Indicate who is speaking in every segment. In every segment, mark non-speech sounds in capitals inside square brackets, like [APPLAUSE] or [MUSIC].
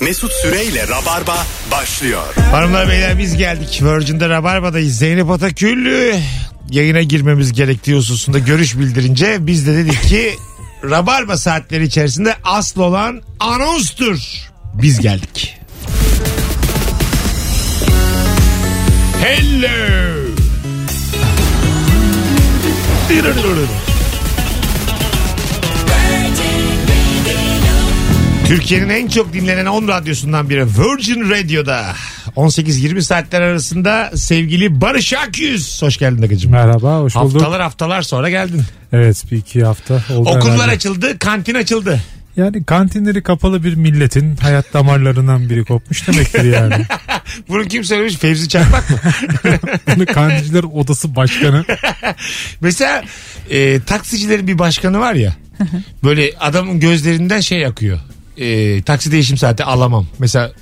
Speaker 1: Mesut Süreyle Rabarba başlıyor.
Speaker 2: Hanımlar beyler biz geldik. Virgin'de Rabarba'dayız. Zeynep Atakül e, yayına girmemiz gerektiği hususunda görüş bildirince biz de dedik ki Rabarba saatleri içerisinde asıl olan anonstur. Biz geldik. Hello. Türkiye'nin en çok dinlenen 10 radyosundan biri Virgin Radio'da 18-20 saatler arasında sevgili Barış Akyüz. Hoş geldin Akıcım.
Speaker 3: Merhaba, hoş bulduk.
Speaker 2: Haftalar haftalar sonra geldin.
Speaker 3: Evet, bir iki hafta oldu
Speaker 2: Okullar
Speaker 3: herhalde.
Speaker 2: açıldı, kantin açıldı.
Speaker 3: Yani kantinleri kapalı bir milletin hayat damarlarından biri kopmuş
Speaker 2: [LAUGHS]
Speaker 3: demektir yani.
Speaker 2: Bunu kim söylemiş? Fevzi Çakmak mı?
Speaker 3: [LAUGHS] Bunu kantinciler odası başkanı.
Speaker 2: Mesela e, taksicilerin bir başkanı var
Speaker 4: [LAUGHS]
Speaker 2: ya. böyle adamın gözlerinden şey akıyor. E, taksi değişim saati alamam. Mesela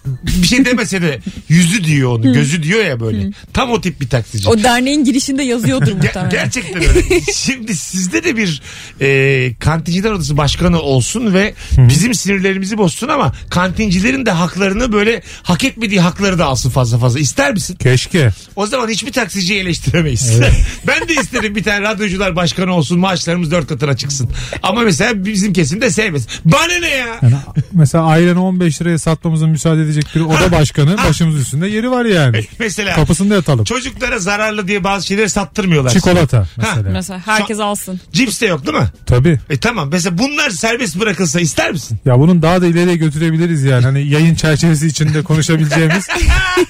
Speaker 2: bir şey demese de yüzü diyor onu, gözü diyor ya böyle. Tam o tip bir taksici.
Speaker 4: O derneğin girişinde yazıyordur
Speaker 2: Ger-
Speaker 4: muhtemelen.
Speaker 2: gerçekten
Speaker 4: [LAUGHS]
Speaker 2: öyle. Şimdi sizde de bir e, kantinciler odası başkanı olsun ve bizim sinirlerimizi bozsun ama kantincilerin de haklarını böyle hak etmediği hakları da alsın fazla fazla. İster misin?
Speaker 3: Keşke.
Speaker 2: O zaman hiçbir taksiciyi eleştiremeyiz. [LAUGHS] ben de isterim bir tane radyocular başkanı olsun maaşlarımız dört katına çıksın. Ama mesela bizim kesim de sevmez. Bana ne ya?
Speaker 3: Yani mesela ailene 15 liraya satmamıza müsaade edecek bir oda başkanı başımız üstünde yeri var yani.
Speaker 2: Ah. Mesela
Speaker 3: Kapısında yatalım.
Speaker 2: çocuklara zararlı diye bazı şeyleri sattırmıyorlar.
Speaker 3: Çikolata mesela.
Speaker 4: Mesela herkes alsın.
Speaker 2: Cips de yok değil mi?
Speaker 3: Tabii.
Speaker 2: E tamam mesela bunlar serbest bırakılsa ister
Speaker 3: [LAUGHS]
Speaker 2: misin?
Speaker 3: Ya bunun daha da ileriye götürebiliriz yani. Hani yayın çerçevesi içinde konuşabileceğimiz.
Speaker 2: [LAUGHS]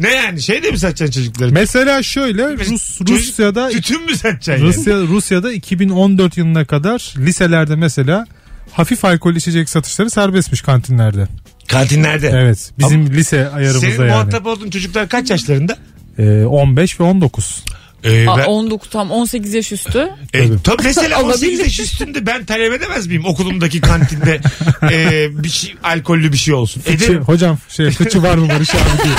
Speaker 2: Ne yani şey de mi satacaksın çocuklara?
Speaker 3: mesela şöyle Rus,
Speaker 2: Çocuk-
Speaker 3: Rusya'da
Speaker 2: Tütün mü satacaksın yani?
Speaker 3: Rusya Rusya'da 2014 yılına kadar liselerde mesela hafif alkol içecek satışları serbestmiş kantinlerde.
Speaker 2: Kantinlerde.
Speaker 3: Evet. Bizim lise
Speaker 2: Senin
Speaker 3: ayarımızda yani.
Speaker 2: muhatap olduğun çocuklar kaç yaşlarında?
Speaker 3: Ee, 15 ve 19.
Speaker 2: Ee,
Speaker 4: Aa,
Speaker 2: ben-
Speaker 4: 19 tam 18 yaş üstü.
Speaker 2: E, tabii mesela
Speaker 4: Olabilir.
Speaker 2: 18 yaş üstünde ben talep edemez miyim okulumdaki kantinde e, bir şey alkollü bir şey olsun.
Speaker 3: Şey,
Speaker 2: Ederim. [LAUGHS]
Speaker 3: hocam şey fıçı var mı Barış abi diye.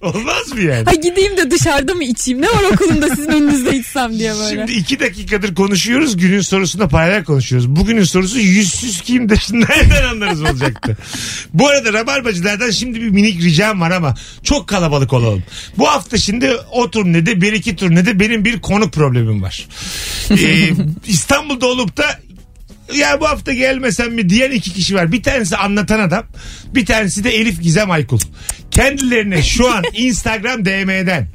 Speaker 2: Olmaz mı yani?
Speaker 4: Ha gideyim de dışarıda mı içeyim? Ne var okulumda sizin önünüzde içsem diye böyle.
Speaker 2: Şimdi iki dakikadır konuşuyoruz. Günün sorusuna paralel konuşuyoruz. Bugünün sorusu yüzsüz kimdir? Nereden anlarız olacaktı? Bu arada Rabarbacılardan şimdi bir minik ricam var ama çok kalabalık olalım. Bu hafta şimdi o turnede bir iki turnede benim bir konuk problemim var. Ee, İstanbul'da olup da ya bu hafta gelmesem mi diyen iki kişi var. Bir tanesi anlatan adam. Bir tanesi de Elif Gizem Aykul. Kendilerine şu an Instagram DM'den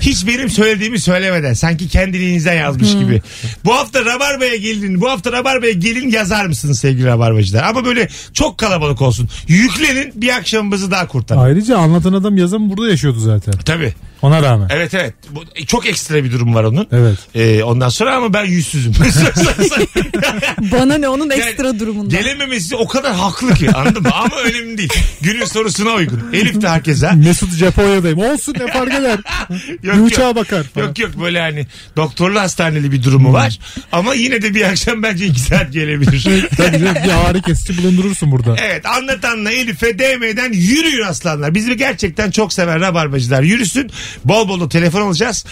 Speaker 2: hiç benim söylediğimi söylemeden sanki kendiliğinizden yazmış gibi. Bu hafta Rabarba'ya gelin, bu hafta Rabarba'ya gelin yazar mısınız sevgili Rabarbacılar? Ama böyle çok kalabalık olsun. Yüklenin bir akşamımızı daha kurtarın.
Speaker 3: Ayrıca anlatan adam yazın burada yaşıyordu zaten.
Speaker 2: Tabii.
Speaker 3: Ona rağmen.
Speaker 2: Evet evet. Bu, e, çok ekstra bir durum var onun.
Speaker 3: Evet.
Speaker 2: Ee, ondan sonra ama ben yüzsüzüm. [LAUGHS]
Speaker 4: Bana ne onun
Speaker 2: Yani
Speaker 4: ekstra durumunda.
Speaker 2: Gelememesi o kadar haklı ki anladın mı? Ama önemli değil. Günün sorusuna uygun. Elif de herkese.
Speaker 3: Mesut Japonya'dayım. Olsun ne fark eder.
Speaker 2: [LAUGHS]
Speaker 3: Bir
Speaker 2: Yok
Speaker 3: uçağa
Speaker 2: yok.
Speaker 3: bakar. falan.
Speaker 2: Yok yok böyle hani doktorlu hastaneli bir durumu var. Ama yine de bir akşam bence iki saat gelebilir.
Speaker 3: Tabii canım, bir ağrı kesici bulundurursun burada.
Speaker 2: Evet anlatanla Elif'e DM'den yürüyün aslanlar. Bizi gerçekten çok seven rabarbacılar yürüsün. Bol bol da telefon alacağız.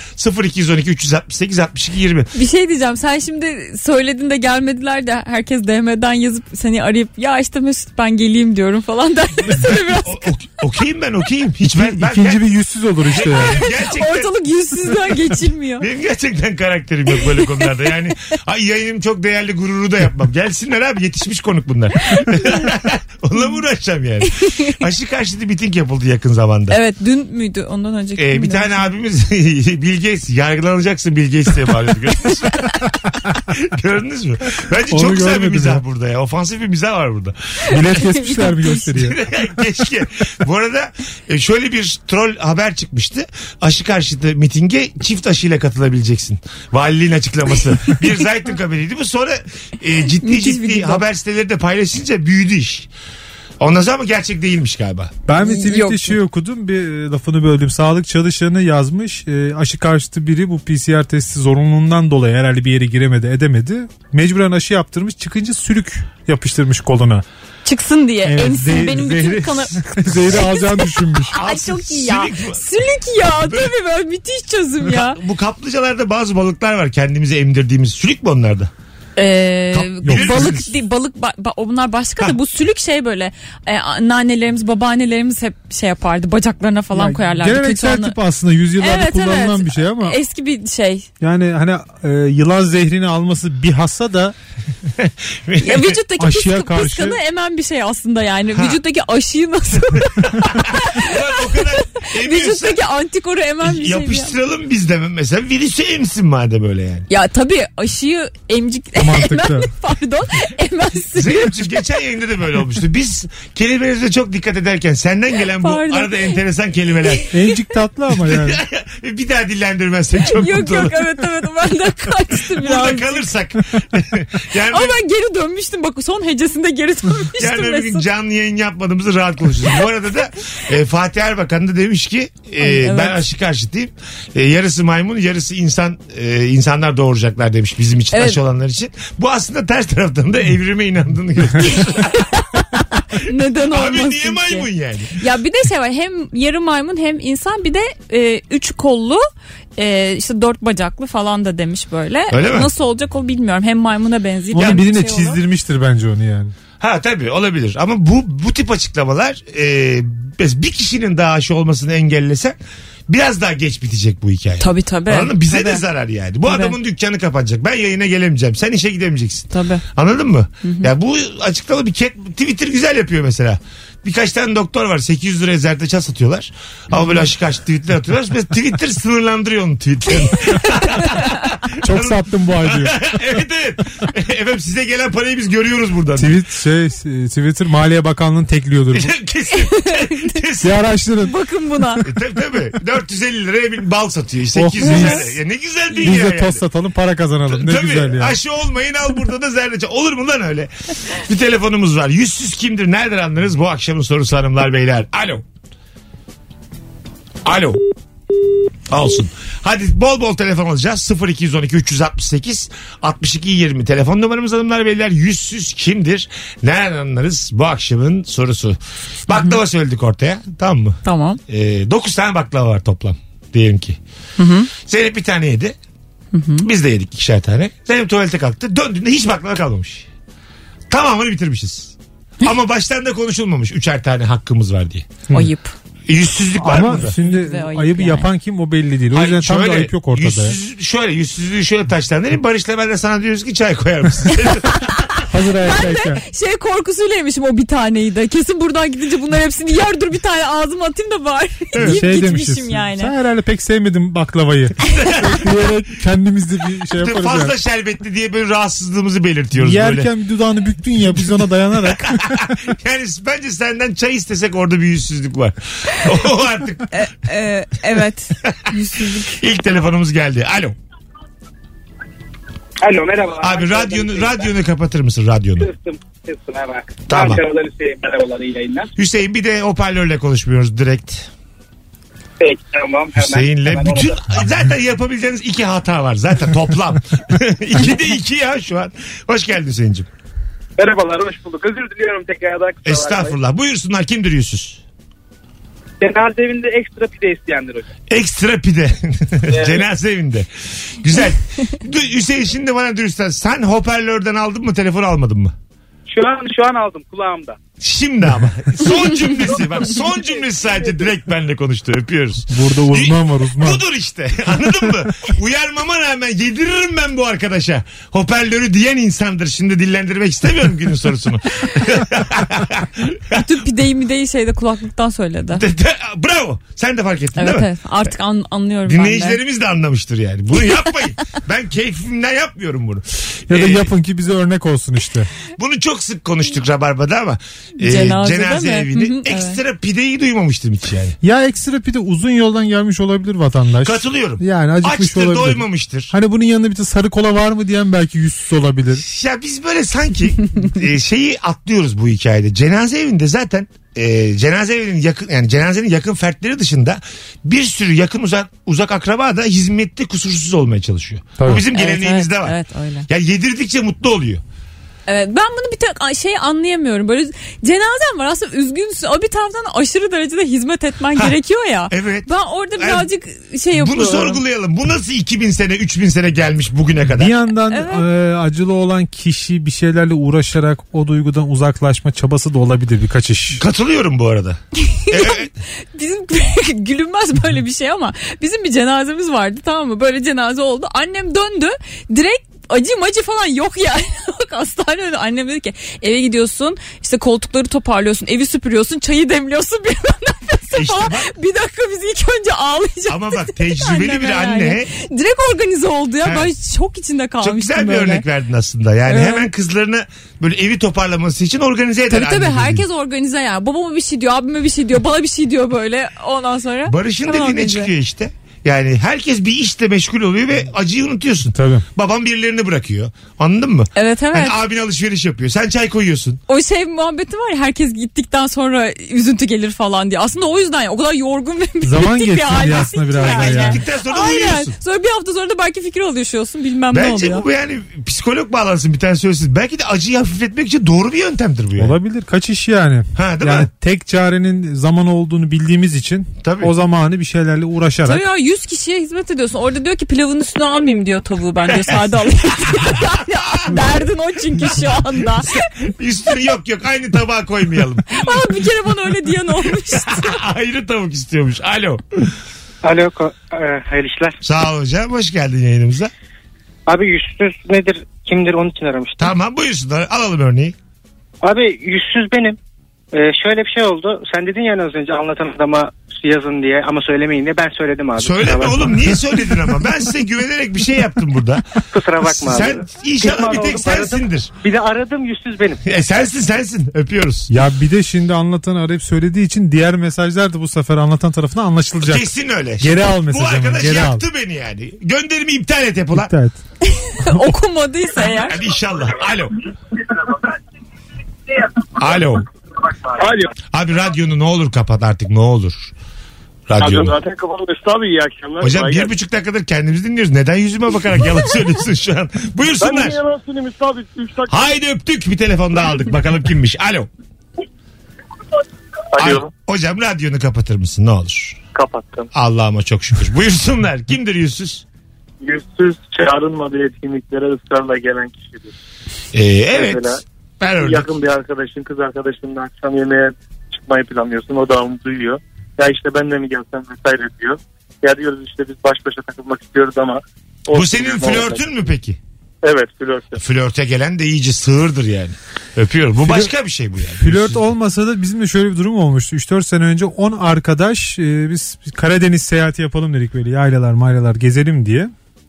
Speaker 2: 0212 368 62 20.
Speaker 4: Bir şey diyeceğim sen şimdi söyledin de gelmediler de herkes DM'den yazıp seni arayıp ya işte Mesut ben geleyim diyorum
Speaker 2: [LAUGHS]
Speaker 4: falan der seni biraz.
Speaker 2: O, o- okuyayım ben okuyayım. Hiç ben, ben
Speaker 3: İkinci bir yüzsüz olur
Speaker 2: [LAUGHS]
Speaker 3: işte yani.
Speaker 2: gerçekten...
Speaker 4: Ortalık yüzsüzden geçilmiyor.
Speaker 2: Benim gerçekten karakterim yok böyle konularda. Yani ay yayınım çok değerli gururu da yapmam. Gelsinler abi yetişmiş konuk bunlar. [LAUGHS] Onunla mı uğraşacağım yani? Aşı karşıtı miting yapıldı yakın zamanda.
Speaker 4: Evet dün müydü ondan önceki
Speaker 2: Ee,
Speaker 4: gün
Speaker 2: bir
Speaker 4: müydü?
Speaker 2: tane abimiz [LAUGHS] Bilgeys yargılanacaksın Bilgeys diye bağırıyordu. Gördünüz mü? Gördünüz mü? [LAUGHS] Bence
Speaker 3: Onu
Speaker 2: çok güzel bir
Speaker 3: görmedim
Speaker 2: mizah
Speaker 3: ya.
Speaker 2: burada ya. Ofansif bir mizah var burada.
Speaker 3: Bilet kesmişler bir gösteriye.
Speaker 2: [LAUGHS] Keşke. Bu arada e, şöyle bir troll haber çıkmıştı. Aşı karşıtı mitinge çift aşıyla katılabileceksin. Valiliğin
Speaker 4: [LAUGHS]
Speaker 2: açıklaması. bir Zaytun haberiydi bu. Sonra e, ciddi
Speaker 4: Müthiş bir
Speaker 2: ciddi
Speaker 4: gündem.
Speaker 2: haber siteleri de paylaşınca büyüdü iş. Ondan sonra ama gerçek değilmiş galiba.
Speaker 3: Ben bir tweette
Speaker 4: Yok.
Speaker 3: şey okudum bir e, lafını böldüm. Sağlık çalışanı yazmış e, aşı karşıtı biri bu PCR testi zorunluluğundan dolayı herhalde bir yere giremedi edemedi. Mecburen aşı yaptırmış çıkınca sülük yapıştırmış koluna.
Speaker 4: Çıksın diye.
Speaker 3: Evet,
Speaker 4: Ensin
Speaker 3: zehri-
Speaker 4: benim bütün
Speaker 2: [LAUGHS]
Speaker 3: zehri-
Speaker 4: kanı...
Speaker 3: [LAUGHS] Zehri alacağını
Speaker 4: [LAUGHS]
Speaker 3: düşünmüş.
Speaker 4: Ay çok iyi ya.
Speaker 2: Sülük bu.
Speaker 4: Sülük ya. Tabii böyle müthiş çözüm ya.
Speaker 3: [LAUGHS]
Speaker 2: Bu kaplıcalarda bazı balıklar var kendimize emdirdiğimiz. Sülük mü onlarda?
Speaker 4: Ee,
Speaker 2: Kap- Yok.
Speaker 4: balık değil, balık ba- ba- onlar başka da bu sülük şey böyle e, anneannelerimiz babaannelerimiz hep şey yapardı bacaklarına falan koyarlardı. Kötü
Speaker 3: Geleneksel
Speaker 4: onu-
Speaker 3: tip aslında yüzyıllarda
Speaker 4: Evet,
Speaker 3: kullanılan
Speaker 4: evet.
Speaker 3: bir şey ama
Speaker 4: Eski bir şey.
Speaker 3: yani hani e, yılan zehrini alması bir hassa
Speaker 4: [LAUGHS]
Speaker 3: da
Speaker 4: [LAUGHS] Ya vücuttaki
Speaker 3: Aşıya
Speaker 4: pıskı,
Speaker 3: karşı-
Speaker 4: pıskanı emen bir şey aslında yani.
Speaker 2: Ha.
Speaker 4: Vücuttaki aşıyı nasıl?
Speaker 2: Ulan o
Speaker 4: [LAUGHS]
Speaker 2: kadar emiyorsa
Speaker 4: vücuttaki antikoru emen bir şey. mi ya?
Speaker 2: yapıştıralım biz de mesela virüsü emsin madem öyle yani.
Speaker 4: Ya tabii aşıyı emcik [LAUGHS]
Speaker 3: mantıklı.
Speaker 4: pardon emensin.
Speaker 2: Zeynep'ciğim geçen yayında da böyle olmuştu. Biz kelimelerimize çok dikkat ederken senden gelen bu
Speaker 4: Pardon.
Speaker 2: arada enteresan
Speaker 4: [LAUGHS]
Speaker 2: kelimeler.
Speaker 3: Encik tatlı ama yani.
Speaker 2: bir daha dillendirmezsen çok
Speaker 4: yok
Speaker 2: mutlu
Speaker 4: yok
Speaker 2: olurum.
Speaker 4: evet evet ben de kaçtım
Speaker 2: Burada
Speaker 4: biraz.
Speaker 2: kalırsak.
Speaker 4: [LAUGHS]
Speaker 2: yani
Speaker 4: Ama ben geri dönmüştüm bak son hecesinde geri dönmüştüm
Speaker 2: Yarın öbür gün
Speaker 4: Mesut.
Speaker 2: canlı yayın yapmadığımızı rahat konuşuruz. Bu arada da e, Fatih Erbakan da demiş ki e,
Speaker 4: Ay, evet.
Speaker 2: ben aşı karşıtıyım. E, yarısı maymun yarısı insan e, insanlar doğuracaklar demiş bizim için
Speaker 4: Evet.
Speaker 2: aşı olanlar için. Bu aslında ters taraftan da evrime inandığını
Speaker 4: [LAUGHS]
Speaker 2: gösteriyor.
Speaker 4: Neden olmasın
Speaker 2: Abi niye maymun
Speaker 4: ki?
Speaker 2: yani?
Speaker 4: Ya bir de şey var hem yarı maymun hem insan bir de e, üç kollu e, işte dört bacaklı falan da demiş böyle.
Speaker 2: Öyle mi?
Speaker 4: Nasıl olacak o bilmiyorum. Hem maymuna benziyor.
Speaker 3: Onu
Speaker 4: hem
Speaker 3: birine
Speaker 4: şey olan.
Speaker 3: çizdirmiştir bence onu yani.
Speaker 2: Ha tabii olabilir ama bu bu tip açıklamalar e, biz bir kişinin daha aşı olmasını engellesen biraz daha geç bitecek bu hikaye.
Speaker 4: Tabii tabii.
Speaker 2: Anladın mı? Bize
Speaker 4: tabii.
Speaker 2: de zarar yani. Bu
Speaker 4: Tabii.
Speaker 2: adamın dükkanı kapanacak. Ben yayına gelemeyeceğim. Sen işe gidemeyeceksin.
Speaker 4: Tabii.
Speaker 2: Anladın mı? Ya bu açıklama bir kek Twitter güzel yapıyor mesela. Birkaç tane doktor var 800 liraya zerdeçal satıyorlar. Ama böyle aşık aşık tweetler atıyorlar. Mesela Twitter sınırlandırıyor onun
Speaker 4: [LAUGHS]
Speaker 2: tweetlerini.
Speaker 3: Çok sattım bu ay diyor.
Speaker 2: evet evet. Efendim size gelen parayı biz görüyoruz buradan.
Speaker 3: Tweet şey e, Twitter Maliye Bakanlığı'nın tekliyordur. bu.
Speaker 2: [LAUGHS]
Speaker 4: [LAUGHS]
Speaker 2: kesin. kesin.
Speaker 3: Bir araştırın.
Speaker 2: [LAUGHS]
Speaker 4: Bakın buna. [LAUGHS]
Speaker 2: E, tabii
Speaker 3: [LAUGHS]
Speaker 2: tabii. 450 liraya bir bal satıyor.
Speaker 3: Oh,
Speaker 2: 800
Speaker 3: biz-
Speaker 2: liraya. Ya ne güzel dünya
Speaker 3: Biz de
Speaker 2: yani.
Speaker 3: tost satalım para kazanalım. Ne
Speaker 2: Tabii,
Speaker 3: güzel ya.
Speaker 2: Aşı olmayın al burada da zerdeçal. Olur mu lan öyle? Bir telefonumuz var. Yüzsüz kimdir? Nereden anlarız? Bu akşamın sorusu hanımlar beyler. Alo. Alo. Olsun. Hadi bol bol telefon alacağız. 0212 368 62 20 telefon numaramız hanımlar beyler. Yüzsüz kimdir? Nereden anlarız? Bu akşamın sorusu. Baklava söyledik ortaya. Tamam mı?
Speaker 4: tamam.
Speaker 2: e, 9 tane baklava var toplam diyelim ki. Zeynep bir tane yedi. Biz de yedik ikişer tane. Zeynep tuvalete kalktı. Döndüğünde hiç baklava kalmamış. Tamamını bitirmişiz. Ama baştan da konuşulmamış. Üçer tane hakkımız var diye.
Speaker 4: Ayıp.
Speaker 2: E, yüzsüzlük var
Speaker 3: Ama
Speaker 2: burada.
Speaker 3: şimdi
Speaker 4: Ve ayıp
Speaker 3: ayıbı
Speaker 4: yani.
Speaker 3: yapan kim o belli değil. O yüzden tam da ayıp yok ortada. ya.
Speaker 2: yüzsüz- şöyle yüzsüzlüğü şöyle taşlandırayım. Barış'la ben de sana diyoruz ki çay koyar
Speaker 3: [LAUGHS]
Speaker 2: mısın?
Speaker 3: Hazır ayaktayken.
Speaker 4: Şey korkusuyla yemişim o bir taneyi de. Kesin buradan gidince bunların hepsini yer dur bir tane ağzıma atayım da bari. deyip
Speaker 3: şey
Speaker 4: gitmişim
Speaker 3: demişiz.
Speaker 4: yani.
Speaker 3: Sen herhalde pek
Speaker 2: [LAUGHS]
Speaker 3: sevmedin baklavayı. Diyerek kendimiz de bir şey yaparız
Speaker 2: Fazla
Speaker 3: yani.
Speaker 2: şerbetli diye böyle rahatsızlığımızı belirtiyoruz. Böyle.
Speaker 3: Yerken bir dudağını büktün ya biz
Speaker 2: [LAUGHS]
Speaker 3: ona dayanarak.
Speaker 2: Yani bence senden çay istesek orada bir yüzsüzlük var. [LAUGHS] o artık.
Speaker 4: Ee, evet. Yüzsüzlük.
Speaker 2: İlk telefonumuz geldi. Alo.
Speaker 5: Alo merhaba.
Speaker 2: Abi
Speaker 5: Ankara'dan
Speaker 2: radyonu
Speaker 5: Hüseyin ben.
Speaker 2: radyonu kapatır mısın
Speaker 5: [LAUGHS]
Speaker 2: radyonu?
Speaker 5: Kıstım kıstım hemen.
Speaker 2: Tamam.
Speaker 5: Ankara'dan Hüseyin merhabalar iyi yayınlar.
Speaker 2: Hüseyin bir de hoparlörle konuşmuyoruz direkt.
Speaker 5: Peki tamam hemen.
Speaker 2: Hüseyin'le
Speaker 5: hemen
Speaker 2: bütün
Speaker 5: orada.
Speaker 2: [LAUGHS] zaten yapabileceğiniz iki hata var zaten toplam. [LAUGHS] iki de iki ya şu an. Hoş geldin Hüseyin'cim.
Speaker 5: Merhabalar hoş bulduk. Özür diliyorum tekrardan. kusura bakmayın.
Speaker 2: Estağfurullah. Buyursunlar kimdir yüzsüz?
Speaker 5: Cenaze evinde ekstra pide isteyenler hocam.
Speaker 2: Ekstra pide. [LAUGHS] Cenaze evinde. Güzel. Du- Hüseyin şimdi bana dürüstler. Sen hoparlörden aldın mı telefon almadın mı?
Speaker 5: Şu an şu an aldım kulağımda.
Speaker 2: Şimdi ama. Son cümlesi. Bak son cümlesi sadece direkt benle konuştu. Öpüyoruz.
Speaker 3: Burada uzman var uzman.
Speaker 2: Budur işte. [LAUGHS] Anladın mı? Uyarmama rağmen yediririm ben bu arkadaşa. Hoparlörü diyen insandır. Şimdi dillendirmek
Speaker 4: [LAUGHS]
Speaker 2: istemiyorum günün sorusunu.
Speaker 4: Bütün pideyi mideyi şeyde kulaklıktan söyledi.
Speaker 2: De- de- Bravo. Sen de fark ettin
Speaker 4: Evet
Speaker 2: değil mi?
Speaker 4: evet. Artık an- anlıyorum ben de.
Speaker 2: Dinleyicilerimiz de anlamıştır yani. Bunu
Speaker 4: [LAUGHS]
Speaker 2: yapmayın. ben keyfimden yapmıyorum bunu.
Speaker 3: Ya da
Speaker 2: Ee,
Speaker 3: yapın ki bize örnek olsun işte.
Speaker 2: bunu çok sık konuştuk Rabarba'da ama e,
Speaker 4: Cenazede
Speaker 2: cenaze
Speaker 4: mi?
Speaker 2: evini
Speaker 4: Hı hı, evet.
Speaker 2: ekstra pideyi duymamıştım hiç yani.
Speaker 3: Ya ekstra pide uzun yoldan gelmiş olabilir vatandaş.
Speaker 2: Katılıyorum.
Speaker 3: Yani acıkmış
Speaker 2: Açtır
Speaker 3: olabilir.
Speaker 2: doymamıştır.
Speaker 3: Hani bunun yanında bir de sarı kola var mı diyen belki yüzsüz olabilir.
Speaker 2: Ya biz böyle sanki e, şeyi atlıyoruz bu hikayede. Cenaze evinde zaten e, cenaze evinin yakın yani cenazenin yakın fertleri dışında bir sürü yakın uzak uzak akraba da hizmette kusursuz olmaya çalışıyor. Bu
Speaker 3: Tabii.
Speaker 2: bizim
Speaker 4: Evet,
Speaker 2: geleneğimizde
Speaker 4: evet,
Speaker 2: var.
Speaker 4: evet, öyle.
Speaker 2: Ya yedirdikçe mutlu oluyor.
Speaker 4: Evet, ben bunu bir tek a- şey anlayamıyorum. Böyle cenazem var aslında üzgünsün. O bir taraftan aşırı derecede hizmet etmen
Speaker 2: Ha,
Speaker 4: gerekiyor ya.
Speaker 2: evet.
Speaker 4: Ben orada
Speaker 2: Ay,
Speaker 4: birazcık şey yapıyorum.
Speaker 2: Bunu sorgulayalım. Bu nasıl 2000 sene 3000 sene gelmiş bugüne kadar?
Speaker 3: Bir yandan
Speaker 4: Evet.
Speaker 3: e, acılı olan kişi bir şeylerle uğraşarak o duygudan uzaklaşma çabası da olabilir birkaç iş.
Speaker 2: Katılıyorum bu
Speaker 4: [LAUGHS]
Speaker 2: arada. E, Evet.
Speaker 4: Bizim [LAUGHS] gülünmez böyle bir şey ama bizim bir cenazemiz vardı tamam mı? Böyle cenaze oldu. Annem döndü. Direkt acı macı falan yok yani. [LAUGHS] Bak hastane önü. Annem dedi ki eve gidiyorsun işte koltukları toparlıyorsun evi süpürüyorsun çayı demliyorsun [LAUGHS] bir
Speaker 2: İşte
Speaker 4: falan.
Speaker 2: bak.
Speaker 4: Bir dakika biz ilk önce ağlayacağız.
Speaker 2: Ama
Speaker 4: [LAUGHS] dedi
Speaker 2: bak tecrübeli bir
Speaker 4: anneme
Speaker 2: anne
Speaker 4: yani. Direkt organize oldu ya.
Speaker 2: Evet.
Speaker 4: Ben çok içinde kalmıştım
Speaker 2: çok güzel bir
Speaker 4: böyle.
Speaker 2: örnek verdin aslında. Yani
Speaker 4: Evet.
Speaker 2: hemen kızlarını böyle evi toparlaması için organize eder
Speaker 4: Tabii tabii
Speaker 2: anne dediğin.
Speaker 4: herkes organize yani. Babama bir şey diyor, abime bir şey diyor, bana bir şey diyor böyle. Ondan sonra.
Speaker 2: Barış'ın
Speaker 4: Tamam
Speaker 2: dediğine
Speaker 4: organize.
Speaker 2: çıkıyor işte. Yani herkes bir işle meşgul oluyor ve acıyı unutuyorsun.
Speaker 3: Tabii.
Speaker 2: Babam birilerini bırakıyor. Anladın mı?
Speaker 4: Evet evet.
Speaker 2: Hani abin alışveriş yapıyor. Sen çay koyuyorsun.
Speaker 4: o şey muhabbeti var ya herkes gittikten sonra üzüntü gelir falan diye. Aslında o yüzden ya, o kadar yorgun ve
Speaker 3: Zaman
Speaker 4: bitik bir
Speaker 3: geçsin
Speaker 4: hale
Speaker 3: diye aslında
Speaker 4: gittik
Speaker 3: biraz daha
Speaker 4: yani.
Speaker 3: ya.
Speaker 2: Gittikten sonra da
Speaker 4: Aynen.
Speaker 2: uyuyorsun.
Speaker 4: Sonra bir hafta sonra da belki fikir alışıyorsun bilmem ne
Speaker 2: Bence
Speaker 4: oluyor.
Speaker 2: bu yani psikolog bağlansın bir tane söylesin. Belki de acıyı hafifletmek için doğru bir yöntemdir bu yani.
Speaker 3: Olabilir kaç iş yani.
Speaker 2: Ha, değil
Speaker 3: yani
Speaker 2: mi?
Speaker 3: tek çarenin zaman olduğunu bildiğimiz için
Speaker 2: Tabii.
Speaker 3: o zamanı bir şeylerle uğraşarak.
Speaker 4: Tabii ya 100 kişiye hizmet ediyorsun. Orada diyor ki pilavın üstüne almayayım diyor tavuğu ben
Speaker 3: [LAUGHS]
Speaker 4: diyor sade alayım. yani [LAUGHS] derdin o çünkü şu anda.
Speaker 2: [LAUGHS] Üstüne yok yok aynı tabağa
Speaker 3: [LAUGHS]
Speaker 2: koymayalım. [LAUGHS]
Speaker 4: Ama bir kere bana öyle diyen olmuştu.
Speaker 2: Ayrı tavuk istiyormuş. Alo.
Speaker 5: Alo ko- e, hayırlı işler.
Speaker 2: Sağ ol hocam. Hoş geldin yayınımıza.
Speaker 5: Abi yüzsüz nedir kimdir onun için aramıştım.
Speaker 2: Tamam buyursunlar. Alalım örneği.
Speaker 5: Abi yüzsüz benim. E, şöyle bir şey oldu. Sen dedin ya az önce anlatan adama yazın diye ama söylemeyin diye ben söyledim abi.
Speaker 2: Söyleme
Speaker 5: Kusura bakma.
Speaker 2: oğlum. Niye söyledin ama? Ben size güvenerek bir şey yaptım burada.
Speaker 5: Kusura bakma abi.
Speaker 2: Sen inşallah
Speaker 5: Pişman
Speaker 2: bir tek
Speaker 5: oldum, aradım.
Speaker 2: sensindir.
Speaker 5: Bir de aradım yüzsüz benim.
Speaker 2: E, sensin sensin. Öpüyoruz.
Speaker 3: Ya bir de şimdi anlatan arayıp söylediği için diğer mesajlar da bu sefer anlatan tarafından anlaşılacak.
Speaker 2: Kesin öyle.
Speaker 3: Geri al
Speaker 2: Bu
Speaker 3: mesajı. ama,
Speaker 2: arkadaş
Speaker 3: Geri al.
Speaker 2: yaktı beni yani. Gönderimi iptal et hep ulan.
Speaker 3: Evet.
Speaker 4: Okumadıysa eğer.
Speaker 2: Hadi inşallah. Alo. Alo.
Speaker 6: Alo.
Speaker 2: Abi radyonu ne olur kapat artık ne olur.
Speaker 6: Adam
Speaker 2: Radyonu.
Speaker 6: zaten kapalı Mesut abi iyi akşamlar.
Speaker 2: Hocam
Speaker 6: Kolay
Speaker 2: bir
Speaker 6: gelsin.
Speaker 2: buçuk dakikadır kendimizi dinliyoruz. Neden yüzüme
Speaker 6: [LAUGHS]
Speaker 2: bakarak yalan söylüyorsun şu an?
Speaker 6: Ben niye
Speaker 2: Buyursunlar.
Speaker 6: yalan söyleyeyim Mesut abi? Üç dakika.
Speaker 2: Haydi öptük bir telefon daha aldık. Bakalım kimmiş. Alo. Alo. Hocam radyonu kapatır mısın ne olur?
Speaker 6: Kapattım.
Speaker 2: Allah'ıma çok şükür. Buyursunlar. Kimdir yüzsüz?
Speaker 6: Yüzsüz çağrılmadığı etkinliklere ısrarla gelen kişidir.
Speaker 2: Ee, evet.
Speaker 6: Mesela
Speaker 2: Ben örnek.
Speaker 6: Yakın bir arkadaşın, kız arkadaşınla akşam yemeğe çıkmayı planlıyorsun. O da onu duyuyor. Ya işte ben de mi gelsem vesaire diyor. Ya diyoruz işte biz baş başa takılmak istiyoruz ama. o-
Speaker 2: Bu senin flörtün mü peki?
Speaker 6: Evet flörtüm.
Speaker 2: Flörte gelen de iyice sığırdır yani. Öpüyorum. Bu başka bir şey bu yani.
Speaker 3: Flört olmasa da bizim de şöyle bir durum olmuştu. 3-4 sene önce 10 arkadaş e, biz Karadeniz seyahati yapalım dedik böyle yaylalar maylalar gezelim diye.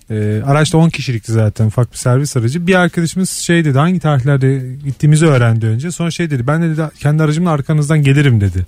Speaker 3: E, araçta 10 kişilikti zaten ufak bir servis aracı. Bir arkadaşımız şey dedi hangi tarihlerde gittiğimizi öğrendi önce. Sonra şey dedi ben de dedi, kendi aracımla arkanızdan gelirim dedi.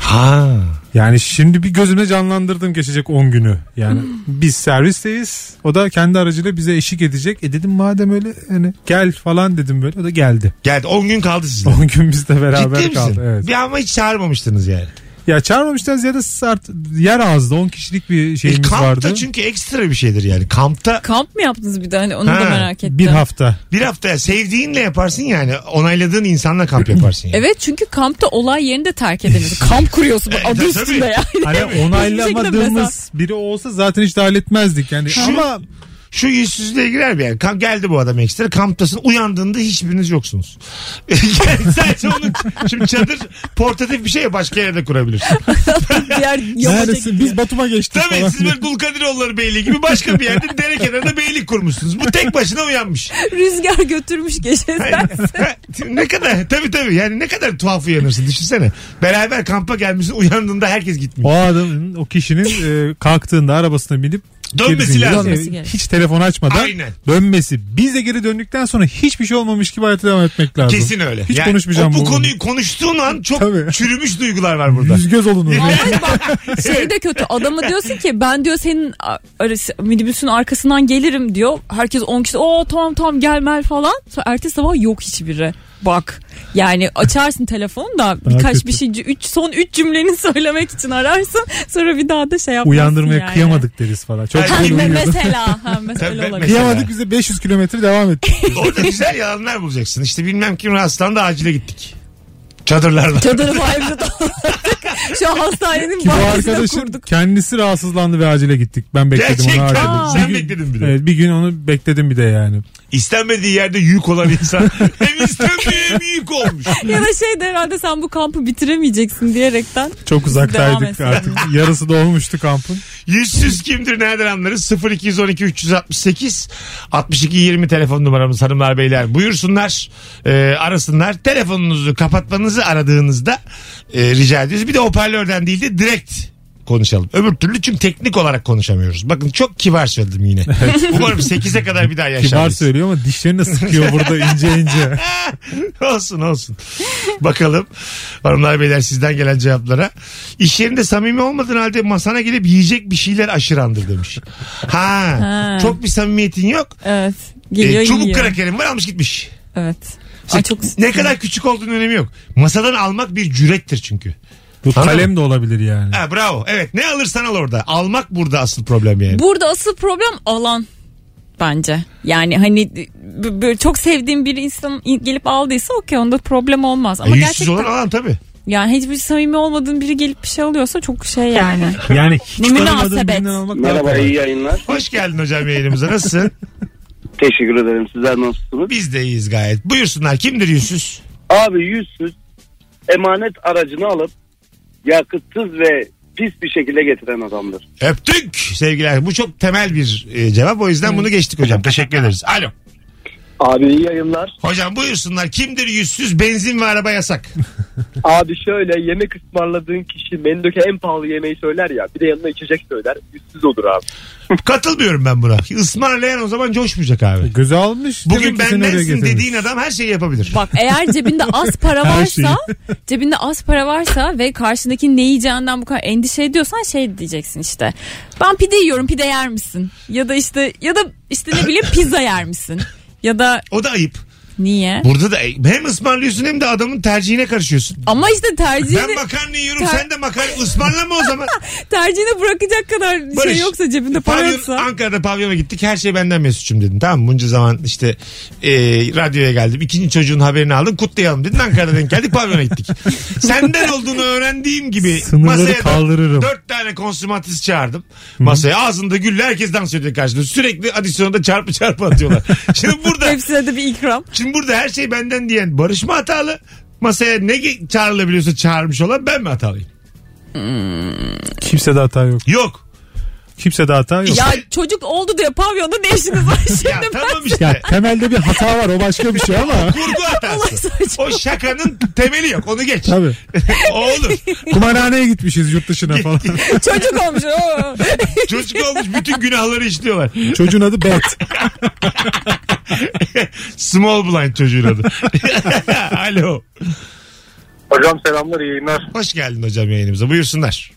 Speaker 2: Ha.
Speaker 3: Yani şimdi bir gözümde canlandırdım geçecek 10 günü.
Speaker 2: [LAUGHS]
Speaker 3: Yani biz servisteyiz. O da kendi aracıyla bize eşlik edecek. E dedim madem öyle hani gel falan dedim böyle. O da geldi.
Speaker 2: Geldi 10 gün kaldı
Speaker 3: [LAUGHS]
Speaker 2: sizde.
Speaker 3: 10 gün bizle beraber
Speaker 2: Ciddi misin?
Speaker 3: kaldı. Evet.
Speaker 2: Bir ama hiç çağırmamıştınız yani.
Speaker 3: Ya çağırmamışlar ziyade sart, yer ağızda 10 kişilik bir
Speaker 2: E,
Speaker 3: şeyimiz
Speaker 2: kampta
Speaker 3: vardı.
Speaker 2: çünkü ekstra bir şeydir yani. Kampta
Speaker 4: Kamp mı yaptınız bir de hani onu
Speaker 2: Ha,
Speaker 4: da merak ettim.
Speaker 3: Bir hafta.
Speaker 2: bir hafta sevdiğinle yaparsın yani. Onayladığın insanla kamp yaparsın yani.
Speaker 4: Evet çünkü kampta olay yerini de terk edildi. Kamp kuruyorsun
Speaker 2: E,
Speaker 4: adı
Speaker 2: tabii.
Speaker 4: üstünde yani.
Speaker 3: Hani onaylamadığımız biri olsa zaten hiç dahil etmezdik. Yani
Speaker 2: Şu-
Speaker 3: ama
Speaker 2: Şu yüzsüzlüğe girer bir yani. Kamp, geldi bu adam ekstra. Kamptasın. Uyandığında hiçbiriniz yoksunuz. [LAUGHS] yani sadece onun şimdi çadır portatif bir şey ya, başka yerde kurabilirsin.
Speaker 3: [LAUGHS]
Speaker 4: Diğer yola
Speaker 3: neredesin
Speaker 4: çekiliyor.
Speaker 3: biz Batum'a geçtik
Speaker 2: Tabii
Speaker 3: falan.
Speaker 2: siz böyle Dulkadiroğulları Beyliği gibi başka bir yerde dere kenarında beylik kurmuşsunuz. Bu tek başına
Speaker 3: [LAUGHS]
Speaker 2: uyanmış.
Speaker 4: Rüzgar götürmüş geceden.
Speaker 2: ne kadar tabii tabii yani ne kadar tuhaf uyanırsın düşünsene. Beraber kampa gelmişsin uyandığında herkes gitmiş.
Speaker 3: O adamın o kişinin e, kalktığında arabasına binip
Speaker 2: Dönmesi
Speaker 3: gerisini-
Speaker 2: lazım.
Speaker 4: Dönmesi
Speaker 3: e,
Speaker 4: gerek.
Speaker 3: hiç telefon açmadan
Speaker 2: Aynen.
Speaker 3: dönmesi. Biz de geri döndükten sonra hiçbir şey olmamış gibi hayata devam etmek lazım.
Speaker 2: Kesin öyle.
Speaker 3: Hiç
Speaker 2: Yani
Speaker 3: konuşmayacağım
Speaker 2: o- bu
Speaker 3: bu konuyu.
Speaker 2: konuyu konuştuğun an çok
Speaker 3: Tabii.
Speaker 2: çürümüş duygular var burada.
Speaker 3: Yüz göz olun.
Speaker 2: Yani-
Speaker 4: Ay bak şey de kötü. Adama diyorsun ki ben diyor senin a- arası, minibüsün arkasından gelirim diyor. Herkes 10 kişi o tamam tamam gelmel falan. Sonra ertesi sabah yok hiçbiri. Bak yani açarsın telefonu da birkaç
Speaker 3: kötü.
Speaker 4: bir şey üç, son üç cümleni [LAUGHS] söylemek için ararsın sonra bir daha da şey yapmazsın
Speaker 3: Uyandırmaya
Speaker 4: yani.
Speaker 3: kıyamadık deriz falan. Çok
Speaker 2: Ay,
Speaker 4: Hani
Speaker 3: güzel
Speaker 4: me-
Speaker 3: uyuyordu.
Speaker 4: mesela ha, mesela
Speaker 2: Tabii,
Speaker 4: olabilir.
Speaker 2: mesela.
Speaker 3: Kıyamadık bize 500 kilometre devam etti.
Speaker 2: Orada güzel yalanlar bulacaksın. İşte bilmem kim rastlandı acile gittik. Çadırlarda.
Speaker 4: Çadırı bayımda [LAUGHS] Şu an hastanenin
Speaker 3: Ki bu
Speaker 4: bahçesinde
Speaker 3: arkadaşım
Speaker 4: kurduk.
Speaker 3: kendisi rahatsızlandı ve acile gittik. Ben bekledim onu
Speaker 2: Gerçekten.
Speaker 3: harcadım.
Speaker 2: Aa. Sen bekledin bir de.
Speaker 3: Evet bir gün onu bekledim bir de yani.
Speaker 2: İstenmediği yerde yük olan insan hem istenmiyor hem yük olmuş.
Speaker 4: Ya da şey de herhalde sen bu kampı bitiremeyeceksin diyerekten.
Speaker 3: Çok uzaktaydık
Speaker 4: etsin.
Speaker 3: artık. Yarısı dolmuştu
Speaker 2: [LAUGHS]
Speaker 3: kampın.
Speaker 2: Yüzsüz kimdir nereden anlarız? 0212 368 62 20 telefon numaramız hanımlar beyler. Buyursunlar e, arasınlar. Telefonunuzu kapatmanızı aradığınızda e, rica ediyoruz. Bir de hoparlörden değil de direkt konuşalım. Öbür türlü çünkü teknik olarak konuşamıyoruz. Bakın çok kibar söyledim yine. Umarım 8'e kadar bir daha
Speaker 3: Kibar
Speaker 2: yaşarız.
Speaker 3: söylüyor ama dişlerini de sıkıyor burada ince ince.
Speaker 2: [LAUGHS] olsun olsun. Bakalım hanımlar beyler sizden gelen cevaplara. İş yerinde samimi olmadığın halde masana gelip yiyecek bir şeyler aşırandır demiş. Ha,
Speaker 4: Ha.
Speaker 2: çok bir samimiyetin yok.
Speaker 4: Evet.
Speaker 2: E,
Speaker 4: Geliyor
Speaker 2: çubuk
Speaker 4: yiyor.
Speaker 2: krakerin var almış gitmiş.
Speaker 4: Evet. Ay çok
Speaker 2: Ne kadar küçük olduğunun önemi yok. Masadan almak bir cürettir çünkü.
Speaker 3: Bu
Speaker 2: Anladın
Speaker 3: kalem de olabilir yani.
Speaker 2: Ha, bravo. Evet ne alırsan al orada. Almak burada asıl problem yani.
Speaker 4: Burada asıl problem alan bence. Yani hani b- böyle çok sevdiğim bir insan gelip aldıysa okey onda problem olmaz. Ama
Speaker 2: E, yüzsüz
Speaker 4: gerçekten
Speaker 2: olan alan tabii.
Speaker 4: yani hiçbir samimi olmadığın biri gelip bir şey alıyorsa çok şey yani.
Speaker 3: Yani hiç
Speaker 4: Ne
Speaker 3: tanımadığın
Speaker 4: münasebet.
Speaker 3: birinden almak daha
Speaker 7: Merhaba
Speaker 3: kolay.
Speaker 7: iyi yayınlar.
Speaker 2: Hoş geldin hocam yayınımıza. Nasılsın?
Speaker 7: Teşekkür ederim. Sizler nasılsınız?
Speaker 2: Biz de iyiyiz gayet. Buyursunlar. Kimdir yüzsüz?
Speaker 7: Abi yüzsüz emanet aracını alıp yakıtsız ve pis bir şekilde getiren adamdır.
Speaker 2: Öptük sevgiler. Bu çok temel bir e, cevap. O yüzden bunu geçtik hocam. Teşekkür ederiz. Alo.
Speaker 8: Abi iyi yayınlar.
Speaker 2: Hocam buyursunlar. Kimdir yüzsüz? Benzin ve araba
Speaker 3: [LAUGHS]
Speaker 2: yasak.
Speaker 8: Abi şöyle yemek ısmarladığın kişi menüdeki en pahalı yemeği söyler ya. Bir de yanına içecek söyler. Yüzsüz olur abi.
Speaker 2: Katılmıyorum ben buna. Ismarlayan o zaman coşmayacak abi.
Speaker 3: Göze almış. demek
Speaker 2: Bugün
Speaker 3: ki seni oraya
Speaker 2: bendensin
Speaker 3: getirmiş.
Speaker 2: dediğin adam her şeyi yapabilir.
Speaker 4: Bak eğer cebinde az
Speaker 2: [LAUGHS]
Speaker 4: para
Speaker 3: Her
Speaker 4: varsa cebinde az para varsa ve karşındaki ne yiyeceğinden bu kadar endişe ediyorsan şey diyeceksin işte. Ben pide yiyorum pide yer misin? Ya da işte ya da işte ne bileyim pizza yer misin? Ya da
Speaker 2: O da ayıp.
Speaker 4: niye?
Speaker 2: Burada da hem ısmarlıyorsun hem de adamın tercihine karışıyorsun.
Speaker 4: Ama işte tercihini
Speaker 2: Ben makarna yiyorum
Speaker 4: Ter-
Speaker 2: sen de makarna ısmarlama o
Speaker 3: [LAUGHS]
Speaker 2: zaman.
Speaker 4: tercihini bırakacak kadar
Speaker 2: Barış,
Speaker 4: şey yoksa cebinde para
Speaker 2: Pavyon,
Speaker 4: yoksa.
Speaker 2: Ankara'da pavyona gittik her şey benden Mesut'cum dedim. Tamam mı? bunca zaman işte e, radyoya geldim. İkinci çocuğun haberini aldım kutlayalım dedin. Ankara'da denk geldik pavyona gittik.
Speaker 4: [LAUGHS]
Speaker 2: Senden olduğunu öğrendiğim gibi
Speaker 3: Sınırları
Speaker 2: masaya dört-
Speaker 3: kaldırırım.
Speaker 2: dört tane konsumatist çağırdım. Masaya ağzında gülle herkes dans ediyor karşıda. Sürekli adisyonda çarpı çarpı
Speaker 4: [LAUGHS]
Speaker 2: atıyorlar. Şimdi burada
Speaker 4: Hepsine de bir ikram.
Speaker 2: Şimdi burada her şey benden diyen Barış mı hatalı? Masaya ne ge- çağrılabiliyorsa çağırmış olan ben mi hatalıyım?
Speaker 3: Kimse de hata yok.
Speaker 2: Yok.
Speaker 3: Kimse de hata yok.
Speaker 4: Ya
Speaker 3: Ya,
Speaker 4: çocuk oldu diye pavyonda ne işiniz var
Speaker 2: [LAUGHS]
Speaker 4: şimdi?
Speaker 2: Ya tamam işte.
Speaker 3: temelde bir hata var o başka bir şey [LAUGHS] ama.
Speaker 2: Kurgu hatası. O şakanın temeli yok. Onu geç. [LAUGHS]
Speaker 3: Tabii.
Speaker 2: o olur.
Speaker 3: Kumarhaneye gitmişiz yurt
Speaker 2: [LAUGHS]
Speaker 3: dışına falan.
Speaker 4: [LAUGHS] çocuk olmuş. oo.
Speaker 2: Çocuk olmuş bütün günahları işliyorlar.
Speaker 3: Çocuğun adı Bet.
Speaker 2: Small blind çocuğun adı. [LAUGHS] Alo.
Speaker 6: Hocam selamlar iyi yayınlar.
Speaker 2: Hoş geldin hocam yayınımıza. Buyursunlar.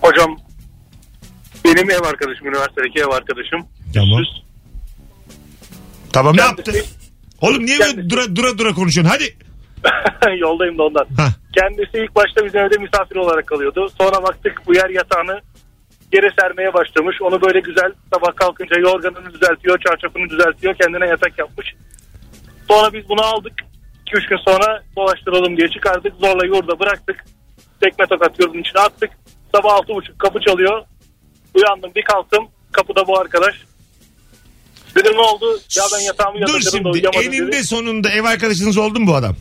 Speaker 6: Hocam benim ev arkadaşım üniversitedeki ev arkadaşım. [LAUGHS]
Speaker 2: Tamam.
Speaker 6: Yüzsüz.
Speaker 2: Tamam ne
Speaker 6: Kendisi-
Speaker 2: yaptın? Oğlum niye böyle dura dura, dura konuşuyorsun? Hadi.
Speaker 6: Yoldayım da ondan.
Speaker 2: [LAUGHS] Ha.
Speaker 6: Kendisi ilk başta bizim evde misafir olarak kalıyordu. Sonra baktık bu yer yatağını yere sermeye başlamış. Onu böyle güzel sabah kalkınca yorganını düzeltiyor, çarşafını düzeltiyor. Kendine yatak yapmış. Sonra biz bunu aldık. 2-3 gün sonra dolaştıralım diye çıkardık. Zorla yurda bıraktık. Tekme tokat yurdun içine attık. Sabah 6.30 kapı çalıyor. Uyandım bir kalktım. Kapıda bu arkadaş. Dedim ne oldu? Ya ben yatağımı
Speaker 2: Dur
Speaker 6: yatacağım da
Speaker 2: şimdi
Speaker 6: uyuyamadım dedi.
Speaker 2: eninde sonunda ev arkadaşınız oldu mu bu adam?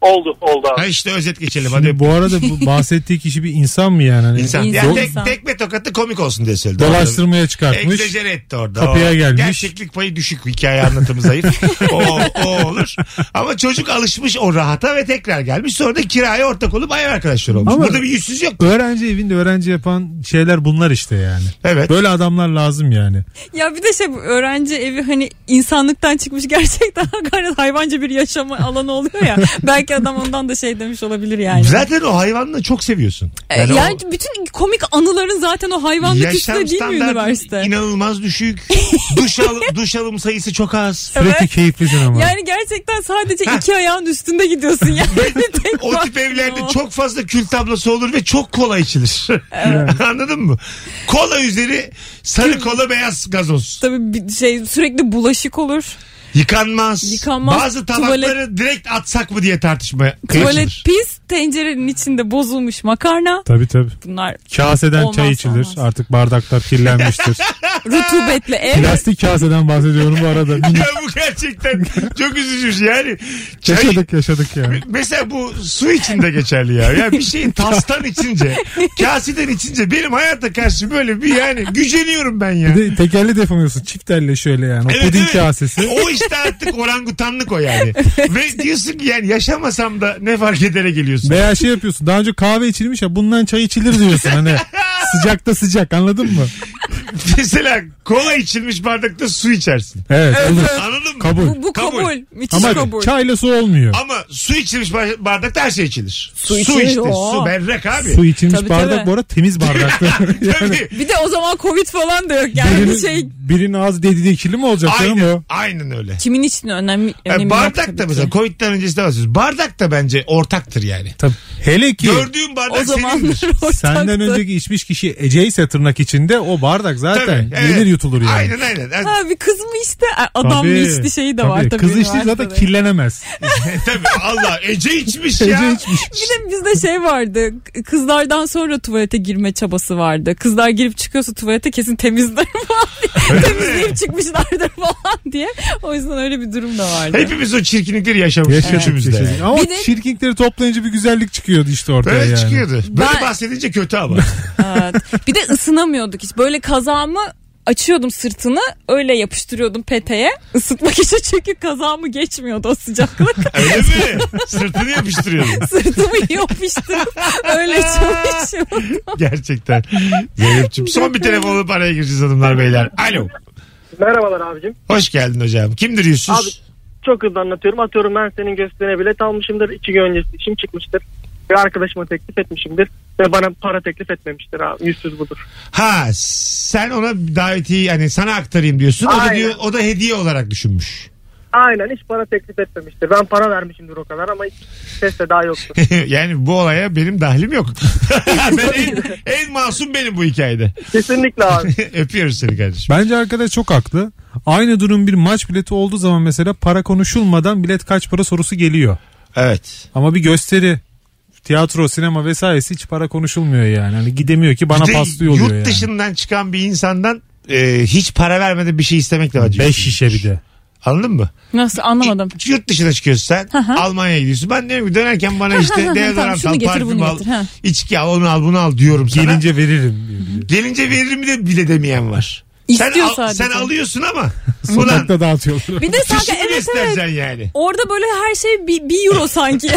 Speaker 6: Oldu oldu abi.
Speaker 2: Ha işte özet geçelim hadi.
Speaker 3: Şimdi bu arada bu bahsettiği kişi bir insan mı yani? Hani
Speaker 2: İnsan.
Speaker 4: İnsan.
Speaker 2: Yani tek,
Speaker 4: İnsan.
Speaker 2: tekme tokatı komik olsun diye söyledi.
Speaker 3: Dolaştırmaya çıkartmış.
Speaker 2: Egzajere etti orada.
Speaker 3: Kapıya
Speaker 2: O
Speaker 3: gelmiş.
Speaker 2: Gerçeklik payı düşük. Hikaye anlatımı
Speaker 3: [LAUGHS]
Speaker 2: zayıf. o, o olur. Ama çocuk alışmış o rahata ve tekrar gelmiş. Sonra da kiraya ortak olup ev arkadaşları olmuş.
Speaker 3: Ama-
Speaker 2: Burada bir yüzsüz yok.
Speaker 3: Öğrenci evinde öğrenci yapan şeyler bunlar işte yani.
Speaker 2: Evet.
Speaker 3: Böyle adamlar lazım yani.
Speaker 4: ya bir de şey bu
Speaker 2: [LAUGHS]
Speaker 4: öğrenci [LAUGHS] evi hani insanlıktan çıkmış gerçekten gayet hayvanca bir yaşama alanı oluyor ya. Belki Belki adam ondan da şey demiş olabilir yani.
Speaker 2: Zaten o hayvanını çok seviyorsun.
Speaker 4: Ee, Yani, bütün komik anıların zaten o
Speaker 2: o
Speaker 4: hayvanlık üstüne değil mi
Speaker 2: standartın
Speaker 4: üniversite?
Speaker 2: inanılmaz
Speaker 4: [LAUGHS]
Speaker 2: düşük. duş, al, duş alım sayısı çok az.
Speaker 3: Sürekli keyiflisin ama.
Speaker 4: Yani gerçekten sadece iki ayağın üstünde
Speaker 2: [LAUGHS]
Speaker 4: gidiyorsun yani. Tek
Speaker 2: O tip
Speaker 4: baktığın
Speaker 2: evlerde
Speaker 4: o.
Speaker 2: çok fazla kül tablosu olur ve çok kola içilir. [LAUGHS] Anladın mı? Kola üzeri sarı kola beyaz gazoz.
Speaker 4: Tabii bir şey sürekli bulaşık olur.
Speaker 2: Yıkanmaz.
Speaker 4: Yıkanmaz.
Speaker 2: Bazı tabakları direkt atsak mı diye tartışmaya
Speaker 4: [LAUGHS] Tuvalet
Speaker 2: açılır.
Speaker 4: pis, tencerenin içinde bozulmuş makarna.
Speaker 3: Tabii tabii.
Speaker 4: Bunlar
Speaker 3: Kaseden
Speaker 4: Olmaz,
Speaker 3: çay içilir.
Speaker 4: olmaz.
Speaker 3: Artık bardaklar kirlenmiştir.
Speaker 4: rutubetli ev.
Speaker 3: Plastik kaseden bahsediyorum bu arada. Minik.
Speaker 2: Ya [LAUGHS] bu gerçekten çok üzücü yani. Çay-
Speaker 3: Yaşadık yaşadık yani.
Speaker 2: Mesela bu su içinde geçerli ya. Ya bir
Speaker 4: [LAUGHS]
Speaker 2: şeyi tastan içince, kaseden içince benim hayata karşı böyle bir yani güceniyorum ben ya.
Speaker 3: Bir de tekerle defamıyorsun. Çift elle şöyle yani. O
Speaker 2: Evet,
Speaker 3: puding
Speaker 2: evet.
Speaker 3: kasesi.
Speaker 2: O işte artık orangutanlık o yani. Ve diyorsun ki yani yaşamasam da ne fark edere geliyorsun.
Speaker 3: Veya şey yapıyorsun. Daha önce kahve içilmiş ya bundan çay içilir diyorsun. Hani sıcakta sıcak anladın mı?
Speaker 2: Mesela kola içilmiş bardakta su içersin.
Speaker 3: Evet. olur.
Speaker 2: Anladın mı?
Speaker 3: Kabul.
Speaker 4: Bu, bu kabul.
Speaker 2: Kabul.
Speaker 4: Müthiş
Speaker 3: Ama
Speaker 4: kabul.
Speaker 3: çayla su olmuyor.
Speaker 2: Ama su içilmiş bar- bardakta her şey içilir. Su,
Speaker 4: içilir,
Speaker 2: işte.
Speaker 4: o.
Speaker 2: Su berrak abi.
Speaker 3: Su içilmiş
Speaker 4: Tabii,
Speaker 3: bardak
Speaker 4: tabii.
Speaker 3: bu arada temiz bardaktı.
Speaker 4: [LAUGHS]
Speaker 3: yani
Speaker 2: Tabii.
Speaker 4: Bir de o zaman covid falan da yok yani bir
Speaker 3: birinin,
Speaker 4: şey
Speaker 3: birinin ağzı dediği ikili mi olacak canım o?
Speaker 2: Aynen, aynen öyle.
Speaker 4: kimin için önemli,
Speaker 2: Yani
Speaker 4: önemli yok
Speaker 2: E, bardak
Speaker 4: tabii
Speaker 2: da
Speaker 4: ki.
Speaker 2: mesela Covid'den öncesinde bahsediyoruz. Bardak da bence ortaktır yani.
Speaker 3: Tabii. Hele ki
Speaker 2: Gördüğün bardak
Speaker 4: O zamanlar [LAUGHS]
Speaker 2: senindir.
Speaker 4: ortaktı.
Speaker 3: senden önceki içmiş kişi Ece ise tırnak içinde o bardak zaten
Speaker 2: Tabii, evet.
Speaker 3: yenir yutulur yani.
Speaker 2: Aynen
Speaker 4: [LAUGHS]
Speaker 2: aynen. Yani,
Speaker 4: Ha bir kız mı işte E, adam mı
Speaker 3: Tabii,
Speaker 4: içti şeyi de var tabii.
Speaker 3: Kız içti zaten
Speaker 4: üniversitede.
Speaker 3: kirlenemez.
Speaker 2: [LAUGHS] tabii Allah Ece içmiş ya.
Speaker 3: Ece içmiş.
Speaker 4: Bir de bizde şey vardı. Kızlardan sonra tuvalete girme çabası vardı. Kızlar girip çıkıyorsa tuvalete kesin temizler [LAUGHS] falan diye. Temizleyip çıkmışlardır [LAUGHS] falan diye. O yüzden öyle bir durum da vardı.
Speaker 2: [LAUGHS] Hepimiz o çirkinlikleri yaşamışız
Speaker 3: Yaşadık,
Speaker 2: üçümüzde.
Speaker 3: yaşadık. Ama
Speaker 4: Bir de-
Speaker 3: çirkinlikleri toplayınca bir güzellik çıkıyordu işte ortaya
Speaker 2: Böyle
Speaker 3: yani.
Speaker 2: çıkıyordu. Böyle
Speaker 4: Ben-
Speaker 2: bahsedince kötü
Speaker 3: [LAUGHS]
Speaker 2: ama.
Speaker 4: Evet. Bir de ısınamıyorduk hiç. Böyle kazağımı açıyordum sırtını öyle yapıştırıyordum peteye ısıtmak için çünkü kazağımı geçmiyordu o sıcaklık
Speaker 2: Öyle mi? Sırtını [LAUGHS] yapıştırıyordun.
Speaker 4: sırtımı yapıştırıp öyle çalışıyordum
Speaker 2: Gerçekten. Zeynep'ciğim son bir telefon alıp araya gireceğiz hanımlar beyler. Alo.
Speaker 5: Merhabalar abicim.
Speaker 2: Hoş geldin hocam. Kimdir yüzsüz?
Speaker 5: Abi çok hızlı anlatıyorum. Atıyorum ben senin gösterine bilet almışımdır. iki gün öncesi işim çıkmıştır. Ve arkadaşıma teklif etmişimdir. Ve bana para teklif etmemiştir abi. Yüzsüz budur.
Speaker 2: Ha sen ona davetiyi hani sana aktarayım diyorsun. O da,
Speaker 5: Aynen.
Speaker 2: diyor, o da hediye olarak düşünmüş. [LAUGHS]
Speaker 5: Aynen hiç para teklif etmemiştir. Ben para vermişimdir o kadar ama hiç ses de daha yoktu.
Speaker 2: yani bu olaya benim dahlim
Speaker 4: [LAUGHS]
Speaker 2: yok. ben en, en masum benim bu hikayede. [LAUGHS]
Speaker 5: Kesinlikle abi.
Speaker 2: Öpüyoruz seni kardeşim.
Speaker 3: Bence arkadaş çok haklı. Aynı durum bir maç bileti olduğu zaman mesela para konuşulmadan bilet kaç para sorusu geliyor.
Speaker 2: Evet.
Speaker 3: Ama bir gösteri tiyatro, sinema vesairesi hiç para konuşulmuyor yani. Hani gidemiyor ki bana
Speaker 2: Bir de
Speaker 3: paslıyor oluyor
Speaker 2: Yurt
Speaker 3: yani.
Speaker 2: dışından çıkan bir insandan e, hiç para vermeden bir şey istemek de var.
Speaker 3: 5 şişe bir de.
Speaker 2: Anladın mı?
Speaker 4: nasıl anlamadım
Speaker 2: Y- Yurt dışına çıkıyorsun sen.
Speaker 4: hı.
Speaker 2: Almanya'ya gidiyorsun. Ben diyorum ki dönerken
Speaker 4: [LAUGHS]
Speaker 2: bana işte
Speaker 4: hı,
Speaker 2: deodorant
Speaker 4: tamam, şunu
Speaker 2: al,
Speaker 4: getir,
Speaker 2: parfüm
Speaker 4: bunu
Speaker 2: al,
Speaker 4: getir, ha.
Speaker 2: içki al, onu al, bunu al diyorum sana. Gelince,
Speaker 3: Gelince veririm diyor bir de.
Speaker 2: veririm de bile demeyen var. Sen,
Speaker 4: İstiyor
Speaker 2: al-
Speaker 4: sadece.
Speaker 2: sen alıyorsun
Speaker 3: [LAUGHS]
Speaker 2: ama [LAUGHS] ulan
Speaker 3: Sokakta dağıtıyorlar.
Speaker 4: bir de sanki
Speaker 2: fişini
Speaker 4: evet evet
Speaker 2: göstereceksin yani.
Speaker 4: Orada böyle her şey bir, bir euro sanki. [LAUGHS]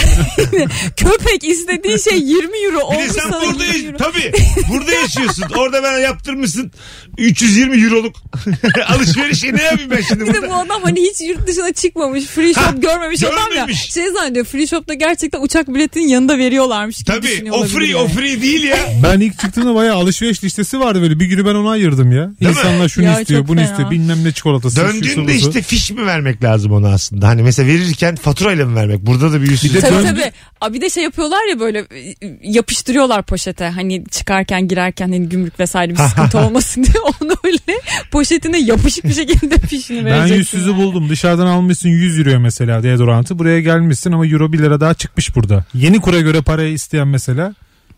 Speaker 4: Yani Köpek istediği şey 20 euro
Speaker 2: Bir de
Speaker 4: olmuş
Speaker 2: sen
Speaker 4: sana
Speaker 2: burada,
Speaker 4: 20
Speaker 2: yaş-
Speaker 4: euro.
Speaker 2: tabii, burada yaşıyorsun. Orada ben yaptırmışsın 320 euroluk [LAUGHS] alışverişe ne yapayım ben şimdi
Speaker 4: Bir de bu
Speaker 2: burada?
Speaker 4: adam hani hiç yurt dışına çıkmamış, free shop
Speaker 2: Ha,
Speaker 4: görmemiş adam ya.
Speaker 2: görmemiş.
Speaker 4: Şey zannediyor free shop'ta gerçekten uçak biletinin yanında veriyorlarmış gibi
Speaker 2: Tabii
Speaker 4: düşünüyor
Speaker 2: o
Speaker 4: olabilir
Speaker 2: free
Speaker 4: yani.
Speaker 2: o free değil ya.
Speaker 3: Ben ilk çıktığımda bayağı alışveriş listesi vardı böyle. Bir günü ben ona ayırdım ya.
Speaker 2: Değil mi?
Speaker 3: İnsanlar şunu
Speaker 4: Ya
Speaker 3: istiyor,
Speaker 4: çok
Speaker 3: bunu
Speaker 4: fena.
Speaker 3: istiyor. Bilmem ne çikolatası. şu
Speaker 2: Döndüğünde
Speaker 3: sorusu.
Speaker 2: işte fiş mi vermek lazım ona aslında? Hani mesela verirken faturayla mı vermek? Burada da bir yüzsüz.
Speaker 3: Bir de-
Speaker 4: Tabii
Speaker 3: Döndü.
Speaker 4: tabii. Aa, bir de şey yapıyorlar ya böyle e, yapıştırıyorlar poşete. Hani çıkarken girerken hani gümrük vesaire bir sıkıntı olmasın [LAUGHS] diye onu öyle poşetine yapışık bir şekilde
Speaker 2: [LAUGHS]
Speaker 4: fişini
Speaker 3: Ben
Speaker 4: vereceksin.
Speaker 3: yüzsüzü
Speaker 4: yani.
Speaker 3: buldum. Dışarıdan almışsın 100 euro mesela deodorantı. Buraya gelmişsin ama euro 1 lira daha çıkmış burada. Yeni kura göre parayı isteyen mesela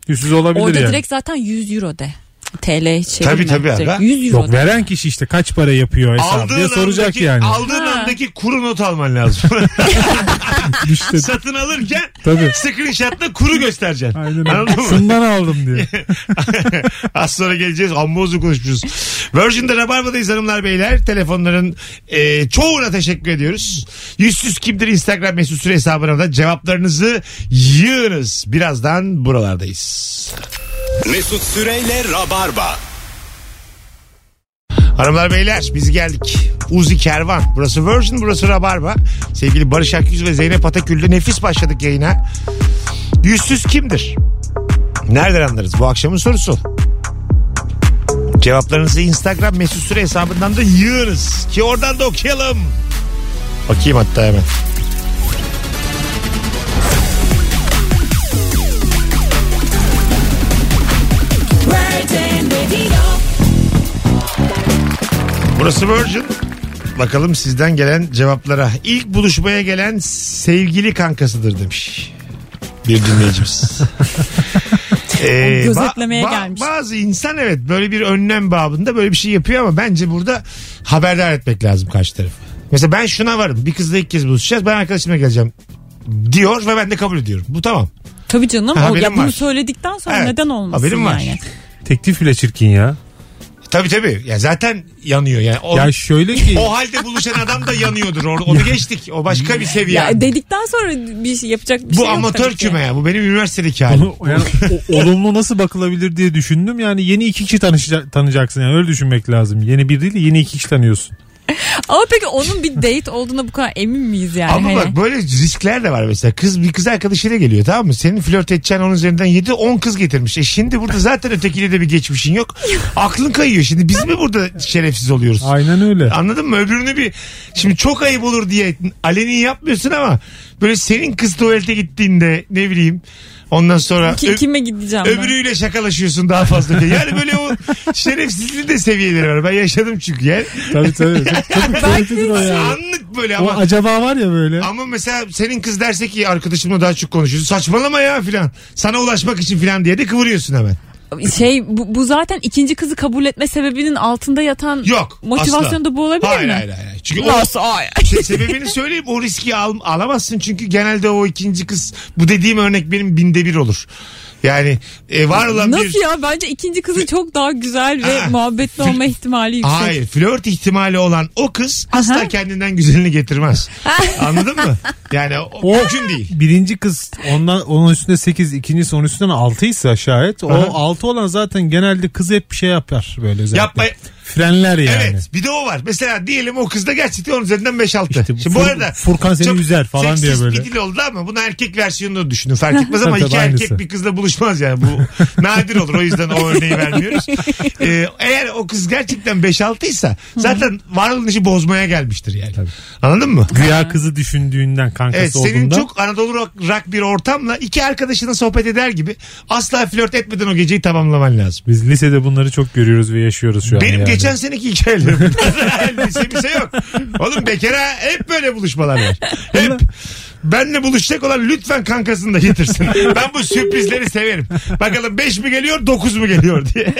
Speaker 3: yüzsüz olabilir
Speaker 4: Orada
Speaker 3: yani.
Speaker 4: direkt zaten 100 euro de. TL çevirme.
Speaker 2: Tabii, tabii
Speaker 4: Direkt
Speaker 2: abi.
Speaker 4: 100 euro
Speaker 3: Yok
Speaker 4: de.
Speaker 3: veren kişi işte kaç para yapıyor hesap diye soracak
Speaker 2: andaki,
Speaker 3: yani.
Speaker 2: Aldığın
Speaker 4: Ha.
Speaker 2: andaki kuru not alman lazım. [LAUGHS]
Speaker 3: İşte
Speaker 2: Satın alırken
Speaker 3: Tabii.
Speaker 2: screenshot'ta kuru göstereceksin.
Speaker 3: aynen öyle.
Speaker 2: Anladın mı?
Speaker 3: Şundan aldım
Speaker 2: [LAUGHS]
Speaker 3: diye.
Speaker 2: Az sonra geleceğiz. Amma uzun konuşmuşuz. Virgin'de Rabarba'dayız hanımlar beyler. Telefonların e, çoğuna teşekkür ediyoruz. Yüzsüz kimdir Instagram mesut süre hesabına da cevaplarınızı yığınız. Birazdan buralardayız.
Speaker 1: Mesut Süreyle Rabarba.
Speaker 2: Hanımlar beyler biz geldik. Uzi Kervan. Burası Virgin, burası Rabarba. Sevgili Barış Akyüz ve Zeynep Atakül'de nefis başladık yayına. Yüzsüz kimdir? Nereden anlarız? Bu akşamın sorusu. Cevaplarınızı Instagram mesut süre hesabından da yığınız. Ki oradan da okuyalım. Bakayım hatta hemen. Burası Virgin. Bakalım sizden gelen cevaplara. İlk buluşmaya gelen sevgili kankasıdır demiş. Bir
Speaker 4: [LAUGHS]
Speaker 2: dinleyicimiz. Ee,
Speaker 4: Gözetlemeye gelmiş.
Speaker 2: Bazı insan evet böyle bir önlem babında böyle bir şey yapıyor ama bence burada haberdar etmek lazım karşı tarafı. Mesela ben şuna varım bir kızla ilk kez buluşacağız ben arkadaşımla geleceğim diyor ve ben de kabul ediyorum. Bu tamam.
Speaker 4: Tabii canım.
Speaker 2: Ha,
Speaker 4: o,
Speaker 2: haberim
Speaker 4: ya bunu
Speaker 2: var.
Speaker 4: söyledikten sonra
Speaker 2: Evet,
Speaker 4: neden olmasın
Speaker 2: haberim var.
Speaker 4: yani?
Speaker 3: Teklif bile çirkin ya.
Speaker 2: Tabii tabii. Ya zaten yanıyor yani. O,
Speaker 3: Ya şöyle ki [LAUGHS]
Speaker 2: o halde buluşan adam da yanıyordur. Onu, onu geçtik. O başka bir seviye.
Speaker 4: Ya dedikten sonra bir şey yapacak bir
Speaker 2: bu
Speaker 4: şey yok
Speaker 2: amatör
Speaker 4: tabii ki.
Speaker 2: küme ya. Bu benim üniversitedeki halim.
Speaker 3: Bunu- yani o- olumlu nasıl bakılabilir diye düşündüm. Yani yeni iki kişi tanışa- tanıyacaksın. Yani öyle düşünmek lazım. Yeni bir değil de yeni iki kişi tanıyorsun.
Speaker 4: Ama peki onun bir date olduğuna bu kadar emin miyiz yani?
Speaker 2: Ama
Speaker 4: Hani?
Speaker 2: bak böyle riskler de var mesela. Kız bir kız arkadaşıyla geliyor tamam mı? Senin flört edeceğin onun üzerinden 7 10 kız getirmiş. E şimdi burada zaten ötekiyle de bir geçmişin
Speaker 4: [LAUGHS]
Speaker 2: yok. Aklın kayıyor şimdi. Biz mi burada şerefsiz oluyoruz?
Speaker 3: Aynen
Speaker 2: [LAUGHS]
Speaker 3: öyle.
Speaker 2: Anladın mı? Öbürünü bir şimdi çok ayıp olur diye aleni yapmıyorsun ama böyle senin kız tuvalete gittiğinde ne bileyim ondan sonra
Speaker 4: Ki-
Speaker 2: ö-
Speaker 4: kime gideceğim ben?
Speaker 2: öbürüyle şakalaşıyorsun daha fazla. diye. Yani böyle o şerefsizliğin de seviyeleri var. Ben yaşadım çünkü yani.
Speaker 3: tabii tabii. Çok, çok keyiflidir o yani.
Speaker 2: Anlık böyle
Speaker 3: O
Speaker 2: ama.
Speaker 3: acaba var ya böyle.
Speaker 2: Ama mesela senin kız derse ki arkadaşımla daha çok konuşuyorsun. Saçmalama ya filan. Sana ulaşmak için filan diye de kıvırıyorsun hemen.
Speaker 4: Şey bu, bu zaten ikinci kızı kabul etme sebebinin altında yatan
Speaker 2: Yok.
Speaker 4: motivasyon
Speaker 2: asla.
Speaker 4: da bu olabilir
Speaker 2: hayır,
Speaker 4: mi?
Speaker 2: Hayır hayır. Çünkü o
Speaker 4: Nasıl? Ay.
Speaker 2: şey, sebebini söyleyeyim o riski al, alamazsın çünkü genelde o ikinci kız bu dediğim örnek benim binde bir olur. Yani e, var olan bir...
Speaker 4: Nasıl ya? Bence ikinci kızı çok daha güzel ve
Speaker 2: Ha.
Speaker 4: muhabbetli olma ihtimali yüksek.
Speaker 2: Hayır flört ihtimali olan o kız asla kendinden güzelini getirmez. Anladın mı? Yani o, mümkün değil.
Speaker 3: Birinci kız ondan, onun üstünde 8, ikincisi onun üstünden 6 ise şayet. O
Speaker 2: Aha.
Speaker 3: 6 olan zaten genelde kız hep bir şey yapar böyle özellikle.
Speaker 2: Yapma.
Speaker 3: Frenler yani.
Speaker 2: Evet bir de o var. Mesela diyelim o kızda gerçekten onun üzerinden 5-6.
Speaker 3: İşte bu
Speaker 2: Şimdi bu
Speaker 3: Fur-
Speaker 2: arada
Speaker 3: Furkan seni
Speaker 2: çok
Speaker 3: üzer falan diye
Speaker 2: seksist
Speaker 3: böyle.
Speaker 2: bir dil oldu ama bunu erkek versiyonunu düşünün fark etmez ama
Speaker 3: Tabii,
Speaker 2: iki
Speaker 3: aynısı.
Speaker 2: erkek bir kızla buluşmaz yani
Speaker 3: [LAUGHS]
Speaker 2: bu nadir olur o yüzden o örneği vermiyoruz. Ee, eğer o kız gerçekten 5-6 ise zaten varoluşu bozmaya gelmiştir yani. Anladın mı?
Speaker 3: Güya kızı düşündüğünden kankası
Speaker 2: Evet senin
Speaker 3: olduğunda.
Speaker 2: çok Anadolu rock, rock bir ortamla iki arkadaşına sohbet eder gibi asla flört etmeden o geceyi tamamlaman lazım.
Speaker 3: Biz lisede bunları çok görüyoruz ve yaşıyoruz şu an.
Speaker 2: Benim
Speaker 3: yani.
Speaker 2: geçen seneki hikayelerim.
Speaker 3: [LAUGHS]
Speaker 2: [LAUGHS] lise mise yok. Oğlum bekara hep böyle buluşmalar var. Hep. Benle buluşacak olan lütfen kankasını da
Speaker 3: [LAUGHS]
Speaker 2: getirsin. Ben bu sürprizleri severim. Bakalım 5 mi geliyor 9 mu geliyor diye.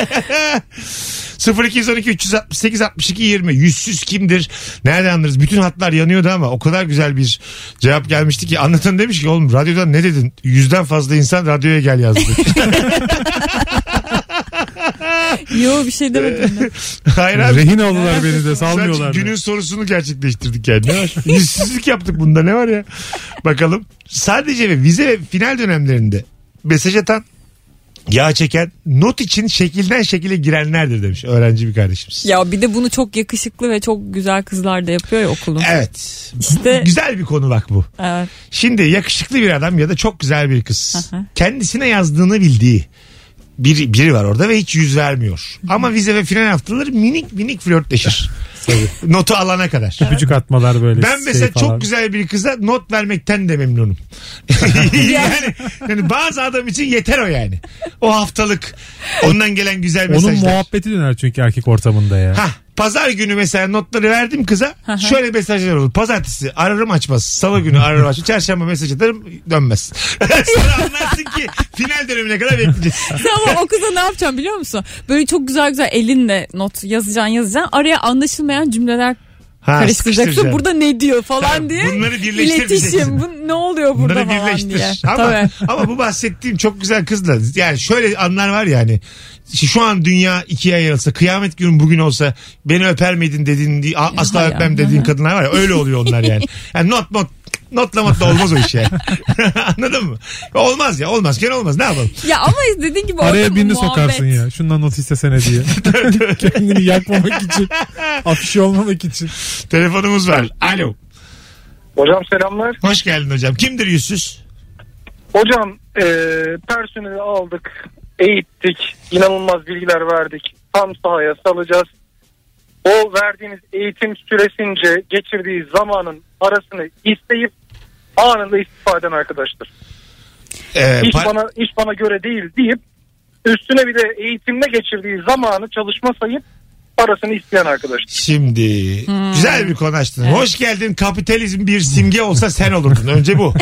Speaker 2: [LAUGHS] 0212 368 62 20 yüzsüz kimdir? Nereden anlarız? Bütün hatlar yanıyordu ama o kadar güzel bir cevap gelmişti ki anlatan demiş ki oğlum radyodan ne dedin? Yüzden fazla insan radyoya gel
Speaker 3: [LAUGHS]
Speaker 2: yazdı.
Speaker 4: Yo bir şey demedim. ben.
Speaker 2: Hayır abi.
Speaker 3: Rehin aldılar beni de salmıyorlar.
Speaker 2: Sadece
Speaker 3: beni.
Speaker 2: günün sorusunu gerçekleştirdik yani. Ne var? Yüzsüzlük yaptık bunda ne var ya? Bakalım. Sadece ve vize ve final dönemlerinde mesaj atan, yağ çeken, not için şekilden şekile girenlerdir demiş öğrenci bir kardeşimiz.
Speaker 4: ya bir de bunu çok yakışıklı ve çok güzel kızlar da yapıyor ya
Speaker 2: E-
Speaker 4: okulun.
Speaker 2: Evet.
Speaker 4: İşte
Speaker 2: Güzel bir konu bak bu.
Speaker 4: evet.
Speaker 2: Şimdi yakışıklı bir adam ya da çok güzel bir kız.
Speaker 4: Hı hı.
Speaker 2: Kendisine yazdığını bildiği biri, biri var orada ve hiç yüz vermiyor. Ama vize ve final haftaları minik minik flörtleşir. Notu alana kadar.
Speaker 3: Öpücük atmalar böyle.
Speaker 2: Ben mesela
Speaker 3: şey falan.
Speaker 2: çok güzel bir kıza not vermekten de
Speaker 3: [LAUGHS]
Speaker 2: memnunum. [LAUGHS] yani, yani bazı adam için yeter o yani. O haftalık ondan gelen güzel
Speaker 3: Onun
Speaker 2: mesajlar.
Speaker 3: muhabbeti döner çünkü erkek ortamında ya.
Speaker 2: Hah, pazar günü mesela notları verdim kıza. şöyle mesajlar olur. Pazartesi ararım açmaz. Salı günü ararım açmaz. Çarşamba mesaj atarım dönmez. [LAUGHS] Sonra anlarsın ki final dönemine kadar bekleyeceğiz.
Speaker 4: Ama o kıza ne yapacağım biliyor musun? Böyle çok güzel güzel elinle not yazacaksın yazacaksın. Araya anlaşılmayan cümleler
Speaker 2: Ha,
Speaker 4: karıştıracaksın.
Speaker 2: sıkıştıracaksın.
Speaker 4: Burada ne diyor falan diye.
Speaker 2: Bunları birleştirmeyeceksin.
Speaker 4: İletişim. Bu, ne oluyor burada
Speaker 2: Bunları
Speaker 4: falan
Speaker 2: birleştir.
Speaker 4: diye.
Speaker 2: Ama,
Speaker 4: Tabii.
Speaker 2: ama bu bahsettiğim çok güzel kızla. Yani şöyle anlar var yani. Şu an dünya ikiye ayrılsa, kıyamet günü bugün olsa beni öper miydin dediğin, a- asla
Speaker 4: Hayır. [LAUGHS]
Speaker 2: öpmem dediğin kadınlar var ya. Öyle oluyor onlar yani. yani not not Notla matla olmaz o iş yani. [LAUGHS] Anladın mı? Olmaz ya olmaz. Gene olmaz ne yapalım?
Speaker 4: Ya ama dediğin gibi
Speaker 3: Araya
Speaker 4: orada
Speaker 3: birini
Speaker 4: muhabbet.
Speaker 3: sokarsın ya. Şundan not istesene
Speaker 2: [LAUGHS]
Speaker 3: diye. [LAUGHS] Kendini yakmamak için. Afişi olmamak için.
Speaker 2: Telefonumuz var. Alo.
Speaker 6: Hocam selamlar.
Speaker 2: Hoş geldin hocam. Kimdir yüzsüz?
Speaker 6: Hocam e, personeli aldık, eğittik, inanılmaz bilgiler verdik. Tam sahaya salacağız. O verdiğiniz eğitim süresince geçirdiği zamanın parasını isteyip anında istifaden arkadaştır.
Speaker 2: Ee,
Speaker 6: İş
Speaker 2: par-
Speaker 6: bana iş bana göre değil deyip üstüne bir de eğitimle geçirdiği zamanı çalışma sayıp parasını isteyen arkadaş.
Speaker 2: Şimdi
Speaker 4: Hmm.
Speaker 2: güzel bir konu açtın. Hoş geldin. Kapitalizm bir simge olsa sen olurdun. Önce
Speaker 4: [LAUGHS]
Speaker 2: bu.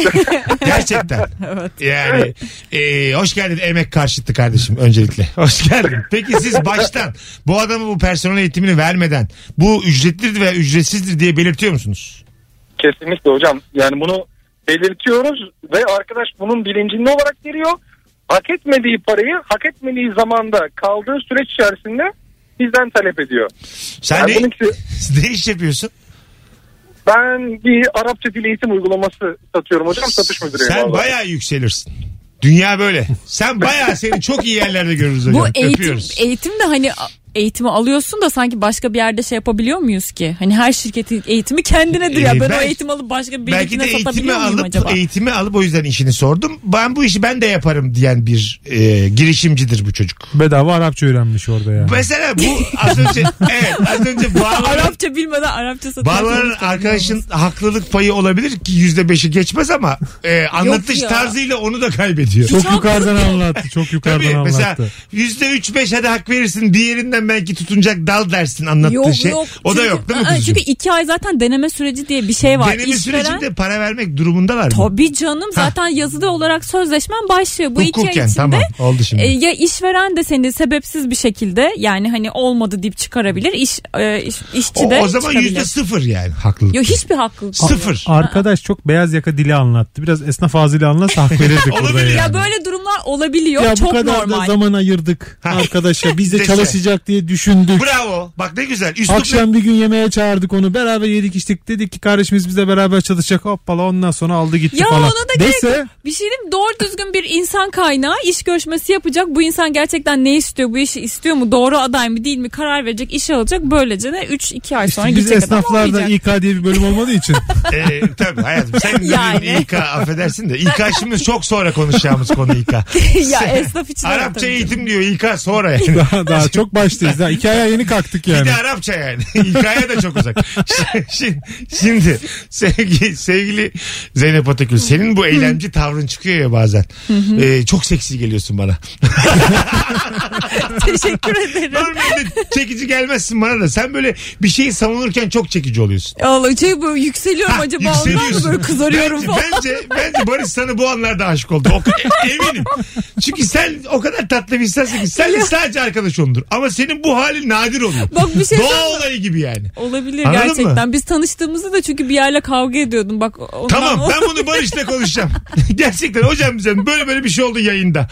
Speaker 2: Gerçekten. Yani e, hoş geldin emek karşıtı kardeşim öncelikle. [LAUGHS] Hoş geldin. Peki siz baştan bu adamı bu personel eğitimini vermeden bu ücretlidir veya ücretsizdir diye belirtiyor musunuz?
Speaker 6: Kesinlikle hocam. Yani bunu belirtiyoruz ve arkadaş bunun bilincinde olarak geliyor. Hak etmediği parayı hak etmediği zamanda kaldığı süreç içerisinde bizden talep ediyor.
Speaker 2: Sen
Speaker 6: Yani
Speaker 2: ne,
Speaker 6: bunun ki-
Speaker 2: [LAUGHS] ne iş yapıyorsun?
Speaker 6: ben bir Arapça dil eğitim uygulaması satıyorum hocam. Satış müdürüyüm.
Speaker 2: Sen
Speaker 6: vallahi.
Speaker 2: bayağı yükselirsin. Dünya böyle. Sen bayağı seni çok iyi yerlerde görürüz hocam.
Speaker 4: Bu eğitim,
Speaker 2: Öpüyoruz.
Speaker 4: eğitim de hani a- eğitimi alıyorsun da sanki başka bir yerde şey yapabiliyor muyuz ki? Hani her şirketin eğitimi kendinedir ya.
Speaker 2: Ee,
Speaker 4: Ben o
Speaker 2: belki-
Speaker 4: eğitim alıp başka
Speaker 2: Belki de
Speaker 4: birine
Speaker 2: eğitimi
Speaker 4: satabiliyor muyum
Speaker 2: alıp
Speaker 4: acaba? [LAUGHS]
Speaker 2: eğitimi alıp o yüzden işini sordum. Ben bu işi ben de yaparım diyen bir e, girişimcidir bu çocuk.
Speaker 3: Bedava Arapça öğrenmiş orada yani.
Speaker 2: Mesela
Speaker 4: [LAUGHS]
Speaker 2: bu az önce evet az önce Bağlar'ın,
Speaker 4: Arapça bilmeden Arapça satıyorsun.
Speaker 2: Bağlar'ın arkadaşın haklılık payı olabilir ki yüzde beşi geçmez ama e, anlatış
Speaker 4: ya.
Speaker 2: tarzıyla onu da kaybediyor.
Speaker 3: Çok yukarıdan anlattı. Çok yukarıdan
Speaker 2: Tabii mesela
Speaker 3: anlattı.
Speaker 2: yüzde üç beş hadi hak verirsin diğerinden belki tutunacak dal dersin anlattığı
Speaker 4: Yok
Speaker 2: şey.
Speaker 4: yok.
Speaker 2: o da
Speaker 4: Çünkü-
Speaker 2: yok değil mi
Speaker 4: Aa,
Speaker 2: kuzucuğum?
Speaker 4: Çünkü iki ay zaten deneme süreci diye bir şey var.
Speaker 2: Deneme
Speaker 4: İşveren-
Speaker 2: sürecinde para vermek durumundalar mı?
Speaker 4: Tabii canım zaten yazılı olarak sözleşmen başlıyor. Bu iki ay
Speaker 2: Hukuken
Speaker 4: içinde
Speaker 2: tamam oldu şimdi.
Speaker 4: E, ya işveren de seni sebepsiz bir şekilde yani hani olmadı deyip çıkarabilir. İş, e, iş- işçi
Speaker 2: o,
Speaker 4: de
Speaker 2: o zaman
Speaker 4: çıkabilir.
Speaker 2: yüzde sıfır yani haklılık.
Speaker 4: Yok hiçbir hakkı yok.
Speaker 2: Sıfır.
Speaker 3: Arkadaş çok beyaz yaka dili anlattı. Biraz esnaf ağzıyla anlatsa hak verirdik burada
Speaker 2: [LAUGHS] Olabilir.
Speaker 3: yani.
Speaker 4: Ya böyle durumlar olabiliyor.
Speaker 3: Ya bu
Speaker 4: Çok
Speaker 3: kadar da
Speaker 4: normal.
Speaker 3: zaman ayırdık arkadaşa. Biz de
Speaker 2: Dese.
Speaker 3: çalışacak diye düşündük.
Speaker 2: Bravo. Bak ne güzel. Üslup
Speaker 3: Akşam bir gün yemeğe çağırdık onu. Beraber yedik içtik. Dedik ki kardeşimiz bizle beraber çalışacak. Hoppala ondan sonra aldı gitti
Speaker 4: Ya
Speaker 3: şey falan.
Speaker 4: ona da
Speaker 3: Dese,
Speaker 4: gerek yok. Bir şey diyeyim mi? doğru düzgün bir insan kaynağı iş görüşmesi yapacak. Bu insan gerçekten ne istiyor? Bu işi istiyor mu? Doğru aday mı değil mi? Karar verecek, işe alacak. Böylece de 3-2 ay sonra
Speaker 3: biz
Speaker 4: gidecek adam
Speaker 3: esnaflarda
Speaker 4: olmayacak.
Speaker 3: İK diye bir bölüm olmadığı
Speaker 4: [LAUGHS]
Speaker 3: için.
Speaker 2: E, tabii hayatım sen
Speaker 4: Yani.
Speaker 2: yani. İK affedersin de İK şimdi çok sonra konuşacağımız konu
Speaker 4: [LAUGHS]
Speaker 2: İK.
Speaker 3: [LAUGHS]
Speaker 4: ya esnaf için.
Speaker 2: Arapça
Speaker 4: tabii.
Speaker 2: eğitim diyor İK sonra yani.
Speaker 3: daha, daha çok baştayız. Daha iki aya yeni kalktık
Speaker 2: Bir
Speaker 3: yani.
Speaker 2: de Arapça yani. [LAUGHS] İK'ya da çok uzak. [LAUGHS] şimdi, şimdi sevgili, sevgili Zeynep Atakül senin bu eylemci tavrın çıkıyor ya bazen. Ee, çok seksi geliyorsun bana.
Speaker 4: [LAUGHS] Teşekkür
Speaker 2: [LAUGHS]
Speaker 4: ederim.
Speaker 2: Normalde çekici gelmezsin bana da. Sen böyle bir şeyi savunurken çok çekici oluyorsun.
Speaker 4: Allah şey böyle yükseliyorum
Speaker 2: Ha,
Speaker 4: acaba ondan mı
Speaker 2: yükseliyorsun.
Speaker 4: böyle kızarıyorum falan.
Speaker 2: bence, Bence, bence Barış sana bu anlarda aşık oldu. O, e- eminim. Çünkü sen o kadar tatlı bir insansın ki senle sadece arkadaş olunur. Ama senin bu hali nadir oluyor.
Speaker 4: Bak bir şey
Speaker 2: Doğa
Speaker 4: söyleyeyim mi?
Speaker 2: olayı gibi yani.
Speaker 4: Olabilir
Speaker 2: Anladın
Speaker 4: gerçekten. Biz tanıştığımızda da çünkü bir yerle kavga ediyordum. Bak ondan
Speaker 2: Tamam
Speaker 4: o-
Speaker 2: ben bunu Barış'la konuşacağım. [LAUGHS] Gerçekten hocam bize böyle böyle bir şey oldu yayında.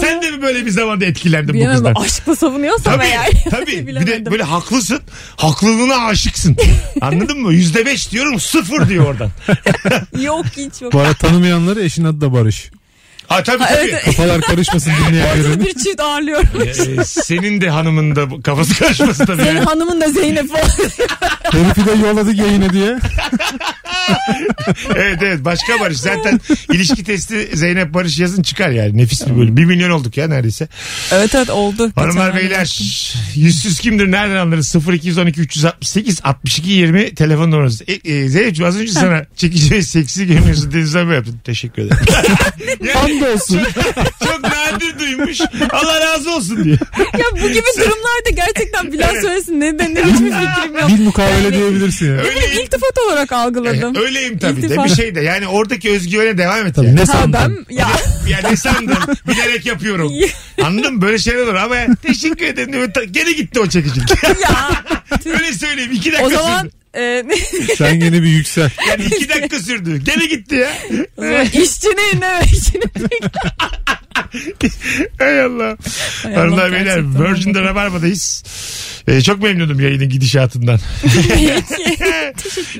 Speaker 2: Sen de mi böyle bir zamanda etkilendin bu
Speaker 4: Bilemem
Speaker 2: kızdan?
Speaker 4: aşkla savunuyorsam
Speaker 2: Tabii,
Speaker 4: eğer. [LAUGHS]
Speaker 2: tabii. Bir de
Speaker 4: Bilemedim.
Speaker 2: böyle haklısın. Haklılığına aşıksın. Anladın mı? Yüzde beş diyorum sıfır diyor oradan.
Speaker 4: Yok hiç yok.
Speaker 3: Bu arada tanımayanları eşin adı da Barış.
Speaker 2: Ha tabii
Speaker 4: Ha,
Speaker 2: tabii.
Speaker 4: evet,
Speaker 3: Kafalar karışmasın dinleyenlerin.
Speaker 4: [LAUGHS] bir
Speaker 2: [LAUGHS]
Speaker 4: çift ağırlıyorum.
Speaker 2: Ee, senin de hanımın da bu- kafası karışması tabii.
Speaker 4: Senin
Speaker 2: Yani.
Speaker 4: hanımın da Zeynep falan.
Speaker 3: Herifi de yolladık yayına diye.
Speaker 2: evet evet başka Barış. Zaten ilişki testi Zeynep Barış yazın çıkar yani. Nefis bir bölüm. Bir milyon olduk ya neredeyse.
Speaker 4: [LAUGHS] evet evet oldu.
Speaker 2: Hanımlar
Speaker 4: Geçen
Speaker 2: beyler yüzsüz kimdir nereden anlarız? 0212 368 62 20 telefon numaranız. E, e, Zeynep'ciğim az önce sana çekici ve seksi görünüyorsun dediğinizde böyle yaptın. Teşekkür ederim. [LAUGHS]
Speaker 3: Hamdolsun.
Speaker 2: Çok nadir duymuş. Allah razı olsun diye.
Speaker 4: ay. [LAUGHS] Ya bu gibi durumlarda gerçekten Bilal
Speaker 2: Evet.
Speaker 4: söylesin
Speaker 2: [LAUGHS]
Speaker 4: ne denir hiçbir fikrim yok.
Speaker 3: Bil mukavele diyebilirsin yani.
Speaker 4: Bunu iltifat olarak algıladım.
Speaker 2: [LAUGHS] Öyleyim tabii de
Speaker 4: İltifat.
Speaker 2: bir şey de yani oradaki özgüvene devam et yani.
Speaker 3: Tabii ne
Speaker 4: Ha
Speaker 3: sandın?
Speaker 4: ben ya
Speaker 2: Ya ne sandın? Bilerek
Speaker 4: [LAUGHS]
Speaker 2: yapıyorum. Anladın mı? Böyle şeyler olur ama ya, teşekkür ederim. diyor. Ta- Gene gitti o çekicilik.
Speaker 4: ya.
Speaker 2: Öyle söyleyeyim. iki dakika
Speaker 4: O zaman
Speaker 2: sürdü.
Speaker 4: e, [LAUGHS]
Speaker 3: Sen yine bir yüksel.
Speaker 2: Yani iki dakika sürdü. Gene gitti ya.
Speaker 4: [LAUGHS] o zaman
Speaker 2: [LAUGHS]
Speaker 4: işçinin ne işçinin
Speaker 2: Hay Allah.
Speaker 4: Hay Allah,
Speaker 2: Hanımlar beyler
Speaker 4: gerçekten.
Speaker 2: Virgin'de Rabarba'dayız. Ee, çok memnunum yayının gidişatından.
Speaker 4: Teşekkür ederim.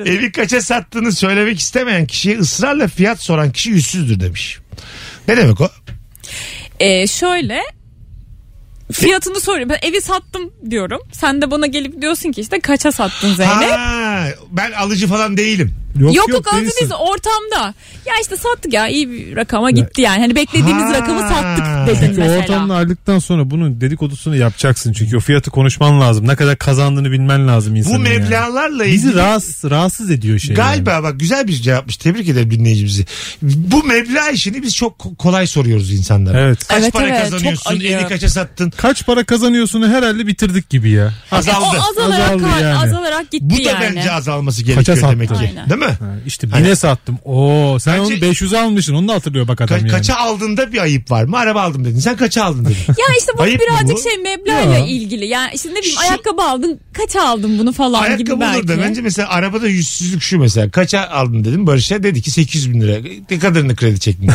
Speaker 2: Evi kaça sattığını söylemek istemeyen kişiye ısrarla fiyat soran kişi yüzsüzdür demiş. Ne demek o?
Speaker 4: Ee, şöyle fiyatını soruyorum. Ben evi sattım diyorum. Sen de bana gelip diyorsun ki işte kaça sattın Zeynep?
Speaker 2: Ha, ben alıcı falan değilim.
Speaker 4: Yok yok, yok
Speaker 3: değilsin.
Speaker 4: ortamda. Ya işte sattık ya iyi bir rakama gitti yani. Hani beklediğimiz
Speaker 2: Ha.
Speaker 4: rakamı sattık dedin
Speaker 3: Çünkü o
Speaker 4: mesela.
Speaker 3: ortamdan ayrıldıktan sonra bunun dedikodusunu yapacaksın. Çünkü o fiyatı konuşman lazım. Ne kadar kazandığını bilmen lazım
Speaker 2: Bu
Speaker 3: insanın. yani.
Speaker 2: meblalarla
Speaker 3: Bizi
Speaker 2: ilgili
Speaker 3: rahatsız, rahatsız ediyor şey.
Speaker 2: Galiba bak güzel bir cevapmış. Tebrik ederim dinleyicimizi. Bu meblağ işini biz çok ko- kolay soruyoruz insanlara.
Speaker 3: Yani. Evet.
Speaker 2: Kaç
Speaker 4: Evet,
Speaker 2: para
Speaker 4: evet, çok
Speaker 2: kazanıyorsun?
Speaker 4: ayıp.
Speaker 2: Evi kaça sattın?
Speaker 3: Kaç para kazanıyorsun herhalde bitirdik gibi ya.
Speaker 4: E, O
Speaker 2: Azaldı.
Speaker 4: azalarak,
Speaker 3: Azaldı
Speaker 4: kal-
Speaker 3: yani.
Speaker 4: azalarak gitti
Speaker 2: Bu da
Speaker 4: yani.
Speaker 2: bence azalması
Speaker 3: Kaça
Speaker 2: gerekiyor
Speaker 3: sattın?
Speaker 2: demek ki.
Speaker 4: Aynen.
Speaker 2: Değil mi?
Speaker 3: Ha, İşte
Speaker 2: Hani-
Speaker 3: bine sattım. Oo sen
Speaker 2: Bence-
Speaker 3: onu 500 almışsın. Onu da hatırlıyor bak adam
Speaker 2: Ka-
Speaker 3: yani.
Speaker 2: Kaça aldığında bir ayıp var mı? Araba aldım dedin. Sen kaça aldın
Speaker 4: [LAUGHS]
Speaker 2: dedin.
Speaker 4: Ya işte bu
Speaker 2: Ayıp mı
Speaker 4: birazcık
Speaker 2: bu?
Speaker 4: şey meblağla
Speaker 3: Ya.
Speaker 4: ilgili. Yani işte ne bileyim
Speaker 2: Şu-
Speaker 4: ayakkabı aldın kaça aldın bunu falan gibi
Speaker 2: Ayakkabı
Speaker 4: belki.
Speaker 2: olur da bence mesela arabada yüzsüzlük şu mesela. Kaça aldın dedim Barış'a dedi ki 800 bin lira. Ne kadarını kredi
Speaker 4: [LAUGHS]
Speaker 2: çektin?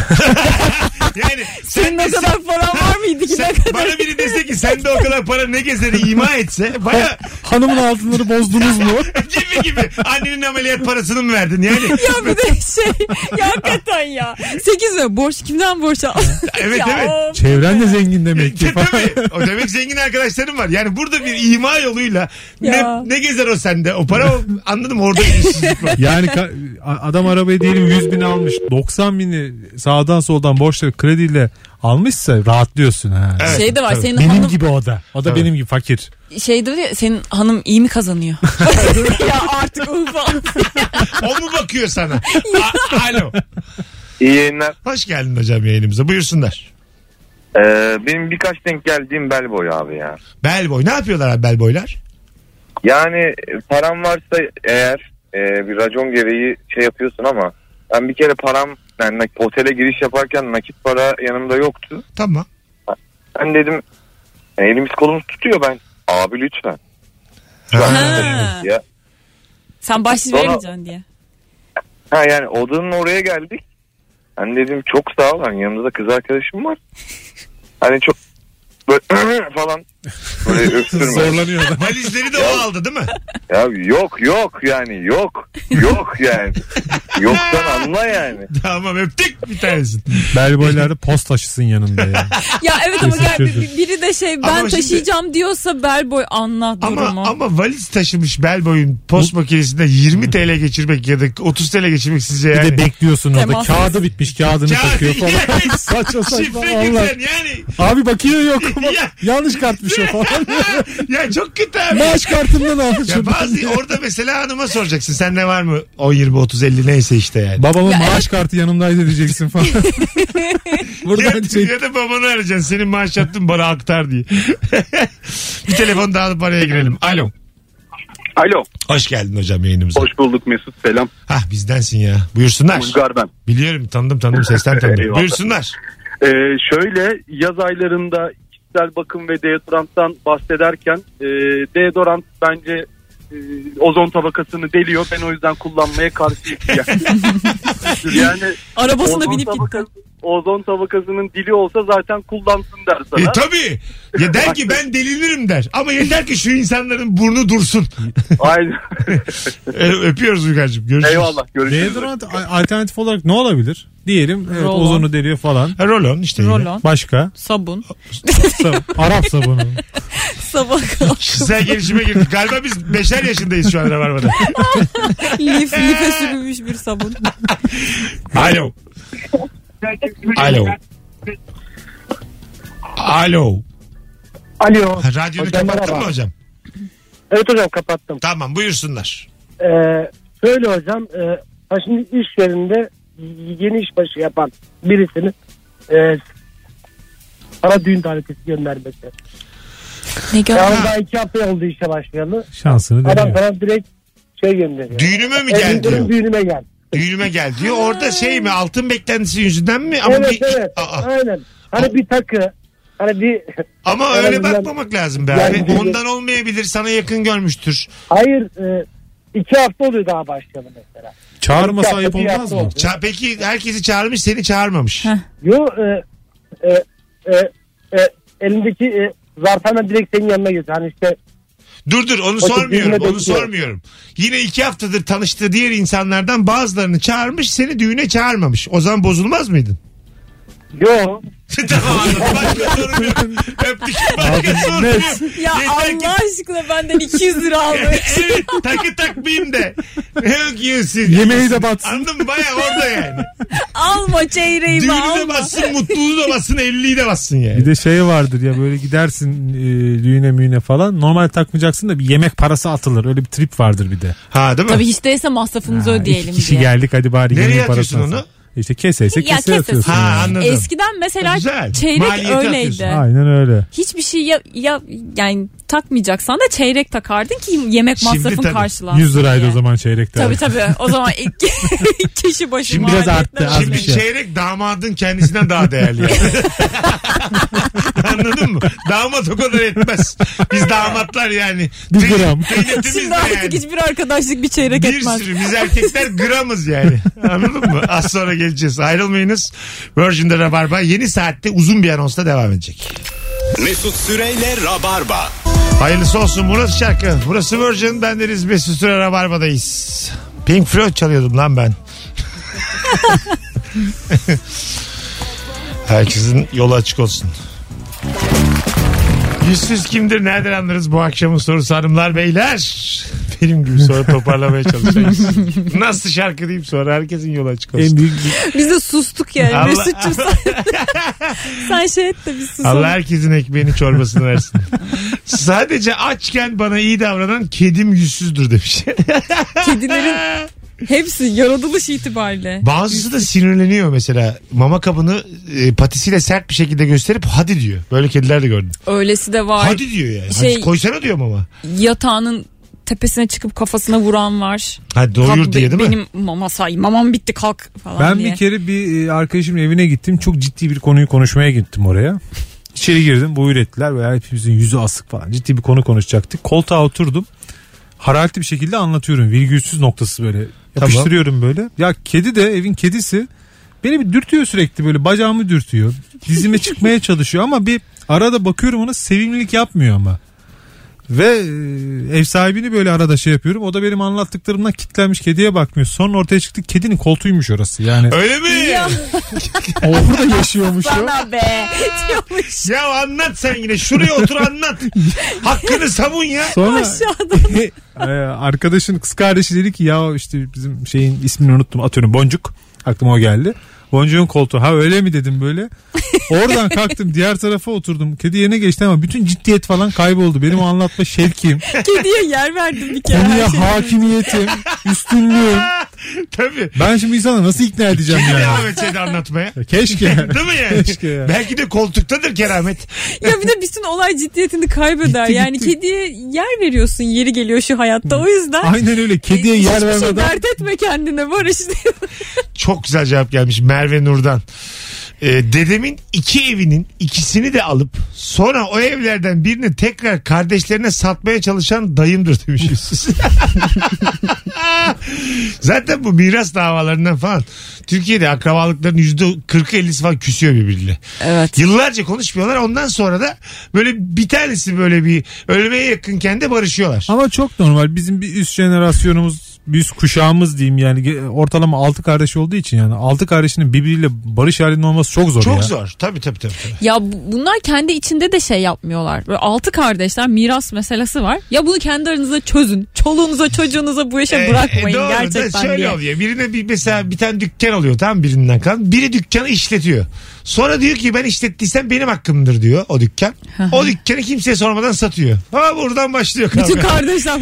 Speaker 2: [LAUGHS] yani
Speaker 4: Senin o kadar paran var mıydı ki? [LAUGHS]
Speaker 2: sen, bana biri dese ki sende o kadar para ne gezer ima
Speaker 4: [LAUGHS]
Speaker 2: etse baya
Speaker 3: [LAUGHS] Hanımın altınları bozdunuz mu?
Speaker 2: gibi gibi annenin ameliyat parasını mı verdin
Speaker 3: [LAUGHS]
Speaker 2: yani
Speaker 4: Ya bir de şey ya hakikaten ya. 8 lira borç kimden borç aldın?
Speaker 2: [LAUGHS] Evet,
Speaker 4: Ya
Speaker 2: evet.
Speaker 4: of.
Speaker 3: Çevren de zengin demek ki.
Speaker 2: Tabii. O demek zengin arkadaşlarım var. Yani burada bir ima yoluyla ne,
Speaker 4: Ya.
Speaker 2: ne gezer o sende? O para o- anladım orada bir yüzsüzlük var.
Speaker 3: [LAUGHS] Yani ka- a- adam arabayı diyelim 100 bin almış. 90 bini sağdan soldan borçla krediyle almışsa rahatlıyorsun ha.
Speaker 2: Evet,
Speaker 4: şey de var
Speaker 2: tabii.
Speaker 4: senin
Speaker 3: Benim
Speaker 4: hanım
Speaker 3: gibi o da. O da
Speaker 2: Tabii.
Speaker 3: benim gibi fakir.
Speaker 4: şey de diyor, senin hanım iyi
Speaker 2: [LAUGHS]
Speaker 4: mi kazanıyor? [LAUGHS] ya artık ufa.
Speaker 2: O mu bakıyor sana? A- Alo.
Speaker 9: İyi yayınlar.
Speaker 2: Hoş geldin hocam yayınımıza. Buyursunlar.
Speaker 9: Ee, benim birkaç denk geldiğim bel boyu abi ya.
Speaker 2: Bel boy. Ne yapıyorlar abi bel boylar?
Speaker 9: Yani e, param varsa eğer e, bir racon gereği şey yapıyorsun ama ben bir kere param yani nak- otele giriş yaparken nakit para yanımda yoktu.
Speaker 2: Tamam.
Speaker 9: Ben dedim e, elimiz kolumuz tutuyor ben. Abi lütfen.
Speaker 4: Ha.
Speaker 9: Ya.
Speaker 4: Sen bahsiz
Speaker 9: Sonra-
Speaker 4: vermeyeceksin diye.
Speaker 9: Ha yani odanın oraya geldik. Ben dedim çok sağ ol. Hani yanımızda kız arkadaşım var. Hani çok böyle [CLEARS THROAT] falan böyle öptürme.
Speaker 2: [LAUGHS]
Speaker 3: Zorlanıyor da.
Speaker 2: Valizleri de o aldı değil mi? [LAUGHS]
Speaker 9: Ya yok yok yani yok. Yok
Speaker 7: [LAUGHS]
Speaker 9: yani. Yoktan anla yani.
Speaker 2: tamam öptük bir tanesin.
Speaker 3: Bel boylarda post taşısın yanında ya.
Speaker 4: Ya evet ama
Speaker 3: Kesin
Speaker 4: gel, bir-
Speaker 3: çözüm.
Speaker 4: biri de şey ben
Speaker 2: Ama şimdi-
Speaker 4: taşıyacağım diyorsa bel boy anla
Speaker 2: Ama
Speaker 4: durumu.
Speaker 2: ama valiz taşımış bel boyun post makinesinde 20 TL geçirmek ya da 30 TL geçirmek sizce
Speaker 3: Bir
Speaker 2: yani.
Speaker 3: de bekliyorsun orada.
Speaker 4: Temas.
Speaker 3: Kağıdı bitmiş kağıdını
Speaker 2: Kağıdı [LAUGHS]
Speaker 3: takıyor [LAUGHS] falan.
Speaker 2: yemiş.
Speaker 3: saçma saçma.
Speaker 2: Şifre
Speaker 3: Allah.
Speaker 2: güzel yani.
Speaker 3: Abi bakıyor yok.
Speaker 2: [LAUGHS] Ya.
Speaker 3: Yanlış kartmış
Speaker 2: [LAUGHS]
Speaker 3: o falan. [LAUGHS]
Speaker 2: ya çok kötü abi.
Speaker 3: Maaş kartından
Speaker 2: Ya
Speaker 3: almışım.
Speaker 2: bazı orada mesela hanıma soracaksın. Sen ne var mı? 10, 20, 30, 50 neyse işte yani.
Speaker 3: Babamın
Speaker 4: Ya
Speaker 3: maaş kartı yanımdaydı diyeceksin
Speaker 4: [LAUGHS]
Speaker 3: falan. Buradan şey-
Speaker 2: Ya,
Speaker 3: çek.
Speaker 2: ya da babanı arayacaksın. Senin maaş yaptın bana aktar diye. [LAUGHS] bir telefon daha alıp araya girelim. Alo.
Speaker 6: Alo.
Speaker 2: Hoş geldin hocam yayınımıza.
Speaker 6: Hoş bulduk Mesut. Selam.
Speaker 2: Hah bizdensin ya. Buyursunlar.
Speaker 6: Bulgar ben.
Speaker 2: Biliyorum tanıdım tanıdım sesten tanıdım.
Speaker 6: Eyvallah.
Speaker 2: Buyursunlar.
Speaker 6: Ee, şöyle yaz aylarında kişisel bakım ve deodoranttan bahsederken e, deodorant bence e, ozon tabakasını deliyor. Ben o yüzden
Speaker 4: [LAUGHS]
Speaker 6: kullanmaya karşıyım. Yani, yani
Speaker 4: Arabasına
Speaker 6: ozon,
Speaker 4: binip gitti.
Speaker 6: tabakası, ozon tabakasının dili olsa zaten kullansın der
Speaker 2: E
Speaker 6: sana.
Speaker 2: tabii. Ya der ki ben delinirim der. Ama yeter ki şu insanların burnu dursun.
Speaker 6: Aynen.
Speaker 2: E, öpüyoruz Uygar'cığım. Görüşürüz.
Speaker 6: Eyvallah. Görüşürüz.
Speaker 3: Deodorant a- alternatif olarak ne olabilir? Diyelim evet,
Speaker 4: Roll-on.
Speaker 3: ozonu deliyor falan.
Speaker 2: Ha, Rolon işte. yine.
Speaker 4: Rolon,
Speaker 3: Başka?
Speaker 2: [LAUGHS]
Speaker 4: sabun,
Speaker 3: Sa- Arap
Speaker 4: [LAUGHS]
Speaker 3: sabunu.
Speaker 4: sabah
Speaker 2: Kişisel gelişime girdik. Galiba biz beşer yaşındayız şu an Rabarba'da.
Speaker 4: lif, life sürülmüş bir sabun.
Speaker 2: Alo. Alo. Alo.
Speaker 7: Alo.
Speaker 2: Ha, Radyonu
Speaker 7: Hocam
Speaker 2: kapattın
Speaker 7: merhaba.
Speaker 2: mı hocam?
Speaker 7: Evet hocam kapattım.
Speaker 2: Tamam buyursunlar.
Speaker 7: Ee, şöyle hocam e, ha şimdi iş yerinde yeni iş başı yapan birisinin e, para düğün davetiyesi göndermesi.
Speaker 4: Ne gör?
Speaker 7: Yani daha iki hafta oldu işe başlayalı.
Speaker 3: Şansını
Speaker 7: Adam
Speaker 3: deniyor.
Speaker 7: sana direkt şey gönderiyor.
Speaker 2: Düğünüme mi gel
Speaker 7: Evlendiğin
Speaker 2: diyor.
Speaker 7: Düğünüme gel.
Speaker 2: Düğünüme gel diyor. Orada şey mi altın beklentisi yüzünden mi? Ama
Speaker 7: evet
Speaker 2: bir-
Speaker 7: evet.
Speaker 2: Aa,
Speaker 7: Aynen. Hani bir takı. Hani bir [LAUGHS]
Speaker 2: ama
Speaker 7: Evet,
Speaker 2: öyle
Speaker 7: ben-
Speaker 2: bakmamak lazım be
Speaker 7: Yani-
Speaker 2: abi. Ondan olmayabilir. Sana yakın görmüştür.
Speaker 7: hayır e, iki hafta oluyor daha başlayalı mesela.
Speaker 3: Çağırmasa
Speaker 7: Bir
Speaker 3: ayıp
Speaker 7: hafta
Speaker 3: olmaz mı?
Speaker 7: oldu.
Speaker 2: Ça- peki herkesi çağırmış seni çağırmamış.
Speaker 4: Heh.
Speaker 7: Yo e, e, e, e, elindeki e, zarf hemen direkt senin yanına geliyor. Hani işte
Speaker 2: Dur dur onu
Speaker 7: Bakın
Speaker 2: sormuyorum.
Speaker 7: düğüne
Speaker 2: Onu
Speaker 7: bekliyor.
Speaker 2: sormuyorum. Yine iki haftadır tanıştığı diğer insanlardan bazılarını çağırmış seni düğüne çağırmamış. O zaman bozulmaz mıydın?
Speaker 7: Yo.
Speaker 2: [LAUGHS] tamam anladım. Başka sorun yok. [LAUGHS] Öptük. Başka sorun yok.
Speaker 4: Ya
Speaker 2: Yeter ki-
Speaker 4: Allah aşkına benden 200 lira aldı.
Speaker 2: [LAUGHS] evet takı takmayayım de. Yok yiyorsun.
Speaker 3: Yemeği de batsın.
Speaker 2: Anladın mı? Baya orada yani.
Speaker 4: alma çeyreğimi
Speaker 2: Düğünü de
Speaker 4: alma.
Speaker 2: bassın, mutluluğu da bassın, elliyi de bassın yani.
Speaker 3: Bir de şey vardır ya böyle gidersin e, düğüne müğüne falan. Normal takmayacaksın da bir yemek parası atılır. Öyle bir trip vardır bir de.
Speaker 2: Ha değil mi?
Speaker 4: Tabii hiç değilse masrafımızı
Speaker 3: Ha, iki
Speaker 4: ödeyelim
Speaker 3: kişi
Speaker 4: diye.
Speaker 3: geldik hadi bari
Speaker 2: Nereye
Speaker 3: yemeğin parasını
Speaker 2: atıyorsun
Speaker 3: atalım. İşte kese ise
Speaker 4: Ya
Speaker 3: kese
Speaker 4: kesesin.
Speaker 3: atıyorsun.
Speaker 2: Ha
Speaker 3: yani.
Speaker 2: anladım.
Speaker 4: Eskiden mesela
Speaker 2: Güzel.
Speaker 4: çeyrek
Speaker 2: Maliyeti
Speaker 4: öyleydi.
Speaker 2: atıyorsun.
Speaker 3: Aynen öyle.
Speaker 4: Hiçbir şey ya, ya yani takmayacaksan da çeyrek takardın ki yemek
Speaker 2: Şimdi
Speaker 4: masrafın
Speaker 2: tabii.
Speaker 4: karşılansın
Speaker 3: 100 liraydı
Speaker 4: diye.
Speaker 3: o zaman çeyrekte.
Speaker 4: Tabii tabii. O zaman ilk [LAUGHS] kişi başı
Speaker 3: Şimdi biraz
Speaker 4: maliyetler
Speaker 3: arttı, az
Speaker 4: öyle.
Speaker 3: bir
Speaker 2: Şimdi
Speaker 3: şey.
Speaker 2: çeyrek damadın kendisinden daha değerli.
Speaker 3: [LAUGHS]
Speaker 2: yani. Anladın mı? Damat o kadar etmez. Biz damatlar yani.
Speaker 3: Bir
Speaker 2: [LAUGHS]
Speaker 3: gram.
Speaker 2: Kıymetimiz
Speaker 4: [LAUGHS] Şimdi
Speaker 2: de
Speaker 4: artık
Speaker 2: yani.
Speaker 4: hiçbir arkadaşlık bir çeyrek
Speaker 2: Bir
Speaker 4: etmez.
Speaker 2: sürü biz erkekler gramız yani. Anladın mı? Az sonra geleceğiz. Ayrılmayınız. Virgin'de Rabarba yeni saatte uzun bir anonsla devam edecek.
Speaker 1: Mesut Süreyle Rabarba.
Speaker 2: Hayırlısı olsun burası şarkı. Burası Virgin. Ben Deniz Mesut Süre Rabarba'dayız. Pink Floyd çalıyordum lan ben. [LAUGHS] Herkesin yolu açık olsun. Yüzsüz kimdir nereden anlarız bu akşamın sorusu hanımlar beyler? Benim gibi sonra toparlamaya
Speaker 3: [LAUGHS]
Speaker 2: çalışacağız. Nasıl şarkı diyeyim sonra herkesin yolu açık olsun.
Speaker 3: En büyük
Speaker 4: Biz de sustuk yani.
Speaker 2: Allah-
Speaker 4: Mesut'cum sen, sen şey et de biz susalım.
Speaker 2: Allah herkesin ekmeğini çorbasını
Speaker 3: [LAUGHS]
Speaker 2: versin. Sadece açken bana iyi davranan kedim yüzsüzdür demiş.
Speaker 4: Kedilerin hepsi yaratılış itibariyle.
Speaker 2: Bazısı da sinirleniyor mesela. Mama kabını e, patisiyle sert bir şekilde gösterip hadi diyor. Böyle kediler de gördüm.
Speaker 4: Öylesi de var.
Speaker 2: Hadi diyor yani.
Speaker 4: Şey-
Speaker 2: hadi koysana diyor mama.
Speaker 4: Yatağının tepesine çıkıp kafasına vuran var.
Speaker 2: Hadi doyur
Speaker 4: Kalk,
Speaker 2: diye
Speaker 4: be-
Speaker 2: değil mi?
Speaker 4: Benim mama say, mamam bitti kalk falan
Speaker 3: Ben
Speaker 4: diye.
Speaker 3: bir kere bir e, arkadaşımın evine gittim. Çok ciddi bir konuyu konuşmaya gittim oraya. İçeri girdim. Buyur ettiler. Veya hepimizin yüzü asık falan. Ciddi bir konu konuşacaktık. Koltuğa oturdum. Hararetli bir şekilde anlatıyorum. Virgülsüz noktası böyle. Yapıştırıyorum böyle. Ya kedi de evin kedisi. Beni bir dürtüyor sürekli böyle bacağımı dürtüyor. Dizime çıkmaya çalışıyor ama bir arada bakıyorum ona sevimlilik yapmıyor ama. Ve e, ev sahibini böyle arada şey yapıyorum. O da benim anlattıklarımdan kitlenmiş kediye bakmıyor. Sonra ortaya çıktı kedinin koltuğuymuş orası. Yani
Speaker 2: Öyle mi? Ya.
Speaker 4: Ya
Speaker 3: orada yaşıyormuş o.
Speaker 4: sana be diyormuş
Speaker 2: anlat sen yine. Şuraya otur anlat.
Speaker 4: [LAUGHS]
Speaker 2: Hakkını savun ya.
Speaker 3: Sonra
Speaker 4: aşağıda.
Speaker 3: [LAUGHS] e, arkadaşın kız kardeşi dedi ki ya işte bizim şeyin ismini unuttum atıyorum Boncuk. Aklıma o geldi. Boncuk'un koltuğu ha öyle mi dedim böyle. Oradan kalktım diğer tarafa oturdum. Kedi yerine geçti ama bütün ciddiyet falan kayboldu. Benim o anlatma
Speaker 4: [LAUGHS]
Speaker 3: şevkim,
Speaker 4: Kediye yer verdim bir kere. [LAUGHS] her
Speaker 3: konuya
Speaker 4: şeyden.
Speaker 3: hakimiyetim, üstünlüğüm.
Speaker 2: Tabii.
Speaker 3: Ben şimdi insana nasıl ikna edeceğim yani?
Speaker 4: [LAUGHS]
Speaker 2: Devam etseydi anlatmaya.
Speaker 3: Keşke.
Speaker 2: Değil mi yani?
Speaker 3: Keşke ya.
Speaker 2: Belki de koltuktadır keramet.
Speaker 4: Ya bir de bütün olay ciddiyetini kaybeder.
Speaker 3: Gitti,
Speaker 4: yani
Speaker 3: gitti.
Speaker 4: kediye yer veriyorsun yeri geliyor şu hayatta. O yüzden
Speaker 3: Aynen öyle. Kediye yer
Speaker 4: Hiçbir şey
Speaker 3: vermeden
Speaker 4: dert etme kendine Barış.
Speaker 2: Çok güzel cevap gelmiş Merve Nur'dan. Ee, dedemin iki evinin ikisini de alıp sonra o evlerden birini tekrar kardeşlerine satmaya çalışan dayımdır demişiz. Zaten bu miras davalarından falan Türkiye'de akrabalıkların yüzde 40-50'si falan küsüyor birbiriyle.
Speaker 4: Evet.
Speaker 2: Yıllarca konuşmuyorlar ondan sonra da böyle bir tanesi böyle bir ölmeye yakınken de barışıyorlar.
Speaker 3: Ama çok normal. Bizim bir üst generasyonumuz, bir üst kuşağımız diyeyim yani Ge- ortalama 6 kardeş olduğu için yani 6 kardeşinin birbiriyle barış halinde olması çok zor
Speaker 2: Çok
Speaker 3: ya.
Speaker 2: zor. Tabii tabii tabii. tabii.
Speaker 4: Ya bu- bunlar kendi içinde de şey yapmıyorlar. Böyle altı kardeşler miras meselesi var. Ya bunu kendi aranızda çözün. Çoluğunuza çocuğunuza bu işe
Speaker 2: E, e,
Speaker 4: bırakmayın
Speaker 2: doğru da
Speaker 4: gerçekten
Speaker 2: şöyle
Speaker 4: diye.
Speaker 2: oluyor. Birine bir mesela bir tane dükkan oluyor tamam birinden kalan. Biri dükkanı işletiyor. Sonra diyor ki ben işlettiysem benim hakkımdır diyor o dükkan. o dükkanı kimseye sormadan satıyor. Ha buradan başlıyor kavga.
Speaker 4: Bütün kardeşler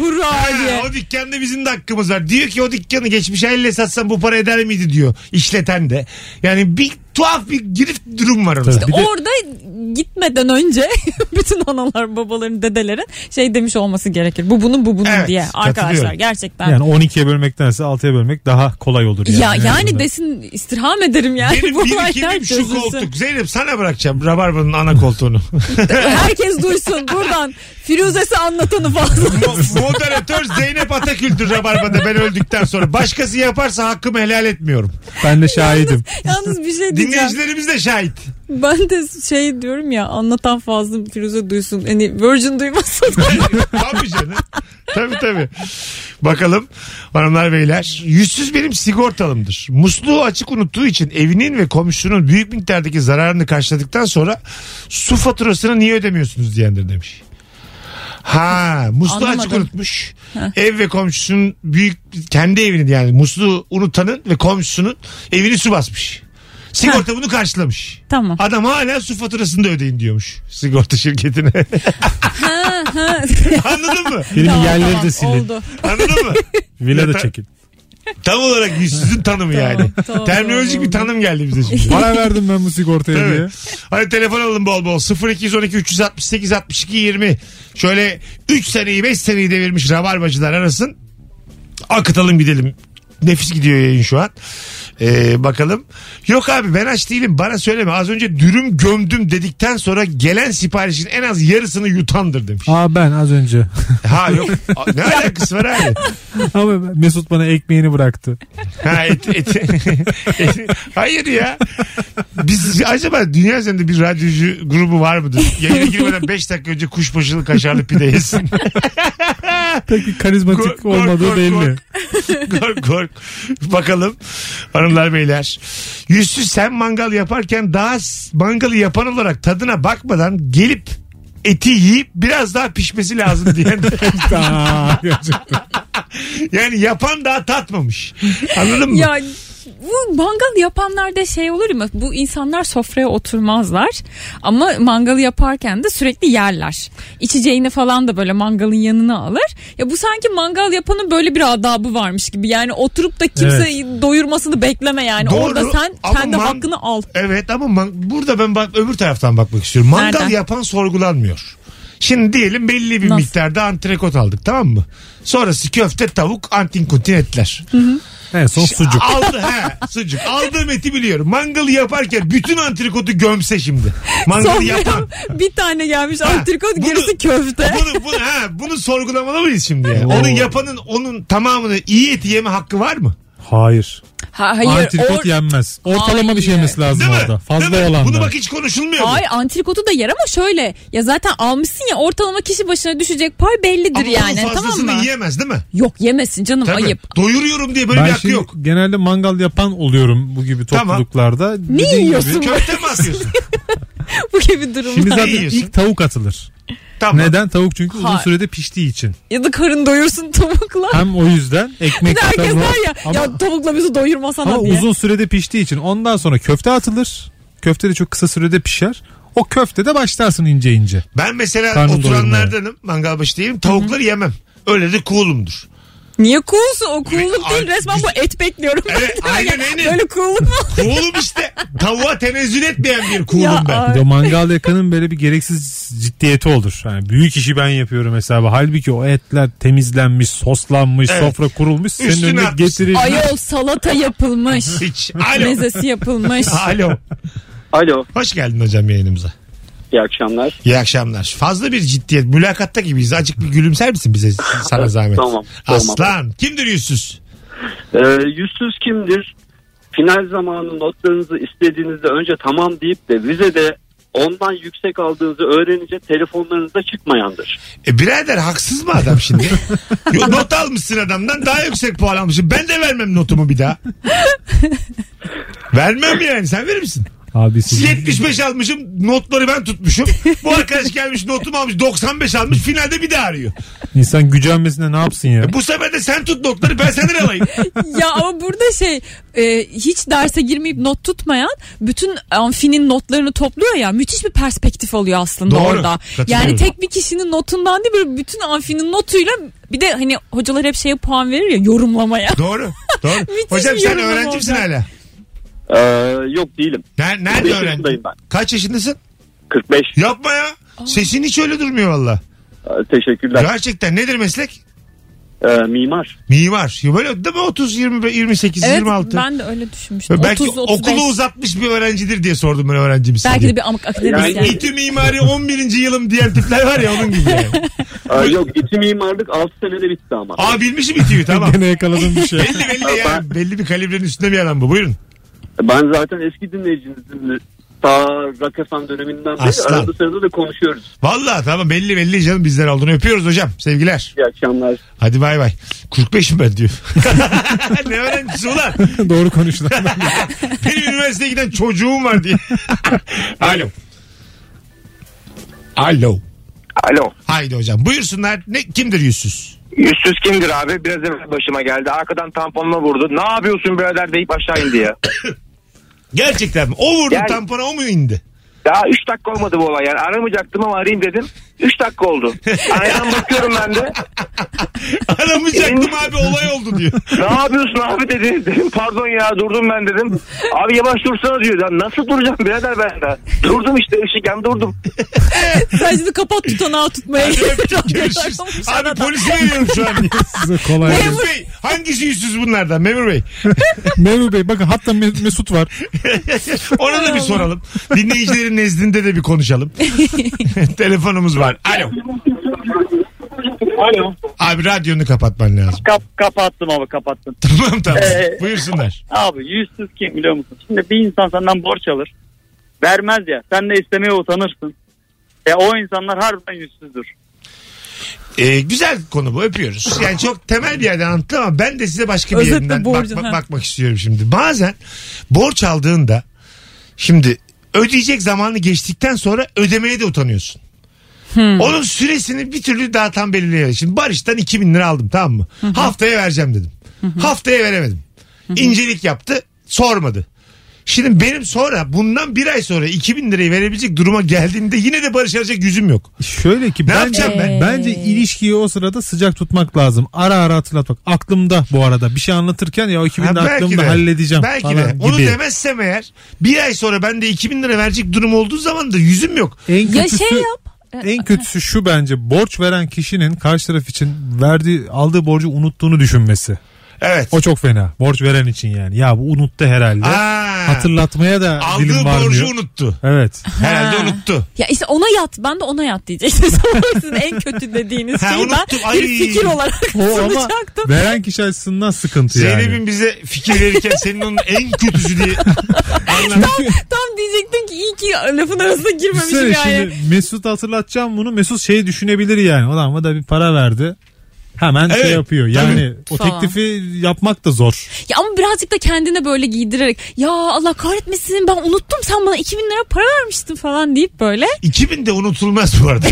Speaker 2: [LAUGHS]
Speaker 4: hurra
Speaker 2: Ha,
Speaker 4: diye.
Speaker 2: o dükkanda bizim de hakkımız var. Diyor ki o dükkanı geçmiş elle satsam bu para eder miydi diyor işleten de. Yani bir tuhaf bir girift durum var orada.
Speaker 3: Tabii. Bir de-
Speaker 4: Orada gitmeden önce [LAUGHS] bütün analar babaların dedelerin şey demiş olması gerekir. Bu bunun bu bunun
Speaker 2: Evet,
Speaker 4: diye arkadaşlar
Speaker 2: katılıyorum.
Speaker 4: gerçekten.
Speaker 3: Yani 12'ye bölmektense 6'ya bölmek daha kolay olur yani.
Speaker 4: ya yani,
Speaker 3: Öyle.
Speaker 4: desin istirham ederim yani
Speaker 2: Benim
Speaker 4: [LAUGHS] bu
Speaker 2: bir
Speaker 4: olaylar
Speaker 2: kimim şu
Speaker 4: çözülsün.
Speaker 3: [LAUGHS]
Speaker 2: koltuk. Zeynep sana bırakacağım Rabarba'nın ana koltuğunu. [LAUGHS]
Speaker 4: Herkes duysun buradan Firuze'si
Speaker 3: [LAUGHS]
Speaker 4: anlatanı falan.
Speaker 2: Mo- Moderatör Zeynep Atakül'dür Rabarba'da ben öldükten sonra. Başkası yaparsa hakkımı helal etmiyorum.
Speaker 3: Ben de şahidim.
Speaker 4: [LAUGHS] Yalnız bir şey diyeceğim. diyeceğim.
Speaker 2: dinleyicilerimiz de şahit.
Speaker 4: Ben de şey diyorum ya anlatan fazla Firuze duysun. Hani
Speaker 3: [LAUGHS]
Speaker 4: Virgin duymasın.
Speaker 2: [LAUGHS] Tabii canım. Tabii tabii. Bakalım hanımlar beyler. Yüzsüz benim sigortalımdır. Musluğu açık unuttuğu için evinin ve komşunun büyük miktardaki zararını karşıladıktan sonra su faturasını niye ödemiyorsunuz diyendir demiş. Ha musluğu açık
Speaker 4: Anlamadım.
Speaker 2: unutmuş. Ev ve komşusunun büyük kendi evini yani musluğu unutanın ve komşusunun evini su basmış. Sigorta bunu karşılamış.
Speaker 4: tamam.
Speaker 2: Adam hala su faturasını da ödeyin diyormuş sigorta şirketine. [LAUGHS] Anladın mı?
Speaker 3: Benim
Speaker 4: Tamam,
Speaker 3: yerleri
Speaker 4: tamam,
Speaker 3: de silin.
Speaker 4: Oldu.
Speaker 2: Anladın mı?
Speaker 3: Villa da
Speaker 2: Yeter.
Speaker 3: çekin.
Speaker 2: Tam olarak yüzsüzün tanımı
Speaker 4: Tamam,
Speaker 2: yani.
Speaker 4: tamam,
Speaker 2: Terminolojik
Speaker 4: tamam,
Speaker 2: bir tanım geldi bize şimdi.
Speaker 3: Para verdim ben bu sigortaya
Speaker 2: Evet.
Speaker 3: diye.
Speaker 2: Hadi telefon alın bol bol. 0212 368 62 20. Şöyle 3 seneyi 5 seneyi devirmiş rabarbacılar arasın. Akıtalım gidelim. Nefis gidiyor yayın şu an. Ee, bakalım. Yok abi ben aç değilim bana söyleme. Az önce dürüm gömdüm dedikten sonra gelen siparişin en az yarısını yutandır demiş.
Speaker 3: Aa ben az önce. [LAUGHS]
Speaker 2: ha yok. A- Ne alakası var abi?
Speaker 3: Ama Mesut bana ekmeğini bıraktı.
Speaker 2: Ha, et, et, et- Hayır ya. Biz acaba dünya üzerinde bir radyocu grubu var mıdır? Yayına girmeden 5 dakika önce kuşbaşılı kaşarlı pide yesin. [LAUGHS]
Speaker 3: Pek bir karizmatik
Speaker 2: Kork, kork,
Speaker 3: olmadığı
Speaker 2: kork,
Speaker 3: belli.
Speaker 2: kork. kork kork. Bakalım hanımlar beyler. Yüzsüz sen mangal yaparken daha s- mangalı yapan olarak tadına bakmadan gelip eti yiyip biraz daha pişmesi lazım diyen. [LAUGHS]
Speaker 3: [LAUGHS] Aa, gerçekten.
Speaker 2: yani yapan daha tatmamış. Anladın mı?
Speaker 4: Ya bu mangal yapanlarda şey olur ya bu insanlar sofraya oturmazlar ama mangalı yaparken de sürekli yerler. İçeceğini falan da böyle mangalın yanına alır. Ya bu sanki mangal yapanın böyle bir adabı varmış gibi. Yani oturup da kimse doyurmasını bekleme yani.
Speaker 2: Doğru,
Speaker 4: Orada sen
Speaker 2: ama
Speaker 4: kendi
Speaker 2: man-
Speaker 4: hakkını al.
Speaker 2: Evet ama man- burada ben bak öbür taraftan bakmak istiyorum. Mangal
Speaker 4: Nereden?
Speaker 2: yapan sorgulanmıyor. Şimdi diyelim belli bir
Speaker 4: Nasıl?
Speaker 2: miktarda antrikot aldık tamam mı? Sonrası köfte, tavuk, antin kuntin etler.
Speaker 3: en son sucuk.
Speaker 2: Aldı he sucuk. Aldığım eti biliyorum. Mangalı yaparken bütün antrikotu gömse şimdi. Mangalı
Speaker 4: Sofraya
Speaker 2: yapan.
Speaker 4: [LAUGHS] bir tane gelmiş
Speaker 2: Ha,
Speaker 4: antrikot
Speaker 2: bunu-
Speaker 4: gerisi köfte.
Speaker 2: Bunu, bunu, ha, bunu sorgulamalı mıyız şimdi? Yani?
Speaker 3: Oo.
Speaker 2: Onun yapanın onun tamamını iyi eti yeme hakkı var mı?
Speaker 3: Hayır.
Speaker 4: Ha,
Speaker 3: Antrikot
Speaker 4: or-
Speaker 3: yenmez. Ortalama bir şey
Speaker 4: Hayır.
Speaker 3: yemesi lazım
Speaker 2: Değil mi?
Speaker 3: orada.
Speaker 2: Değil
Speaker 3: Fazla
Speaker 2: mi?
Speaker 3: yalan.
Speaker 2: Bunu bak hiç konuşulmuyor. bu.
Speaker 4: Hayır antrikotu da yer ama şöyle ya zaten almışsın ya ortalama kişi başına düşecek pay bellidir
Speaker 2: Ama onun
Speaker 4: yani tamam
Speaker 2: fazlasını
Speaker 4: mı?
Speaker 2: yiyemez değil mi?
Speaker 4: Yok yemesin canım
Speaker 2: Tabii.
Speaker 4: ayıp. [LAUGHS]
Speaker 2: Doyuruyorum diye böyle
Speaker 3: Ben şey-
Speaker 2: bir hakkı
Speaker 3: şimdi
Speaker 2: yok.
Speaker 3: genelde mangal yapan oluyorum bu gibi
Speaker 2: Tamam.
Speaker 3: topluluklarda.
Speaker 4: Ne
Speaker 3: Dediğim gibi-
Speaker 4: yiyorsun?
Speaker 2: Köfte mi
Speaker 4: [LAUGHS]
Speaker 2: atıyorsun?
Speaker 4: Bu gibi durumlar.
Speaker 3: Şimdi zaten
Speaker 2: yiyorsun?
Speaker 3: ilk tavuk atılır.
Speaker 2: tamam.
Speaker 3: Neden? Tavuk çünkü uzun
Speaker 4: Hayır.
Speaker 3: sürede piştiği için.
Speaker 4: Ya da karın doyursun tavukla.
Speaker 3: Hem o yüzden
Speaker 4: Bir
Speaker 3: ekmek
Speaker 4: de herkes
Speaker 3: tavuğa-
Speaker 4: var ya
Speaker 3: Ama-
Speaker 4: ya tavukla bizi doyurmasana
Speaker 3: Ama
Speaker 4: diye.
Speaker 3: uzun sürede piştiği için ondan sonra köfte atılır. Köfte de çok kısa sürede pişer. O köfte de başlarsın ince ince.
Speaker 2: Ben mesela
Speaker 3: Karnım
Speaker 2: oturanlardanım. Mangal başı değilim. Tavukları yemem. Öyle de cool'umdur.
Speaker 4: Niye coolsun o cool'luk
Speaker 2: Ay,
Speaker 4: değil resmen bu et bekliyorum. ben [LAUGHS]
Speaker 2: Evet,
Speaker 4: de.
Speaker 2: aynen, aynen.
Speaker 4: Böyle cool'luk mu?
Speaker 2: Cool'um işte. Tavuğa tenezzül etmeyen bir
Speaker 4: Ya,
Speaker 2: cool'um ben.
Speaker 4: ay.
Speaker 3: Bir de
Speaker 4: [LAUGHS]
Speaker 3: mangal yakanın böyle bir gereksiz ciddiyeti olur. Yani büyük işi ben yapıyorum hesabı. Halbuki o etler temizlenmiş, soslanmış,
Speaker 2: Evet.
Speaker 3: sofra kurulmuş. Senin
Speaker 2: Üstüne
Speaker 3: önüne
Speaker 2: atmışsın.
Speaker 3: getirilmiş.
Speaker 4: Ayol salata yapılmış.
Speaker 2: Hiç. Alo.
Speaker 4: Mezesi yapılmış.
Speaker 2: Alo.
Speaker 5: Alo.
Speaker 2: Hoş geldin hocam yayınımıza.
Speaker 5: İyi akşamlar.
Speaker 2: İyi akşamlar. Fazla bir ciddiyet. Mülakatta gibiyiz. Acık bir gülümser misin bize? Sana zahmet.
Speaker 5: Tamam, tamam.
Speaker 2: Aslan. Kimdir yüzsüz?
Speaker 5: Ee, yüzsüz kimdir? Final zamanı notlarınızı istediğinizde önce tamam deyip de vizede ondan yüksek aldığınızı öğrenince telefonlarınıza çıkmayandır.
Speaker 2: E birader haksız mı adam şimdi?
Speaker 4: [LAUGHS]
Speaker 2: Yo, Not almışsın adamdan daha yüksek puan almışsın. Ben de vermem notumu bir daha. vermem yani sen verir misin?
Speaker 3: Abi sizin-
Speaker 2: 75 almışım notları ben tutmuşum. Bu arkadaş gelmiş notumu almış 95 almış finalde bir daha arıyor.
Speaker 3: insan gücenmesine ne yapsın ya?
Speaker 2: E Bu sefer de sen tut notları ben senden alayım.
Speaker 4: ya ama burada şey e, hiç derse girmeyip not tutmayan bütün e, amfinin notlarını topluyor ya müthiş bir perspektif oluyor aslında
Speaker 2: Doğru.
Speaker 4: orada.
Speaker 2: Katılıyorum.
Speaker 4: Yani tek bir kişinin notundan değil böyle bütün amfinin notuyla bir de hani hocalar hep şeye puan verir ya
Speaker 2: [LAUGHS]
Speaker 4: yorumlamaya.
Speaker 2: Doğru. Doğru.
Speaker 4: [LAUGHS] Müthiş
Speaker 2: Hocam
Speaker 4: bir
Speaker 2: sen
Speaker 4: yorumlama
Speaker 2: öğrenci misin
Speaker 4: olacak.
Speaker 2: hala?
Speaker 7: Ee, yok değilim.
Speaker 2: Ner-
Speaker 7: Beş
Speaker 2: nerede öğrendin?
Speaker 7: yaşındayım ben.
Speaker 2: Kaç yaşındasın?
Speaker 7: 45.
Speaker 2: Yapma ya. Sesin hiç öyle durmuyor valla.
Speaker 7: Ee, teşekkürler.
Speaker 2: Gerçekten nedir meslek?
Speaker 7: Ee, mimar.
Speaker 2: Mimar. Ya Böyle değil mi 30, 20, 28,
Speaker 4: Evet
Speaker 2: 26?
Speaker 4: ben de öyle düşünmüştüm.
Speaker 2: Belki
Speaker 4: 30 35.
Speaker 2: okulu uzatmış bir öğrencidir diye sordum ben öğrenci misin
Speaker 4: Belki
Speaker 2: diye.
Speaker 4: de bir amık akademisyen.
Speaker 7: Yani-
Speaker 2: İTÜ mimari 11. yılım diyen tipler var ya onun gibi. yani.
Speaker 7: Ee, yok iti mimarlık 6 senede bitti ama.
Speaker 2: Aa bilmişim İTÜ'yü tamam. [LAUGHS]
Speaker 3: Gene yakaladım bir şey. [LAUGHS]
Speaker 2: belli belli yani. Belli bir kalibrenin üstünde bir adam bu. Buyurun.
Speaker 7: Ee,
Speaker 5: Ben zaten eski dinleyicinizim. Ta Rakafan döneminden beri
Speaker 2: Aslan.
Speaker 5: arada sırada da konuşuyoruz.
Speaker 2: Valla tamam belli belli canım bizden olduğunu öpüyoruz hocam. Sevgiler.
Speaker 5: İyi akşamlar.
Speaker 2: Hadi bay bay. 45'im ben diyor. [LAUGHS] ne öğrencisi ulan?
Speaker 3: Doğru konuştun.
Speaker 2: Benim üniversiteye giden çocuğum var diye. [LAUGHS] Alo. Alo.
Speaker 10: Alo.
Speaker 2: Haydi hocam buyursunlar. Ne, kimdir yüzsüz?
Speaker 10: Yüzsüz kimdir abi? Biraz evvel başıma geldi. Arkadan tamponla vurdu. Ne yapıyorsun birader deyip aşağı indi ya.
Speaker 2: Gerçekten mi? O vurdu
Speaker 10: Yani-
Speaker 2: tampona o mu indi?
Speaker 10: Daha 3 dakika olmadı bu olay yani. Aramayacaktım ama arayayım dedim. 3 dakika oldu. Aynen bakıyorum ben de.
Speaker 2: Aramayacaktım abi olay oldu diyor.
Speaker 9: Şey,
Speaker 10: Ne yapıyorsun abi dedi. Dedim pardon ya durdum ben dedim. Abi yavaş dursana diyor. Ya nasıl duracağım birader ben de. Durdum işte ışık yan durdum.
Speaker 4: Sen şimdi kapat tutanağı
Speaker 2: [LAUGHS]
Speaker 4: tutmaya [LAUGHS]
Speaker 2: Görüşürüz. abi polisi veriyorum şu an.
Speaker 3: Size kolay gelsin.
Speaker 2: Memur Bey hangisi yüzsüz bunlardan Memur Bey? [LAUGHS]
Speaker 3: Memur Bey bakın hatta Me- Mesut var.
Speaker 2: Ona da bir soralım. Dinleyicilerin nezdinde de bir konuşalım. Telefonumuz var. Alo.
Speaker 5: Alo.
Speaker 2: Abi radyonu kapatman lazım. [LAUGHS]
Speaker 5: Kap kapattım abi kapattım.
Speaker 2: tamam tamam.
Speaker 5: Ee,
Speaker 2: Buyursunlar.
Speaker 5: Abi yüzsüz kim biliyor musun? Şimdi bir insan senden borç alır. Vermez ya. Sen de istemeye utanırsın. E o insanlar harbiden yüzsüzdür.
Speaker 2: Ee, güzel konu bu öpüyoruz. Yani çok temel bir yerden anlattım ama ben de size başka bir
Speaker 4: Özetle
Speaker 2: yerinden bak-
Speaker 4: borcun,
Speaker 2: bak-
Speaker 4: ha.
Speaker 2: bakmak istiyorum şimdi. Bazen borç aldığında şimdi ödeyecek zamanı geçtikten sonra ödemeye de utanıyorsun.
Speaker 4: Hmm.
Speaker 2: Onun süresini bir türlü daha tam belirleyemedim. Şimdi Barış'tan 2000 lira aldım tamam mı? Haftaya vereceğim dedim. Haftaya veremedim. İncelik yaptı sormadı. Şimdi benim sonra bundan bir ay sonra 2000 lirayı verebilecek duruma geldiğimde yine de Barış arayacak yüzüm yok.
Speaker 3: Şöyle ki
Speaker 2: Ne
Speaker 3: bence,
Speaker 2: yapacağım ben?
Speaker 3: bence ilişkiyi o sırada sıcak tutmak lazım. Ara ara hatırlatmak. Aklımda bu arada bir şey anlatırken ya o 2000
Speaker 2: Ha, belki
Speaker 3: aklımda
Speaker 2: de.
Speaker 3: halledeceğim
Speaker 2: Belki
Speaker 3: falan
Speaker 2: de.
Speaker 3: gibi.
Speaker 2: Onu demezsem eğer bir ay sonra ben de 2000 lira verecek durum olduğu zaman da yüzüm yok.
Speaker 3: En
Speaker 4: Ya
Speaker 3: kötüsü,
Speaker 4: şey yap.
Speaker 3: en kötüsü şu bence borç veren kişinin karşı taraf için verdiği aldığı borcu unuttuğunu düşünmesi.
Speaker 2: Evet.
Speaker 3: O çok fena. Borç veren için yani. Ya bu unuttu herhalde.
Speaker 2: Aa,
Speaker 3: Hatırlatmaya da dilim
Speaker 2: aldığı
Speaker 3: varmıyor.
Speaker 2: borcu unuttu.
Speaker 3: Evet.
Speaker 2: Herhalde
Speaker 4: Ha.
Speaker 2: unuttu.
Speaker 4: Ya işte ona yat. Ben de ona yat diyecektim. [LAUGHS] Sizin en kötü dediğiniz
Speaker 2: Ha,
Speaker 4: şeyi
Speaker 2: unuttum.
Speaker 4: ben bir
Speaker 2: Ay.
Speaker 4: fikir olarak
Speaker 3: O ama
Speaker 4: sunacaktım.
Speaker 3: veren kişi açısından sıkıntı yani.
Speaker 2: Zeynep'in bize fikir verirken senin onun en kötüsü diye
Speaker 3: [LAUGHS]
Speaker 2: anlattı.
Speaker 4: Tam diyecektim ki iyi ki lafın arasına girmemişim
Speaker 3: Düşünsene
Speaker 4: yani.
Speaker 3: şimdi Mesut hatırlatacağım bunu. Mesut şey düşünebilir yani. Ulan bu da bir para verdi. Hemen
Speaker 2: Evet,
Speaker 3: şey yapıyor. Yani o
Speaker 4: Falan.
Speaker 3: teklifi yapmak da zor.
Speaker 4: Ya ama birazcık da kendine böyle giydirerek ya Allah kahretmesin ben unuttum sen bana 2000 lira para vermiştin falan
Speaker 3: [LAUGHS]
Speaker 4: deyip böyle.
Speaker 2: 2000 de unutulmaz bu arada.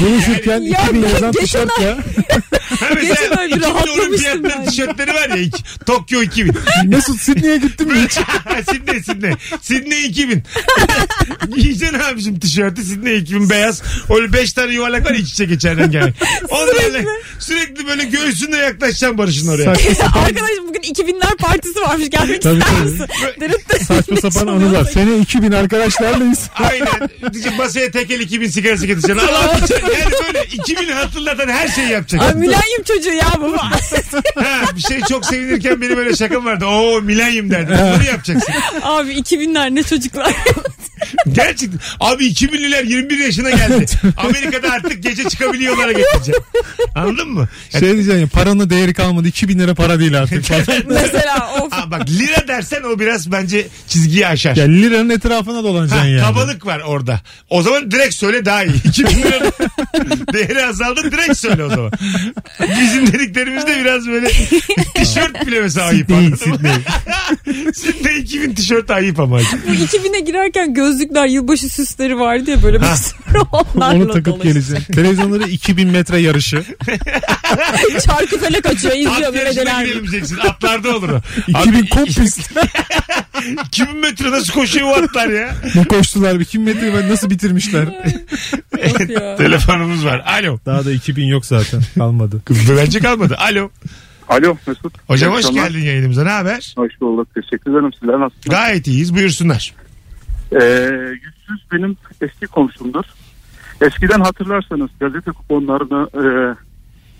Speaker 3: Buluşurken
Speaker 4: Ya 2000 liradan geçen tişört
Speaker 3: ya.
Speaker 2: Ha mesela
Speaker 4: Geçen ay bir
Speaker 2: 2000 onun
Speaker 4: rahatlamıştım
Speaker 2: fiyatları
Speaker 4: ben.
Speaker 2: tişörtleri var ya. iki- Tokyo 2000.
Speaker 3: Mesut Sidney'e gittim
Speaker 2: [LAUGHS]
Speaker 3: hiç.
Speaker 2: Sidney Sidney. Sidney [LAUGHS] 2000. Giyeceksin abicim tişörtü Sidney 2000 beyaz. Öyle 5 tane yuvarlak var iç içe geçerden gelen. Onlarla sürekli böyle göğsünle yaklaşacaksın Barış'ın oraya.
Speaker 4: Arkadaş bugün 2000'ler partisi varmış
Speaker 3: [LAUGHS]
Speaker 4: gelmek
Speaker 3: Tabii,
Speaker 4: ister
Speaker 3: tabii.
Speaker 4: misin? Derip de
Speaker 3: Saçma sapan anılar. Sene 2000 arkadaşlarlayız.
Speaker 2: Aynen. Diyecek, masaya tekel 2000 sigara sıkıtacaksın. Allah Allah. Yani böyle 2000 hatırlatan her şeyi
Speaker 4: [LAUGHS] Ay
Speaker 2: yapacaksın.
Speaker 4: milenyum çocuğu ya bu. [LAUGHS]
Speaker 2: Ha, bir şey çok sevinirken benim öyle şakam vardı. Oo milenyum derdim. Bunu yapacaksın.
Speaker 4: Abi 2000'ler ne çocuklar. [LAUGHS]
Speaker 2: Gerçekten. Abi 2000'liler 21 yaşına geldi. Amerika'da artık gece çıkabiliyorlara getireceğim. Anladın mı?
Speaker 3: [LAUGHS] Şey diyeceksin ya paranın değeri kalmadı. 2000 lira para
Speaker 2: [LAUGHS]
Speaker 3: değil artık. falan.
Speaker 4: Mesela of.
Speaker 2: Ha bak lira dersen o biraz bence çizgiyi aşar.
Speaker 3: ya liranın etrafına
Speaker 2: Ha,
Speaker 3: dolanacaksın yani.
Speaker 2: Kabalık var orada. O zaman direkt söyle daha iyi. 2000 lira değeri azaldı direkt söyle o zaman. Bizim dediklerimiz de biraz böyle tişört bile mesela ayıp.
Speaker 3: Sidney,
Speaker 2: anladın
Speaker 4: [LAUGHS]
Speaker 2: mı? Sidney 2000 tişört ayıp ama.
Speaker 3: [LAUGHS]
Speaker 4: Bu 2000'e girerken gözlükler yılbaşı süsleri vardı ya böyle bir
Speaker 3: [LAUGHS]
Speaker 4: sürü onlarla
Speaker 3: Onu takıp
Speaker 4: dolaşıyor.
Speaker 3: geleceksin. Televizyonları 2000 metre yarışı.
Speaker 4: [LAUGHS] Çarkı felek açıyor
Speaker 2: At
Speaker 4: izliyor böyle
Speaker 2: yarışına
Speaker 4: neler.
Speaker 2: gidelim diyeceksin. Atlarda olur o.
Speaker 3: 2000 kum pist.
Speaker 2: 2000 metre nasıl koşuyor o atlar ya?
Speaker 3: Ne koştular? 2000 metreyi ben nasıl bitirmişler?
Speaker 4: Of ya.
Speaker 2: Telefonumuz var. Alo.
Speaker 3: [LAUGHS] Daha da 2000 yok zaten. Kalmadı.
Speaker 2: Bence kalmadı. Alo.
Speaker 5: Alo Mesut.
Speaker 2: Hocam hoş
Speaker 5: Akşamlar.
Speaker 2: geldin yayınımıza. Ne haber?
Speaker 5: Hoş bulduk. Teşekkür ederim. Sizler nasılsınız?
Speaker 2: Gayet iyiyiz. Buyursunlar.
Speaker 5: Ee, yüzsüz benim eski komşumdur. Eskiden hatırlarsanız gazete kuponlarını e,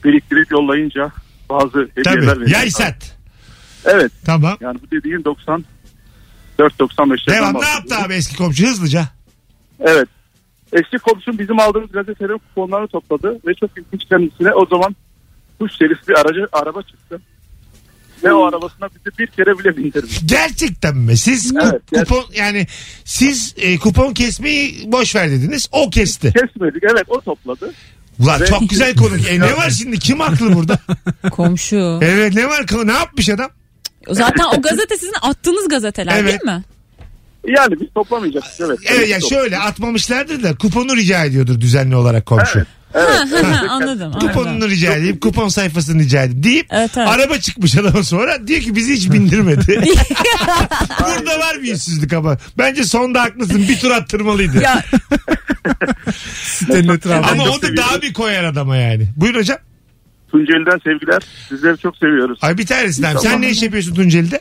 Speaker 5: biriktirip yollayınca bazı hediyeler
Speaker 2: Tabii.
Speaker 5: veriyorlar.
Speaker 2: Yaysat.
Speaker 5: Evet.
Speaker 2: Tamam.
Speaker 5: Yani bu dediğin 90 4.95'ten
Speaker 2: Devam. Ne yaptı abi eski komşu hızlıca?
Speaker 5: Evet. Eski komşum bizim aldığımız gazetelerin kuponlarını topladı ve çok ilginç kendisine o zaman kuş serisi bir aracı, araba çıktı.
Speaker 6: Ve o arabasına bizi bir kere bile bindirdi.
Speaker 2: Gerçekten mi? Siz ku-
Speaker 6: Evet, gerçekten.
Speaker 2: kupon yani siz e, kupon kesmeyi boş ver dediniz. O kesti.
Speaker 6: Kesmedik evet o topladı.
Speaker 2: Ulan çok güzel konu. E, ne var şimdi? Kim haklı burada?
Speaker 4: Komşu.
Speaker 2: Evet ne var? Ne yapmış adam?
Speaker 4: Zaten o gazete sizin attığınız gazeteler
Speaker 2: Evet.
Speaker 4: değil mi?
Speaker 6: Yani biz toplamayacaktık evet.
Speaker 2: Evet E, ya şöyle atmamışlardır da kuponu rica ediyordur düzenli olarak komşu.
Speaker 4: Ha, ha, ha,
Speaker 3: [LAUGHS]
Speaker 4: anladım. anladım.
Speaker 2: Kuponunu rica edeyim, kupon sayfasını rica edeyim deyip
Speaker 4: Evet, evet.
Speaker 2: araba çıkmış adama sonra diyor ki bizi hiç bindirmedi.
Speaker 4: [LAUGHS]
Speaker 2: Burada var bir yüzsüzlük ama bence sonda haklısın bir tur attırmalıydı.
Speaker 4: [LAUGHS] Ya
Speaker 3: Sitenin etrafında.
Speaker 2: ama
Speaker 6: çok
Speaker 2: o da
Speaker 6: seviyorum.
Speaker 2: daha bir koyar adama yani. Buyur hocam.
Speaker 6: Tunceli'den sevgiler. Sizleri çok seviyoruz.
Speaker 2: Ay bir tanesinden. Sen ne iş yapıyorsun Tunceli'de?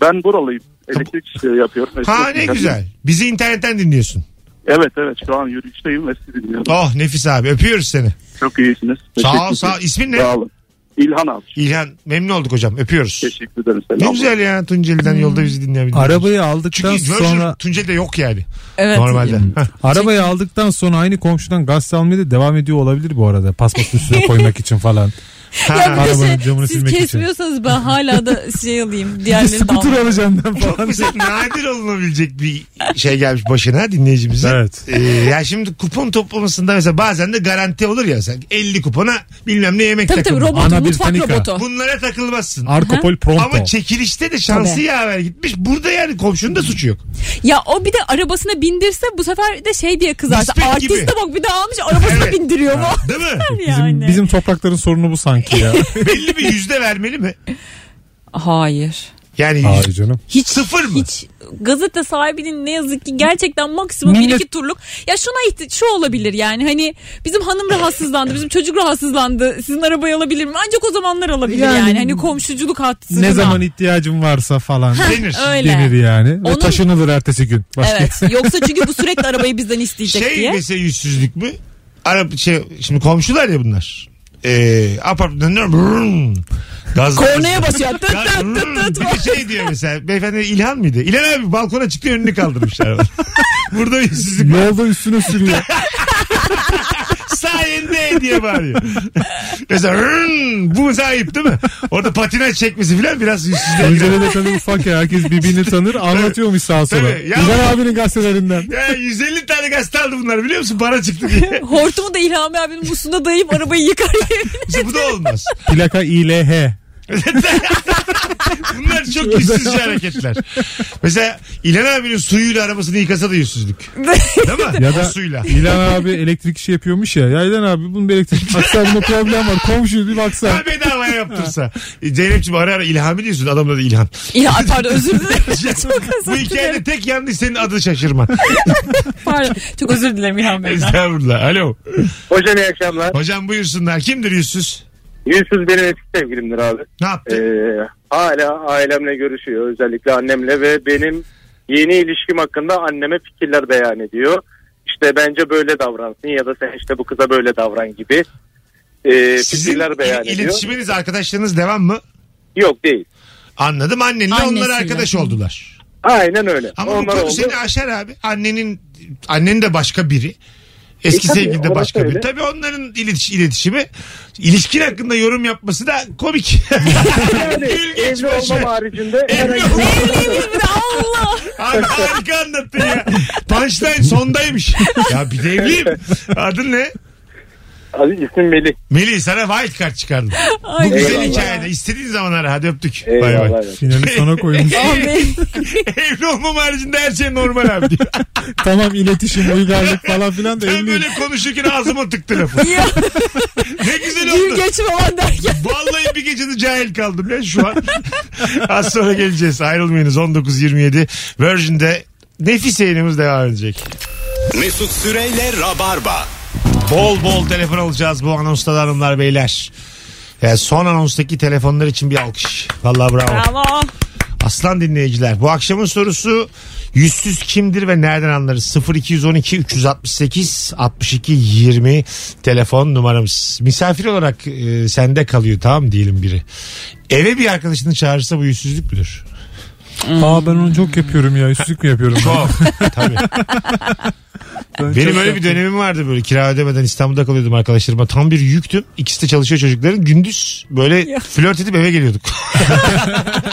Speaker 6: Ben buralıyım. Elektrik işleri yapıyorum.
Speaker 2: Ha
Speaker 6: Elektrik
Speaker 2: ne
Speaker 6: işleri.
Speaker 2: güzel. Bizi internetten dinliyorsun.
Speaker 6: Evet evet şu an yürüyüşteyim ve sizi dinliyorum.
Speaker 2: Oh nefis abi öpüyoruz seni.
Speaker 6: Çok iyisiniz.
Speaker 2: Sağ ol
Speaker 6: Teşekkür
Speaker 2: sağ ol.
Speaker 6: ederim.
Speaker 2: İsmin ne?
Speaker 6: Sağ olun. İlhan abi.
Speaker 2: İlhan memnun olduk hocam öpüyoruz.
Speaker 6: Teşekkür ederim.
Speaker 2: Ne
Speaker 6: Selam.
Speaker 2: güzel ya Tunceli'den yolda bizi dinleyebildiğiniz.
Speaker 3: Arabayı aldıktan
Speaker 2: Çünkü
Speaker 3: sonra
Speaker 2: sonra... Tunceli'de yok yani.
Speaker 4: evet.
Speaker 2: Normalde. Hah.
Speaker 3: arabayı aldıktan sonra aynı komşudan gaz almaya da devam ediyor olabilir bu arada. Paspas üstüne koymak için falan.
Speaker 4: Ya bir de
Speaker 3: Arabanın
Speaker 4: şey,
Speaker 3: camını
Speaker 4: siz
Speaker 3: silmek için.
Speaker 4: kesmiyorsanız ben hala da şey alayım. Diğerleri
Speaker 3: Skuter
Speaker 4: de
Speaker 3: alacağım ben
Speaker 2: [LAUGHS] Çok
Speaker 3: falan.
Speaker 2: bize nadir olunabilecek bir şey gelmiş başına dinleyicimizin.
Speaker 3: Evet.
Speaker 2: Ee, ya şimdi kupon toplamasında mesela bazen de garanti olur ya sen 50 kupona bilmem ne yemek
Speaker 4: Tabii tabii
Speaker 2: takımı.
Speaker 4: robotu,
Speaker 3: Ana bir
Speaker 4: mutfak
Speaker 3: panika.
Speaker 4: robotu.
Speaker 2: Bunlara takılmazsın.
Speaker 3: Arkopol
Speaker 2: Ama
Speaker 3: Pronto.
Speaker 2: çekilişte de şansı
Speaker 4: Tabii.
Speaker 2: yaver gitmiş. Burada yani komşunun da suçu yok.
Speaker 4: Ya o bir de arabasına bindirse bu sefer de şey diye kızarsa.
Speaker 2: Nispet
Speaker 4: Artist
Speaker 2: gibi.
Speaker 4: de bak bir de almış arabasına
Speaker 2: Evet.
Speaker 4: bindiriyor mu?
Speaker 2: Değil mi?
Speaker 3: Bizim,
Speaker 4: yani.
Speaker 3: bizim toprakların sorunu bu sanki ya.
Speaker 2: Belli bir yüzde vermeli mi?
Speaker 4: Hayır.
Speaker 2: Yani
Speaker 3: Hayır
Speaker 2: yüz-
Speaker 3: canım.
Speaker 4: Hiç,
Speaker 2: Sıfır mı?
Speaker 4: Hiç gazete sahibinin ne yazık ki gerçekten maksimum bir
Speaker 3: Millet-
Speaker 4: iki turluk. Ya şuna ihti- şu olabilir yani hani bizim hanım rahatsızlandı, bizim çocuk rahatsızlandı. Sizin arabayı alabilir mi? Ancak o zamanlar alabilir yani.
Speaker 3: Yani-
Speaker 4: Hani komşuculuk hattı.
Speaker 3: ne zaman ihtiyacım varsa falan
Speaker 2: denir.
Speaker 4: öyle.
Speaker 3: denir yani. Ve
Speaker 4: Onun-
Speaker 3: taşınılır ertesi gün. Başka
Speaker 4: Evet. Yoksa çünkü bu sürekli arabayı bizden isteyecek
Speaker 2: Şey
Speaker 4: diye.
Speaker 2: mesela yüzsüzlük mü? Arap şey, şimdi komşular ya bunlar. Ee, apartmanın önüne brrrm. Gaz
Speaker 4: Kornaya basıyor. Tıt
Speaker 2: Ya,
Speaker 4: tıt
Speaker 2: hmm,
Speaker 4: tıt tıt.
Speaker 2: bir de şey diyor mesela beyefendi İlhan mıydı? İlhan abi balkona çıktı önünü kaldırmışlar. [LAUGHS] Burada yüzsüzlük var.
Speaker 3: Yolda üstüne sürüyor.
Speaker 2: sayende diye bağırıyor. mesela "Hırn!" bu mesela ayıp değil mi? Orada patinaj çekmesi falan biraz yüzsüzlüğe girer.
Speaker 3: Tunceli de tabii ufak ya. Herkes birbirini tanır. Anlatıyormuş sağa sola.
Speaker 2: Tabii. Ya-
Speaker 3: İlhan abinin gazetelerinden.
Speaker 2: Ya 150 tane gazete aldı bunlar biliyor musun? Bana çıktı
Speaker 3: [LAUGHS]
Speaker 2: diye.
Speaker 4: Hortumu da İlhami abinin musluğuna dayayıp arabayı yıkar.
Speaker 2: İşte bu da olmaz.
Speaker 3: Plaka İLH.
Speaker 2: Bunlar çok yüzsüzce hareketler. Mesela İlhan abinin suyuyla arabasını yıkasa da yüzsüzlük. Değil mi?
Speaker 3: Ya da-
Speaker 2: O suyla.
Speaker 3: İlhan abi elektrik işi yapıyormuş ya. Ya İlhan abi bunun bir elektrik Baksa bunda problem var. Komşu bir
Speaker 2: [LAUGHS]
Speaker 3: baksa.
Speaker 2: Ha bedavaya yaptırsa. E, Zeynep'ciğim ara ara İlhami diyorsun. Adamın adı İlhan.
Speaker 4: İlhami pardon özür
Speaker 2: [LAUGHS]
Speaker 4: dilerim. Çok
Speaker 2: Bu
Speaker 4: özür dilerim.
Speaker 2: hikayede tek yanlış senin adı
Speaker 3: [LAUGHS]
Speaker 2: şaşırman.
Speaker 4: Pardon. Çok özür dilerim İlhami Bey'den.
Speaker 2: Estağfurullah. Alo.
Speaker 7: Hocam iyi akşamlar.
Speaker 2: Hocam buyursunlar. Kimdir yüzsüz?
Speaker 7: Yüzsüz benim eski sevgilimdir abi.
Speaker 2: Ne yaptı?
Speaker 7: Ee, hala ailemle görüşüyor özellikle annemle ve benim yeni ilişkim hakkında anneme fikirler beyan ediyor. İşte bence böyle davransın ya da sen işte bu kıza böyle davran gibi ee,
Speaker 2: Sizin
Speaker 7: fikirler beyan
Speaker 2: il-
Speaker 7: ediyor.
Speaker 2: iletişiminiz, arkadaşlarınız devam mı?
Speaker 7: Yok değil.
Speaker 2: Anladım. Annenle onlar
Speaker 4: Annesiyle.
Speaker 2: arkadaş oldular.
Speaker 7: Aynen öyle.
Speaker 2: Ama bu
Speaker 7: Onlar
Speaker 2: konu
Speaker 7: oldu.
Speaker 2: seni aşar abi. Annenin annen de başka biri. Eski
Speaker 7: E tabii,
Speaker 2: sevgili de
Speaker 7: orası
Speaker 2: başka biri.
Speaker 7: öyle.
Speaker 2: Tabii onların iletiş, iletişimi ilişkin hakkında yorum yapması da
Speaker 7: [LAUGHS]
Speaker 2: komik.
Speaker 7: Yani
Speaker 2: İlginç
Speaker 7: evli
Speaker 2: başlar.
Speaker 7: olmam haricinde
Speaker 2: Evli
Speaker 7: herhangi
Speaker 2: olmam.
Speaker 4: Evliymiş bir de Allah.
Speaker 2: Abi harika anlattın
Speaker 7: [LAUGHS]
Speaker 2: ya. Punchline sondaymış. ya bir de evliyim. Adın ne?
Speaker 7: Abi isim Melih.
Speaker 2: Melih sana wild card çıkardım.
Speaker 4: Ay,
Speaker 2: Bu güzel
Speaker 7: Eyvallah.
Speaker 2: hikayede. İstediğin zaman ara. Hadi öptük. Bay bay.
Speaker 7: Eyvallah.
Speaker 3: Finali sona koymuş.
Speaker 4: Abi.
Speaker 2: [LAUGHS] Evli olmam haricinde her şey normal
Speaker 7: [LAUGHS]
Speaker 2: abi diyor.
Speaker 3: tamam iletişim, uygarlık falan filan da
Speaker 2: Ben
Speaker 3: elli.
Speaker 2: böyle konuşurken ağzıma tıktı lafı.
Speaker 4: Ya,
Speaker 2: Ne güzel
Speaker 4: gir
Speaker 2: oldu.
Speaker 4: geçme falan derken.
Speaker 2: Vallahi bir gecede cahil kaldım ya şu an. [LAUGHS] Az sonra geleceğiz. Ayrılmayınız 19.27. Virgin'de nefis yayınımız devam edecek.
Speaker 1: Mesut Süreyle Rabarba.
Speaker 2: Bol bol telefon alacağız bu anonsta da hanımlar beyler. Yani son anonstaki telefonlar için bir alkış. Vallahi bravo.
Speaker 4: Bravo.
Speaker 2: Aslan dinleyiciler bu akşamın sorusu yüzsüz kimdir ve nereden anlarız? 0212 368 62 20 telefon numaramız. Misafir olarak e, sende kalıyor tamam mı diyelim biri. Eve bir arkadaşını çağırırsa bu yüzsüzlük müdür? [LAUGHS]
Speaker 3: Aa ben onu çok yapıyorum ya. Üstlük mü yapıyorum?
Speaker 2: Çok. Tabii. Benim öyle bir dönemim vardı böyle kira ödemeden İstanbul'da kalıyordum arkadaşlarıma. Tam bir yüktüm. İkisi de çalışıyor çocukların. Gündüz böyle
Speaker 4: Ya.
Speaker 2: flört edip eve geliyorduk. [LAUGHS]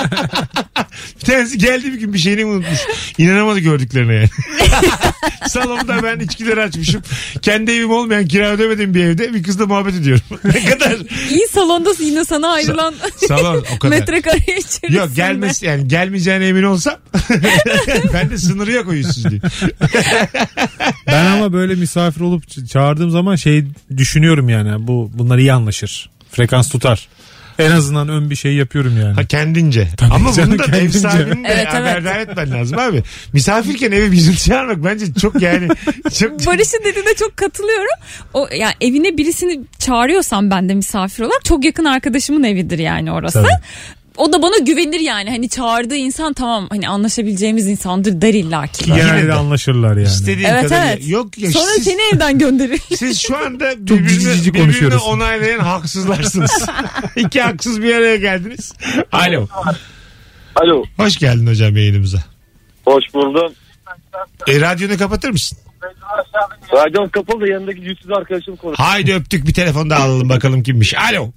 Speaker 2: bir tanesi geldi bir gün bir şeyini unutmuş. İnanamadı gördüklerine yani. [LAUGHS] Salonda ben içkileri açmışım. Kendi evim olmayan kira ödemediğim bir evde bir kızla muhabbet ediyorum. [LAUGHS] ne kadar
Speaker 4: İyi salonda yine sana ayrılan
Speaker 2: salon o kadar.
Speaker 4: metrekare içerisinde.
Speaker 2: Yok gelmesi yani gelmeyeceğine emin olsam [LAUGHS] ben de sınırı yok o yüzsüzlüğün.
Speaker 3: Ben ama böyle misafir olup ç- çağırdığım zaman şey düşünüyorum yani bu bunlar iyi anlaşır. Frekans tutar. En azından ön bir şey yapıyorum yani.
Speaker 2: Ha kendince.
Speaker 3: Tabii
Speaker 2: Ama
Speaker 3: canım,
Speaker 2: bunu da ev
Speaker 3: kendince.
Speaker 2: sahibinin de
Speaker 4: Evet, evet.
Speaker 2: haberdar etmen lazım abi. Misafirken eve bizim çağırmak bence çok yani çok
Speaker 4: Barış'ın dediğine çok katılıyorum. O yani evine birisini çağırıyorsam ben de misafir olarak çok yakın arkadaşımın evidir yani orası.
Speaker 3: Tabii.
Speaker 4: O da bana güvenir yani hani çağırdığı insan tamam hani anlaşabileceğimiz insandır der illa ki.
Speaker 3: Ki Genelde de anlaşırlar yani.
Speaker 2: istediğin
Speaker 4: Evet
Speaker 2: kadar.
Speaker 4: evet.
Speaker 2: Yok ya
Speaker 4: Sonra
Speaker 2: siz,
Speaker 4: seni
Speaker 2: [LAUGHS]
Speaker 4: evden gönderir.
Speaker 2: siz şu
Speaker 4: [LAUGHS]
Speaker 2: anda
Speaker 3: cici
Speaker 2: birbirini,
Speaker 3: cici
Speaker 2: birbirini
Speaker 3: konuşuyoruz.
Speaker 2: onaylayan
Speaker 3: [LAUGHS]
Speaker 2: haksızlarsınız. İki haksız bir araya geldiniz. Alo.
Speaker 5: Alo.
Speaker 2: Hoş geldin hocam yayınımıza.
Speaker 5: Hoş buldum.
Speaker 2: E, radyonu kapatır mısın?
Speaker 5: Radyom kapalı da yanındaki yüzsüz arkadaşım konuşuyor.
Speaker 2: Haydi öptük bir telefon daha alalım bakalım kimmiş. Alo.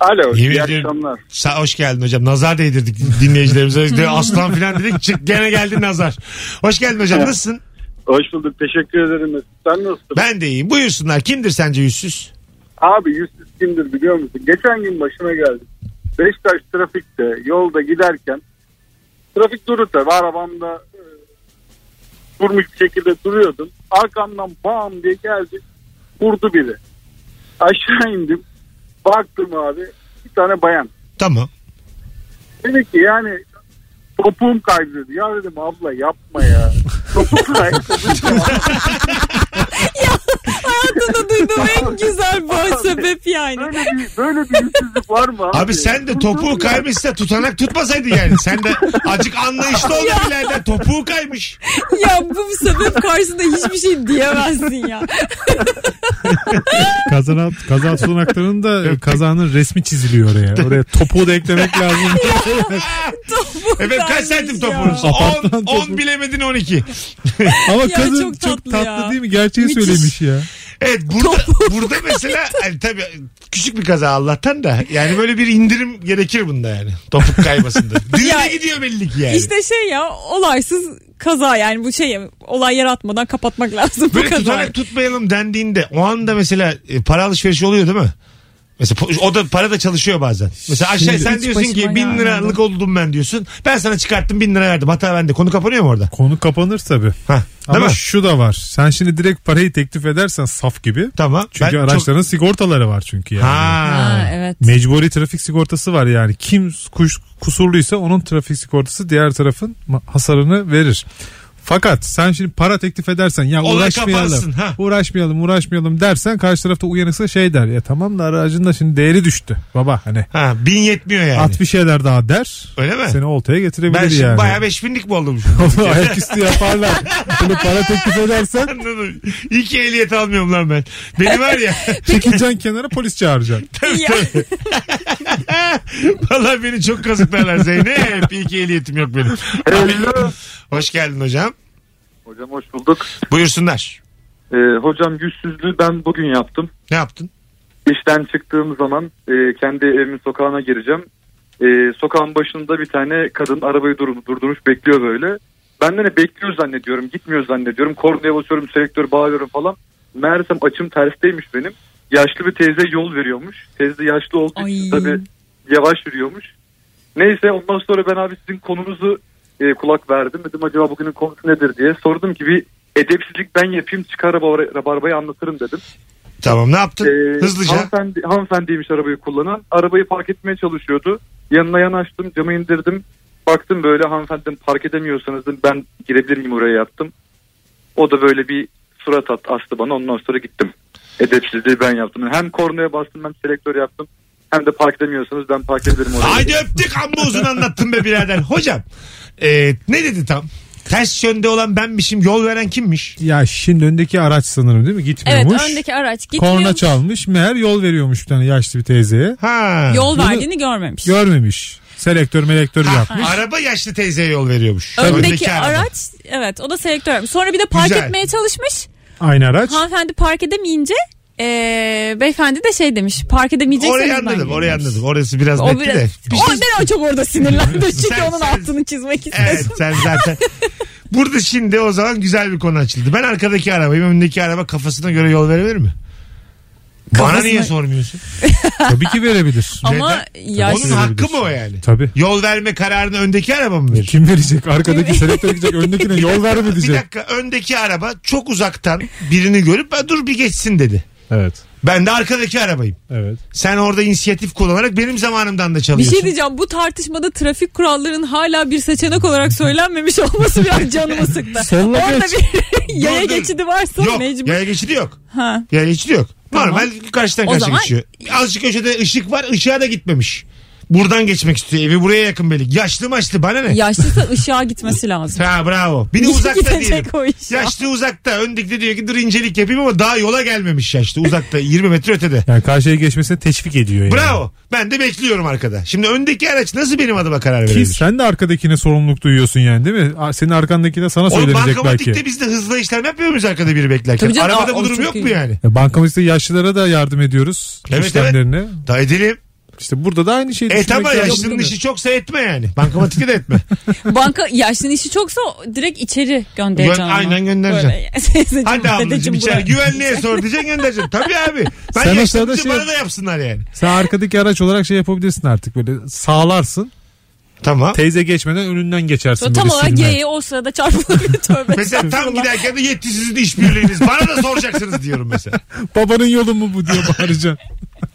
Speaker 5: Alo.
Speaker 2: Yemin
Speaker 5: iyi
Speaker 2: ediyorum.
Speaker 5: akşamlar.
Speaker 2: Sa hoş geldin hocam. Nazar değdirdik dinleyicilerimize. De Aslan filan dedik. Çık gene geldi nazar. Hoş geldin hocam. Nasılsın?
Speaker 5: Hoş bulduk. Teşekkür ederim. Sen nasılsın?
Speaker 2: Ben de iyiyim. Buyursunlar. Kimdir sence yüzsüz?
Speaker 5: Abi yüzsüz kimdir biliyor musun? Geçen gün başına geldi. Beşiktaş trafikte yolda giderken trafik durur tabii arabamda e, durmuş bir şekilde duruyordum. Arkamdan bam diye geldi vurdu biri. Aşağı indim baktım abi bir tane bayan.
Speaker 2: Tamam.
Speaker 5: Dedi ki yani topuğum kaydı dedi. Ya dedim abla yapma ya. Topuğum kaydı.
Speaker 4: Hayatımda duyduğum en güzel bu sebep yani.
Speaker 5: Böyle bir, böyle bir yüzsüzlük var mı abi?
Speaker 2: Abi sen de topuğu kaymışsa tutanak tutmasaydın yani. Sen de acık
Speaker 4: [LAUGHS]
Speaker 2: anlayışlı ol birader. Topuğu kaymış.
Speaker 4: Ya bu sebep karşısında hiçbir şey diyemezsin ya.
Speaker 3: Kazanan, kaza sunaklarının da kazanın resmi çiziliyor oraya. Oraya topuğu da eklemek
Speaker 4: [LAUGHS]
Speaker 3: lazım.
Speaker 4: Topuğu
Speaker 2: Evet kaç
Speaker 4: kaymış
Speaker 2: santim
Speaker 4: ya.
Speaker 2: topuğunuz?
Speaker 3: [LAUGHS] Apartman
Speaker 2: 10, 10
Speaker 3: topuğu.
Speaker 2: bilemedin 12.
Speaker 3: Ama
Speaker 4: Ya
Speaker 3: kadın çok
Speaker 4: çok
Speaker 3: tatlı,
Speaker 4: tatlı ya.
Speaker 3: değil mi? Gerçeği
Speaker 4: Müthiş.
Speaker 3: söylemiş ya.
Speaker 2: Evet burada [LAUGHS] burada mesela hani tabii küçük bir kaza Allah'tan da yani böyle bir indirim gerekir bunda yani. Topuk kaymasında.
Speaker 4: [LAUGHS] Ya-
Speaker 2: Dile gidiyor belli ki yani.
Speaker 4: İşte şey ya olaysız kaza yani bu şey olay yaratmadan kapatmak lazım bu
Speaker 2: Böyle
Speaker 4: kadar.
Speaker 2: tutanak tutmayalım dendiğinde o anda mesela e, para alışverişi oluyor değil mi? Mesela po- o da para da çalışıyor bazen. Mesela aşağı
Speaker 3: Şimdi
Speaker 2: sen
Speaker 4: hiç
Speaker 2: diyorsun ki
Speaker 4: başıma
Speaker 2: bin liralık
Speaker 4: gelmedi.
Speaker 2: oldum ben diyorsun. Ben sana çıkarttım bin lira verdim. Hata bende. Konu kapanıyor mu orada?
Speaker 3: Konu kapanır tabii.
Speaker 2: Hah,
Speaker 3: Ama
Speaker 2: değil mi?
Speaker 3: şu da var. Sen şimdi direkt parayı teklif edersen saf gibi.
Speaker 2: Tamam.
Speaker 3: Çünkü
Speaker 2: Ben
Speaker 3: araçların sigortaları var çünkü
Speaker 2: Çok...
Speaker 3: yani.
Speaker 2: Ha.
Speaker 4: Ha,
Speaker 2: [LAUGHS]
Speaker 4: evet.
Speaker 3: Mecburi trafik sigortası var yani. Kim kuş, kusurluysa onun trafik sigortası diğer tarafın ma- hasarını verir. Fakat sen şimdi para teklif edersen ya
Speaker 2: Olay kapansın,
Speaker 3: uğraşmayalım,
Speaker 2: ha.
Speaker 3: uğraşmayalım, uğraşmayalım dersen karşı tarafta uyanıksa şey der. Ya tamam da aracın da şimdi değeri düştü baba hani.
Speaker 2: Ha, bin yetmiyor yani.
Speaker 3: At bir şeyler daha der.
Speaker 2: Öyle mi?
Speaker 3: Seni oltaya getirebilir
Speaker 2: ben şimdi
Speaker 3: yani.
Speaker 2: bayağı
Speaker 3: [LAUGHS]
Speaker 2: beş binlik mi oldum?
Speaker 3: Onu ayaküstü yaparlar. Bunu para
Speaker 2: [LAUGHS]
Speaker 3: teklif edersen
Speaker 2: Anladım. [LAUGHS] İyi ki ehliyet almıyorum lan ben. Beni var
Speaker 4: [LAUGHS]
Speaker 2: ya.
Speaker 3: çekileceksin kenara
Speaker 2: [LAUGHS]
Speaker 3: polis çağıracaksın.
Speaker 4: Ya,
Speaker 2: Vallahi beni çok kazıklarlar Zeynep. İyi ki ehliyetim yok benim. Hoş geldin hocam.
Speaker 5: Hocam hoş bulduk.
Speaker 2: Buyursunlar.
Speaker 5: Ee, hocam yüzsüzlüğü ben bugün yaptım.
Speaker 2: Ne yaptın?
Speaker 5: İşten çıktığım zaman e, kendi evimin sokağına gireceğim. E, sokağın başında bir tane kadın arabayı dur- durdurmuş bekliyor böyle. Ben de ne bekliyor zannediyorum gitmiyor zannediyorum. Kornaya basıyorum selektör bağırıyorum falan. Meğersem açım tersteymiş benim. Yaşlı bir teyze yol veriyormuş. Teyze yaşlı olduğu için
Speaker 4: Ay.
Speaker 5: tabii yavaş yürüyormuş. Neyse ondan sonra ben abi sizin konunuzu e, kulak verdim. Dedim acaba bugünün konusu nedir diye. Sordum ki bir edepsizlik ben yapayım çıkar rabar- rabarbayı anlatırım dedim.
Speaker 2: Tamam ne yaptın?
Speaker 5: Ee,
Speaker 2: Hızlıca.
Speaker 5: Hanımefendi, hanımefendiymiş arabayı kullanan. Arabayı park etmeye çalışıyordu. Yanına yanaştım camı indirdim. Baktım böyle hanımefendim park edemiyorsanız dedim, ben girebilir miyim oraya yaptım. O da böyle bir surat at, astı bana ondan sonra gittim. Edepsizliği ben yaptım. Hem kornaya bastım hem selektör yaptım. Hem de park edemiyorsanız ben park ederim oraya.
Speaker 2: Haydi öptük amma uzun anlattın be birader. Hocam e, ne dedi tam? Ters yönde olan benmişim yol veren kimmiş?
Speaker 3: Ya şimdi öndeki araç sanırım değil mi?
Speaker 4: evet
Speaker 3: Gitmiyormuş.
Speaker 4: öndeki araç gitmiyor.
Speaker 3: Korna çalmış meğer yol veriyormuş bir tane yaşlı bir teyzeye.
Speaker 2: Ha.
Speaker 4: Yol
Speaker 3: Bunu-
Speaker 4: verdiğini görmemiş.
Speaker 3: Görmemiş. Selektör melektör yapmış.
Speaker 2: Araba yaşlı teyzeye yol veriyormuş.
Speaker 4: Öndeki araç evet o da selektör. Sonra bir de park
Speaker 2: Güzel.
Speaker 4: etmeye çalışmış.
Speaker 3: Aynı araç.
Speaker 4: Hanımefendi park edemeyince eee, beyefendi de şey demiş park edemeyecekseniz
Speaker 2: Orayı
Speaker 4: ben
Speaker 2: anladım,
Speaker 4: geleyim
Speaker 2: orayı
Speaker 4: demiş.
Speaker 2: anladım. Orası biraz
Speaker 4: O
Speaker 2: netti
Speaker 4: biraz,
Speaker 2: de. Bir
Speaker 4: o,
Speaker 2: şey-
Speaker 4: ben o çok orada sinirlendim çünkü
Speaker 2: [LAUGHS] Sen-
Speaker 4: onun
Speaker 2: sen-
Speaker 4: altını çizmek istedim.
Speaker 2: Evet sen
Speaker 4: [LAUGHS]
Speaker 2: zaten. Burada şimdi o zaman güzel bir konu açıldı. Ben arkadaki arabayım, önündeki araba kafasına göre yol verebilir mi? Bana
Speaker 4: Kafasına-
Speaker 2: niye sormuyorsun?
Speaker 3: Tabii
Speaker 2: [LAUGHS]
Speaker 3: ki verebilir.
Speaker 4: Ama
Speaker 2: Neden? Onun
Speaker 4: yaşlı
Speaker 2: hakkı mı o yani?
Speaker 3: Tabii.
Speaker 2: Yol verme kararını öndeki araba mı verir?
Speaker 3: Kim verecek? Arkadaki selektör gidecek. Öndekine yol verme
Speaker 2: [LAUGHS] Bir
Speaker 3: diyecek.
Speaker 2: dakika öndeki araba çok uzaktan birini görüp "Ben dur bir geçsin dedi.
Speaker 3: Evet.
Speaker 2: Ben de arkadaki arabayım.
Speaker 3: Evet.
Speaker 2: Sen orada inisiyatif kullanarak benim zamanımdan da
Speaker 4: bir
Speaker 2: çalıyorsun.
Speaker 4: şey diyeceğim bu tartışmada trafik kurallarının hala bir seçenek olarak söylenmemiş
Speaker 2: [LAUGHS]
Speaker 4: olması biraz canımı sıktı.
Speaker 3: Solla
Speaker 4: Orada
Speaker 3: geç.
Speaker 4: bir [LAUGHS] yaya
Speaker 2: Dur, dur.
Speaker 4: geçidi varsa
Speaker 2: Yok
Speaker 4: mecbur.
Speaker 2: yaya geçidi yok.
Speaker 4: Ha.
Speaker 2: Yaya geçidi yok.
Speaker 4: Tamam.
Speaker 2: Normal karşıdan
Speaker 4: O
Speaker 2: karşıya
Speaker 4: zaman-
Speaker 2: geçiyor. Azıcık köşede ışık var ışığa da gitmemiş. Buradan geçmek istiyor evi buraya yakın belli. Yaşlı maçlı bana ne?
Speaker 4: Yaşlıysa ışığa gitmesi lazım.
Speaker 2: Ha bravo.
Speaker 4: [LAUGHS]
Speaker 2: Bir de uzakta
Speaker 4: Gidecek
Speaker 2: diyelim.
Speaker 4: o iş ya.
Speaker 2: Yaşlı uzakta. Öndeki de diyor ki dur incelik yapayım ama daha yola gelmemiş yaşlı. Uzakta 20 metre ötede.
Speaker 3: Yani karşıya geçmesine teşvik ediyor yani.
Speaker 2: Bravo. Ben de bekliyorum arkada. Şimdi öndeki araç nasıl benim adıma karar
Speaker 3: Ki
Speaker 2: verebilir?
Speaker 3: sen de arkadakine sorumluluk duyuyorsun yani değil mi? A- Senin arkandaki de sana
Speaker 2: Oğlum
Speaker 3: söylenecek belki.
Speaker 2: bankamatikte biz de hızla işlem yapmıyor muyuz arkada biri beklerken?
Speaker 4: Tabii canım,
Speaker 2: Arabada
Speaker 4: aa,
Speaker 2: bu
Speaker 4: o
Speaker 2: durum
Speaker 4: çok
Speaker 2: yok
Speaker 4: iyi.
Speaker 2: mu yani?
Speaker 3: E, Bankamızda yaşlılara da yardım ediyoruz
Speaker 2: Evet,
Speaker 3: işlemlerine.
Speaker 2: Da edelim.
Speaker 3: İşte burada da aynı şeyi
Speaker 2: E
Speaker 3: düşünmek
Speaker 2: tamam
Speaker 3: lazım
Speaker 2: yaşlının
Speaker 3: değil mi?
Speaker 2: işi çoksa etme yani. Bankamatikte de
Speaker 4: [LAUGHS]
Speaker 2: etme.
Speaker 4: Banka yaşlının işi çoksa direkt içeri göndereceksin.
Speaker 2: Gö-
Speaker 4: onu.
Speaker 2: aynen göndereceksin.
Speaker 4: Böyle, [LAUGHS] teyzeciğim,
Speaker 2: Hadi ablacığım
Speaker 4: dedeciğim,
Speaker 2: içeri
Speaker 4: buraya.
Speaker 2: güvenliğe sor diyeceksin göndereceksin. Tabii abi. Ben
Speaker 3: Sen o
Speaker 2: yaşlının
Speaker 3: sırada
Speaker 2: için
Speaker 3: şey-
Speaker 2: bana da yapsınlar yani.
Speaker 3: Sen arkadaki araç olarak şey yapabilirsin artık böyle sağlarsın.
Speaker 2: Tamam.
Speaker 3: Teyze geçmeden önünden geçersin.
Speaker 4: Sonra tam
Speaker 3: böyle
Speaker 4: olarak
Speaker 3: sinirlen.
Speaker 4: yayaya o sırada
Speaker 2: [LAUGHS]
Speaker 4: çarpılabilir tövbe.
Speaker 2: Mesela tam
Speaker 4: estağfurullah.
Speaker 2: giderken de yetti sizin işbirliğiniz. Bana da soracaksınız diyorum mesela.
Speaker 3: Babanın yolu mu bu diye
Speaker 4: [LAUGHS]
Speaker 3: bağıracaksın.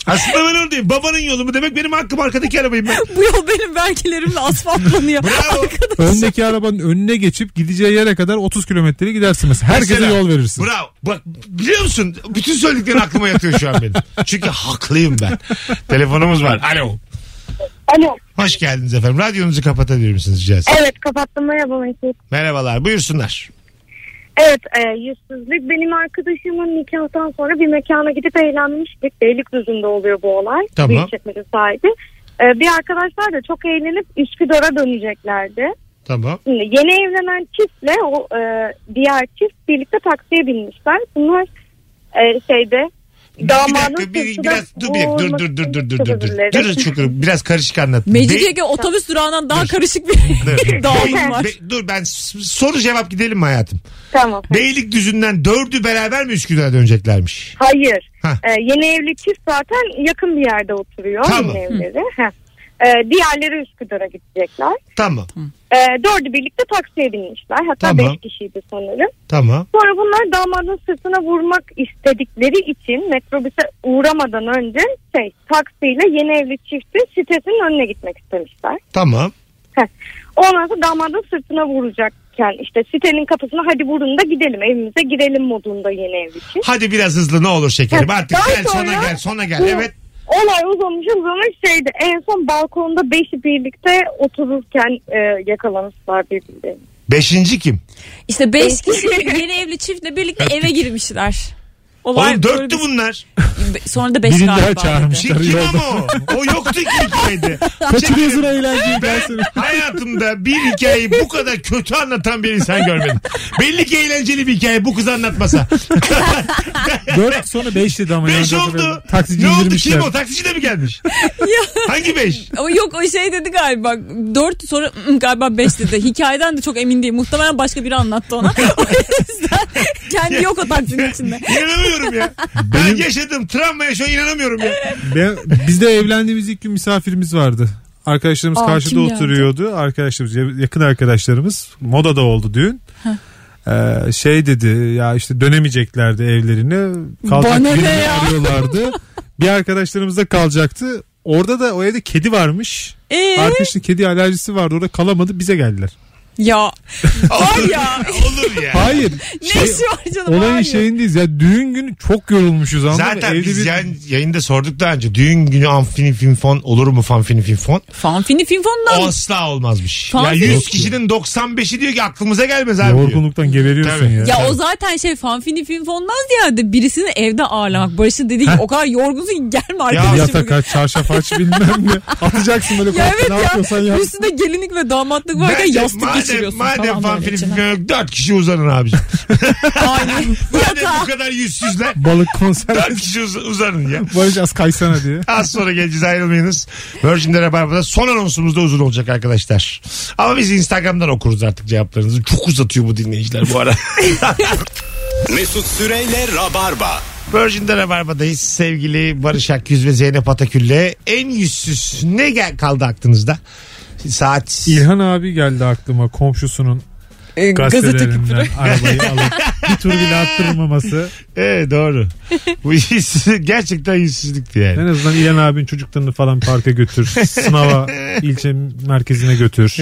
Speaker 2: Aslında ben oradayım. Babanın yolu mu demek benim hakkım arkadaki arabayım ben.
Speaker 4: Bu yol benim vergilerimle asfaltlanıyor.
Speaker 2: Bravo.
Speaker 3: Öndeki arabanın önüne geçip gideceği yere kadar 30 kilometre gidersin mesela. Herkese
Speaker 2: Mesela,
Speaker 3: yol verirsin.
Speaker 2: Bravo. Bak biliyor musun? Bütün söylediklerin aklıma yatıyor şu
Speaker 3: [LAUGHS]
Speaker 2: an benim. Çünkü haklıyım ben. Telefonumuz var. Alo.
Speaker 9: Alo.
Speaker 2: Hoş geldiniz efendim. Radyonuzu kapatabilir misiniz rica etsem?
Speaker 9: Evet kapattım merhaba Mesut.
Speaker 2: Merhabalar. Buyursunlar.
Speaker 9: Evet e, yüzsüzlük benim arkadaşımın nikahtan sonra bir mekana gidip eğlenmiştik. Beylikdüzü'nde oluyor bu olay.
Speaker 2: Tamam.
Speaker 9: Büyükçekmece sahibi. E, bir arkadaşlar da çok eğlenip Üsküdar'a döneceklerdi.
Speaker 2: Tamam.
Speaker 9: Şimdi yeni evlenen çiftle o e, diğer çift birlikte taksiye binmişler. Bunlar e, şeyde
Speaker 2: bir dakika bir,
Speaker 9: sırtına
Speaker 2: biraz dur bir dakika, dur dur dur dur dur dur dur.
Speaker 9: Özür
Speaker 2: Dur
Speaker 9: dilerim.
Speaker 2: çok biraz karışık anlat. Be-
Speaker 4: Mecidiyeköy otobüs durağından daha karışık bir
Speaker 9: [LAUGHS]
Speaker 2: Dur.
Speaker 4: [LAUGHS] dağılım var.
Speaker 2: Be- dur ben s- soru cevap gidelim mi hayatım?
Speaker 9: Tamam.
Speaker 2: Beylik düzünden dördü beraber mi Üsküdar'a döneceklermiş?
Speaker 9: Hayır.
Speaker 2: Hah.
Speaker 9: Ee, yeni evli çift zaten yakın bir yerde oturuyor.
Speaker 2: Tamam.
Speaker 9: Yeni evleri. Heh. Ee, diğerleri Üsküdar'a gidecekler.
Speaker 2: Tamam.
Speaker 9: Ee, dördü birlikte taksiye binmişler. Hatta
Speaker 2: Tamam.
Speaker 9: beş kişiydi sanırım.
Speaker 2: Tamam.
Speaker 9: Sonra bunlar damadın sırtına vurmak istedikleri için metrobüse uğramadan önce şey taksiyle yeni evli çiftin sitesinin önüne gitmek istemişler.
Speaker 2: Tamam.
Speaker 9: Heh. Ondan sonra damadın sırtına vuracakken işte sitenin kapısına hadi vurun da gidelim evimize girelim modunda yeni evli çift.
Speaker 2: Hadi biraz hızlı ne olur şekerim.
Speaker 9: Ha,
Speaker 2: Artık
Speaker 9: daha
Speaker 2: gel sona
Speaker 9: sonra-
Speaker 2: gel sona gel.
Speaker 9: Bu
Speaker 2: Evet.
Speaker 9: Olay uzamış uzamış şeydi. En son balkonda beşi birlikte otururken e, yakalamışlar birbirlerini.
Speaker 2: Beşinci kim?
Speaker 4: İşte beş kişi yeni evli çiftle birlikte eve girmişler. Olay
Speaker 2: Oğlum
Speaker 4: böyle
Speaker 2: dörttü
Speaker 3: [LAUGHS]
Speaker 4: bir-
Speaker 2: bunlar.
Speaker 4: Be- Sonra da beş
Speaker 3: Birini daha
Speaker 4: galiba.
Speaker 3: çağırmış.
Speaker 4: dedi.
Speaker 2: Şimdi kim
Speaker 3: Yolda.
Speaker 2: ama o? O yoktu ki hikayede.
Speaker 3: [LAUGHS] Kaçırıyorsun eğlenceyi ben
Speaker 2: Ben hayatımda bir hikayeyi bu kadar kötü anlatan bir insan görmedim. Belli ki eğlenceli bir hikaye bu kız
Speaker 3: [LAUGHS]
Speaker 2: anlatmasa.
Speaker 3: 4 sonra 5 dedi ama.
Speaker 2: Beş
Speaker 3: yani.
Speaker 2: oldu.
Speaker 3: Taksici
Speaker 2: ne oldu
Speaker 3: indirmişler.
Speaker 2: kim o? Taksici de mi gelmiş? Hangi beş?
Speaker 4: Ama yok o şey dedi galiba. Dört sonra "Mm, galiba beş dedi. Hikayeden de çok emin değil. Muhtemelen başka biri anlattı ona. [LAUGHS] o yüzden kendi yok o taksinin içinde.
Speaker 2: İnanamıyorum ya. Ben
Speaker 3: Benim-
Speaker 2: yaşadım travmaya şu an inanamıyorum
Speaker 3: [LAUGHS]
Speaker 2: ya.
Speaker 3: Ben, bizde evlendiğimiz ilk gün misafirimiz vardı. Arkadaşlarımız
Speaker 4: Aa,
Speaker 3: karşıda
Speaker 4: kim geldi?
Speaker 3: oturuyordu. Arkadaşlarımız ya- yakın arkadaşlarımız. Moda'da oldu düğün. Ee, şey dedi ya işte dönemeyeceklerdi evlerini. Kalacak
Speaker 4: Bana ne
Speaker 3: birini
Speaker 4: ya?
Speaker 3: arıyorlardı. bir arkadaşlarımız da kalacaktı. Orada da o evde kedi varmış.
Speaker 4: Ee,
Speaker 3: Arkadaşın kedi alerjisi vardı orada kalamadı bize geldiler.
Speaker 4: Ya var
Speaker 3: [LAUGHS]
Speaker 4: ya.
Speaker 2: Olur ya.
Speaker 3: Hayır.
Speaker 4: ne
Speaker 3: Şey-
Speaker 4: işi var canım?
Speaker 3: Olayın
Speaker 4: Hayır.
Speaker 3: şeyindeyiz ya düğün günü çok yorulmuşuz anladın mı?
Speaker 2: Zaten
Speaker 3: Evde
Speaker 2: biz
Speaker 3: bir-
Speaker 2: yan- yayında sorduk daha önce. Düğün günü amfini finfon olur mu fanfini finfon?
Speaker 4: Fanfini finfondan.
Speaker 2: Asla olmazmış. Ya
Speaker 4: Fanfini-
Speaker 2: 100 kişinin 95'i diyor ki aklımıza gelmez abi diyor.
Speaker 3: yorgunluktan geberiyorsun
Speaker 2: Tabii.
Speaker 3: ya.
Speaker 4: Ya o zaten şey fanfini finfondan ziyade birisini evde ağırlamak. Barış'ın dediği gibi o kadar yorgunsun ki gelme arkadaşım.
Speaker 3: Yatak aç, çarşaf
Speaker 4: [LAUGHS]
Speaker 3: aç bilmem ne. Atacaksın böyle
Speaker 4: Ya
Speaker 3: korku
Speaker 4: evet
Speaker 3: ne
Speaker 4: ya.
Speaker 3: yapıyorsan yap.
Speaker 4: Üstüne gelinlik ve damatlık varken
Speaker 2: Bence
Speaker 4: yastık geçiriyorsun.
Speaker 2: Madem
Speaker 4: falan
Speaker 2: fanfini
Speaker 4: böyle
Speaker 2: finfon [LAUGHS]
Speaker 4: içine.
Speaker 2: yok 4 kişi uzanın
Speaker 4: [LAUGHS]
Speaker 2: abicim.
Speaker 4: Aynen.
Speaker 2: Madem
Speaker 4: Yatağa.
Speaker 2: bu kadar yüzsüzler
Speaker 3: Balık konser.
Speaker 2: 4 kişi uz- uzanın ya.
Speaker 3: Barış az kaysana
Speaker 4: [LAUGHS]
Speaker 3: diye.
Speaker 2: Az sonra geleceğiz ayrılmayınız. Virgin'de Rabarba'da son anonsumuz da uzun olacak arkadaşlar. Ama biz Instagram'dan okuruz artık cevaplarınızı. Çok uzatıyor bu dinleyiciler bu ara. [LAUGHS]
Speaker 1: Mesut Süreyle Rabarba.
Speaker 2: Virgin'de Rabarba'dayız. Sevgili Barış Akyüz ve Zeynep Atakül'le en yüzsüz ne gel kaldı aklınızda? Saat
Speaker 3: İlhan abi geldi aklıma komşusunun
Speaker 4: E, Gazete
Speaker 3: gazetelerinden
Speaker 4: küpürü.
Speaker 3: [LAUGHS] arabayı alıp bir tur
Speaker 4: [LAUGHS]
Speaker 3: bile attırmaması.
Speaker 2: Evet doğru. Bu yüzsüz, gerçekten yüzsüzlüktü
Speaker 3: En
Speaker 2: yani.
Speaker 3: azından İlhan abinin çocuklarını falan parka götür. Sınava ilçe merkezine götür.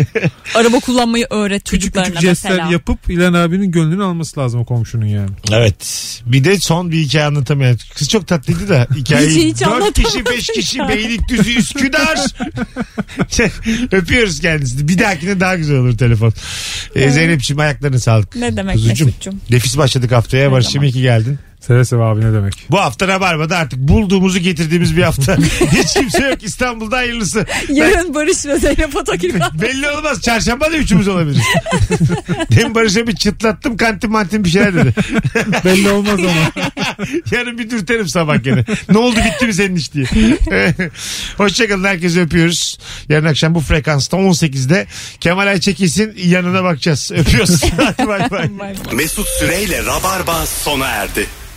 Speaker 4: Araba kullanmayı öğret çocuklarına
Speaker 3: Küçük jestler
Speaker 4: mesela.
Speaker 3: yapıp İlhan abinin gönlünü alması lazım o komşunun yani.
Speaker 2: Evet. Bir de son bir hikaye anlatamayan. Kız çok tatlıydı
Speaker 4: [LAUGHS]
Speaker 2: da
Speaker 4: şey Hiç-
Speaker 2: hikayeyi
Speaker 4: hiç
Speaker 2: 4 kişi
Speaker 4: anlatamadım
Speaker 2: 5 kişi
Speaker 4: ya.
Speaker 2: Beylikdüzü [LAUGHS] Üsküdar. Şey, Öpüyoruz kendisini. Bir dahakine daha güzel olur telefon. Ee, Zeynep'ciğim ayaklarına sağlık.
Speaker 4: Ne demek
Speaker 2: Kuzucuğum.
Speaker 4: Mesut'cum.
Speaker 2: Nefis başladık haftaya. Barış'cığım
Speaker 4: zaman.
Speaker 2: iyi ki geldin.
Speaker 3: Seve seve abi ne demek.
Speaker 4: [LAUGHS]
Speaker 2: Bu hafta Rabarba'da artık bulduğumuzu getirdiğimiz bir hafta. Hiç kimse yok İstanbul'da hayırlısı.
Speaker 4: Yarın Barış ve
Speaker 3: [LAUGHS]
Speaker 4: Zeynep Atakül var.
Speaker 2: Belli olmaz. Çarşamba da üçümüz [LAUGHS] olabilir. Demin Barış'a bir çıtlattım kantin mantin bir şeyler dedi. [LAUGHS]
Speaker 3: Belli olmaz ama.
Speaker 2: Yarın bir dürterim sabah gene. Ne oldu bitti mi senin iş diye. [LAUGHS] Hoşçakalın herkese öpüyoruz. Yarın akşam bu frekansta 18'de Kemal Ayçekil'sin [LAUGHS] yanına bakacağız. Öpüyoruz. Hadi bay bay.
Speaker 1: Mesut Süreyle Rabarba sona erdi.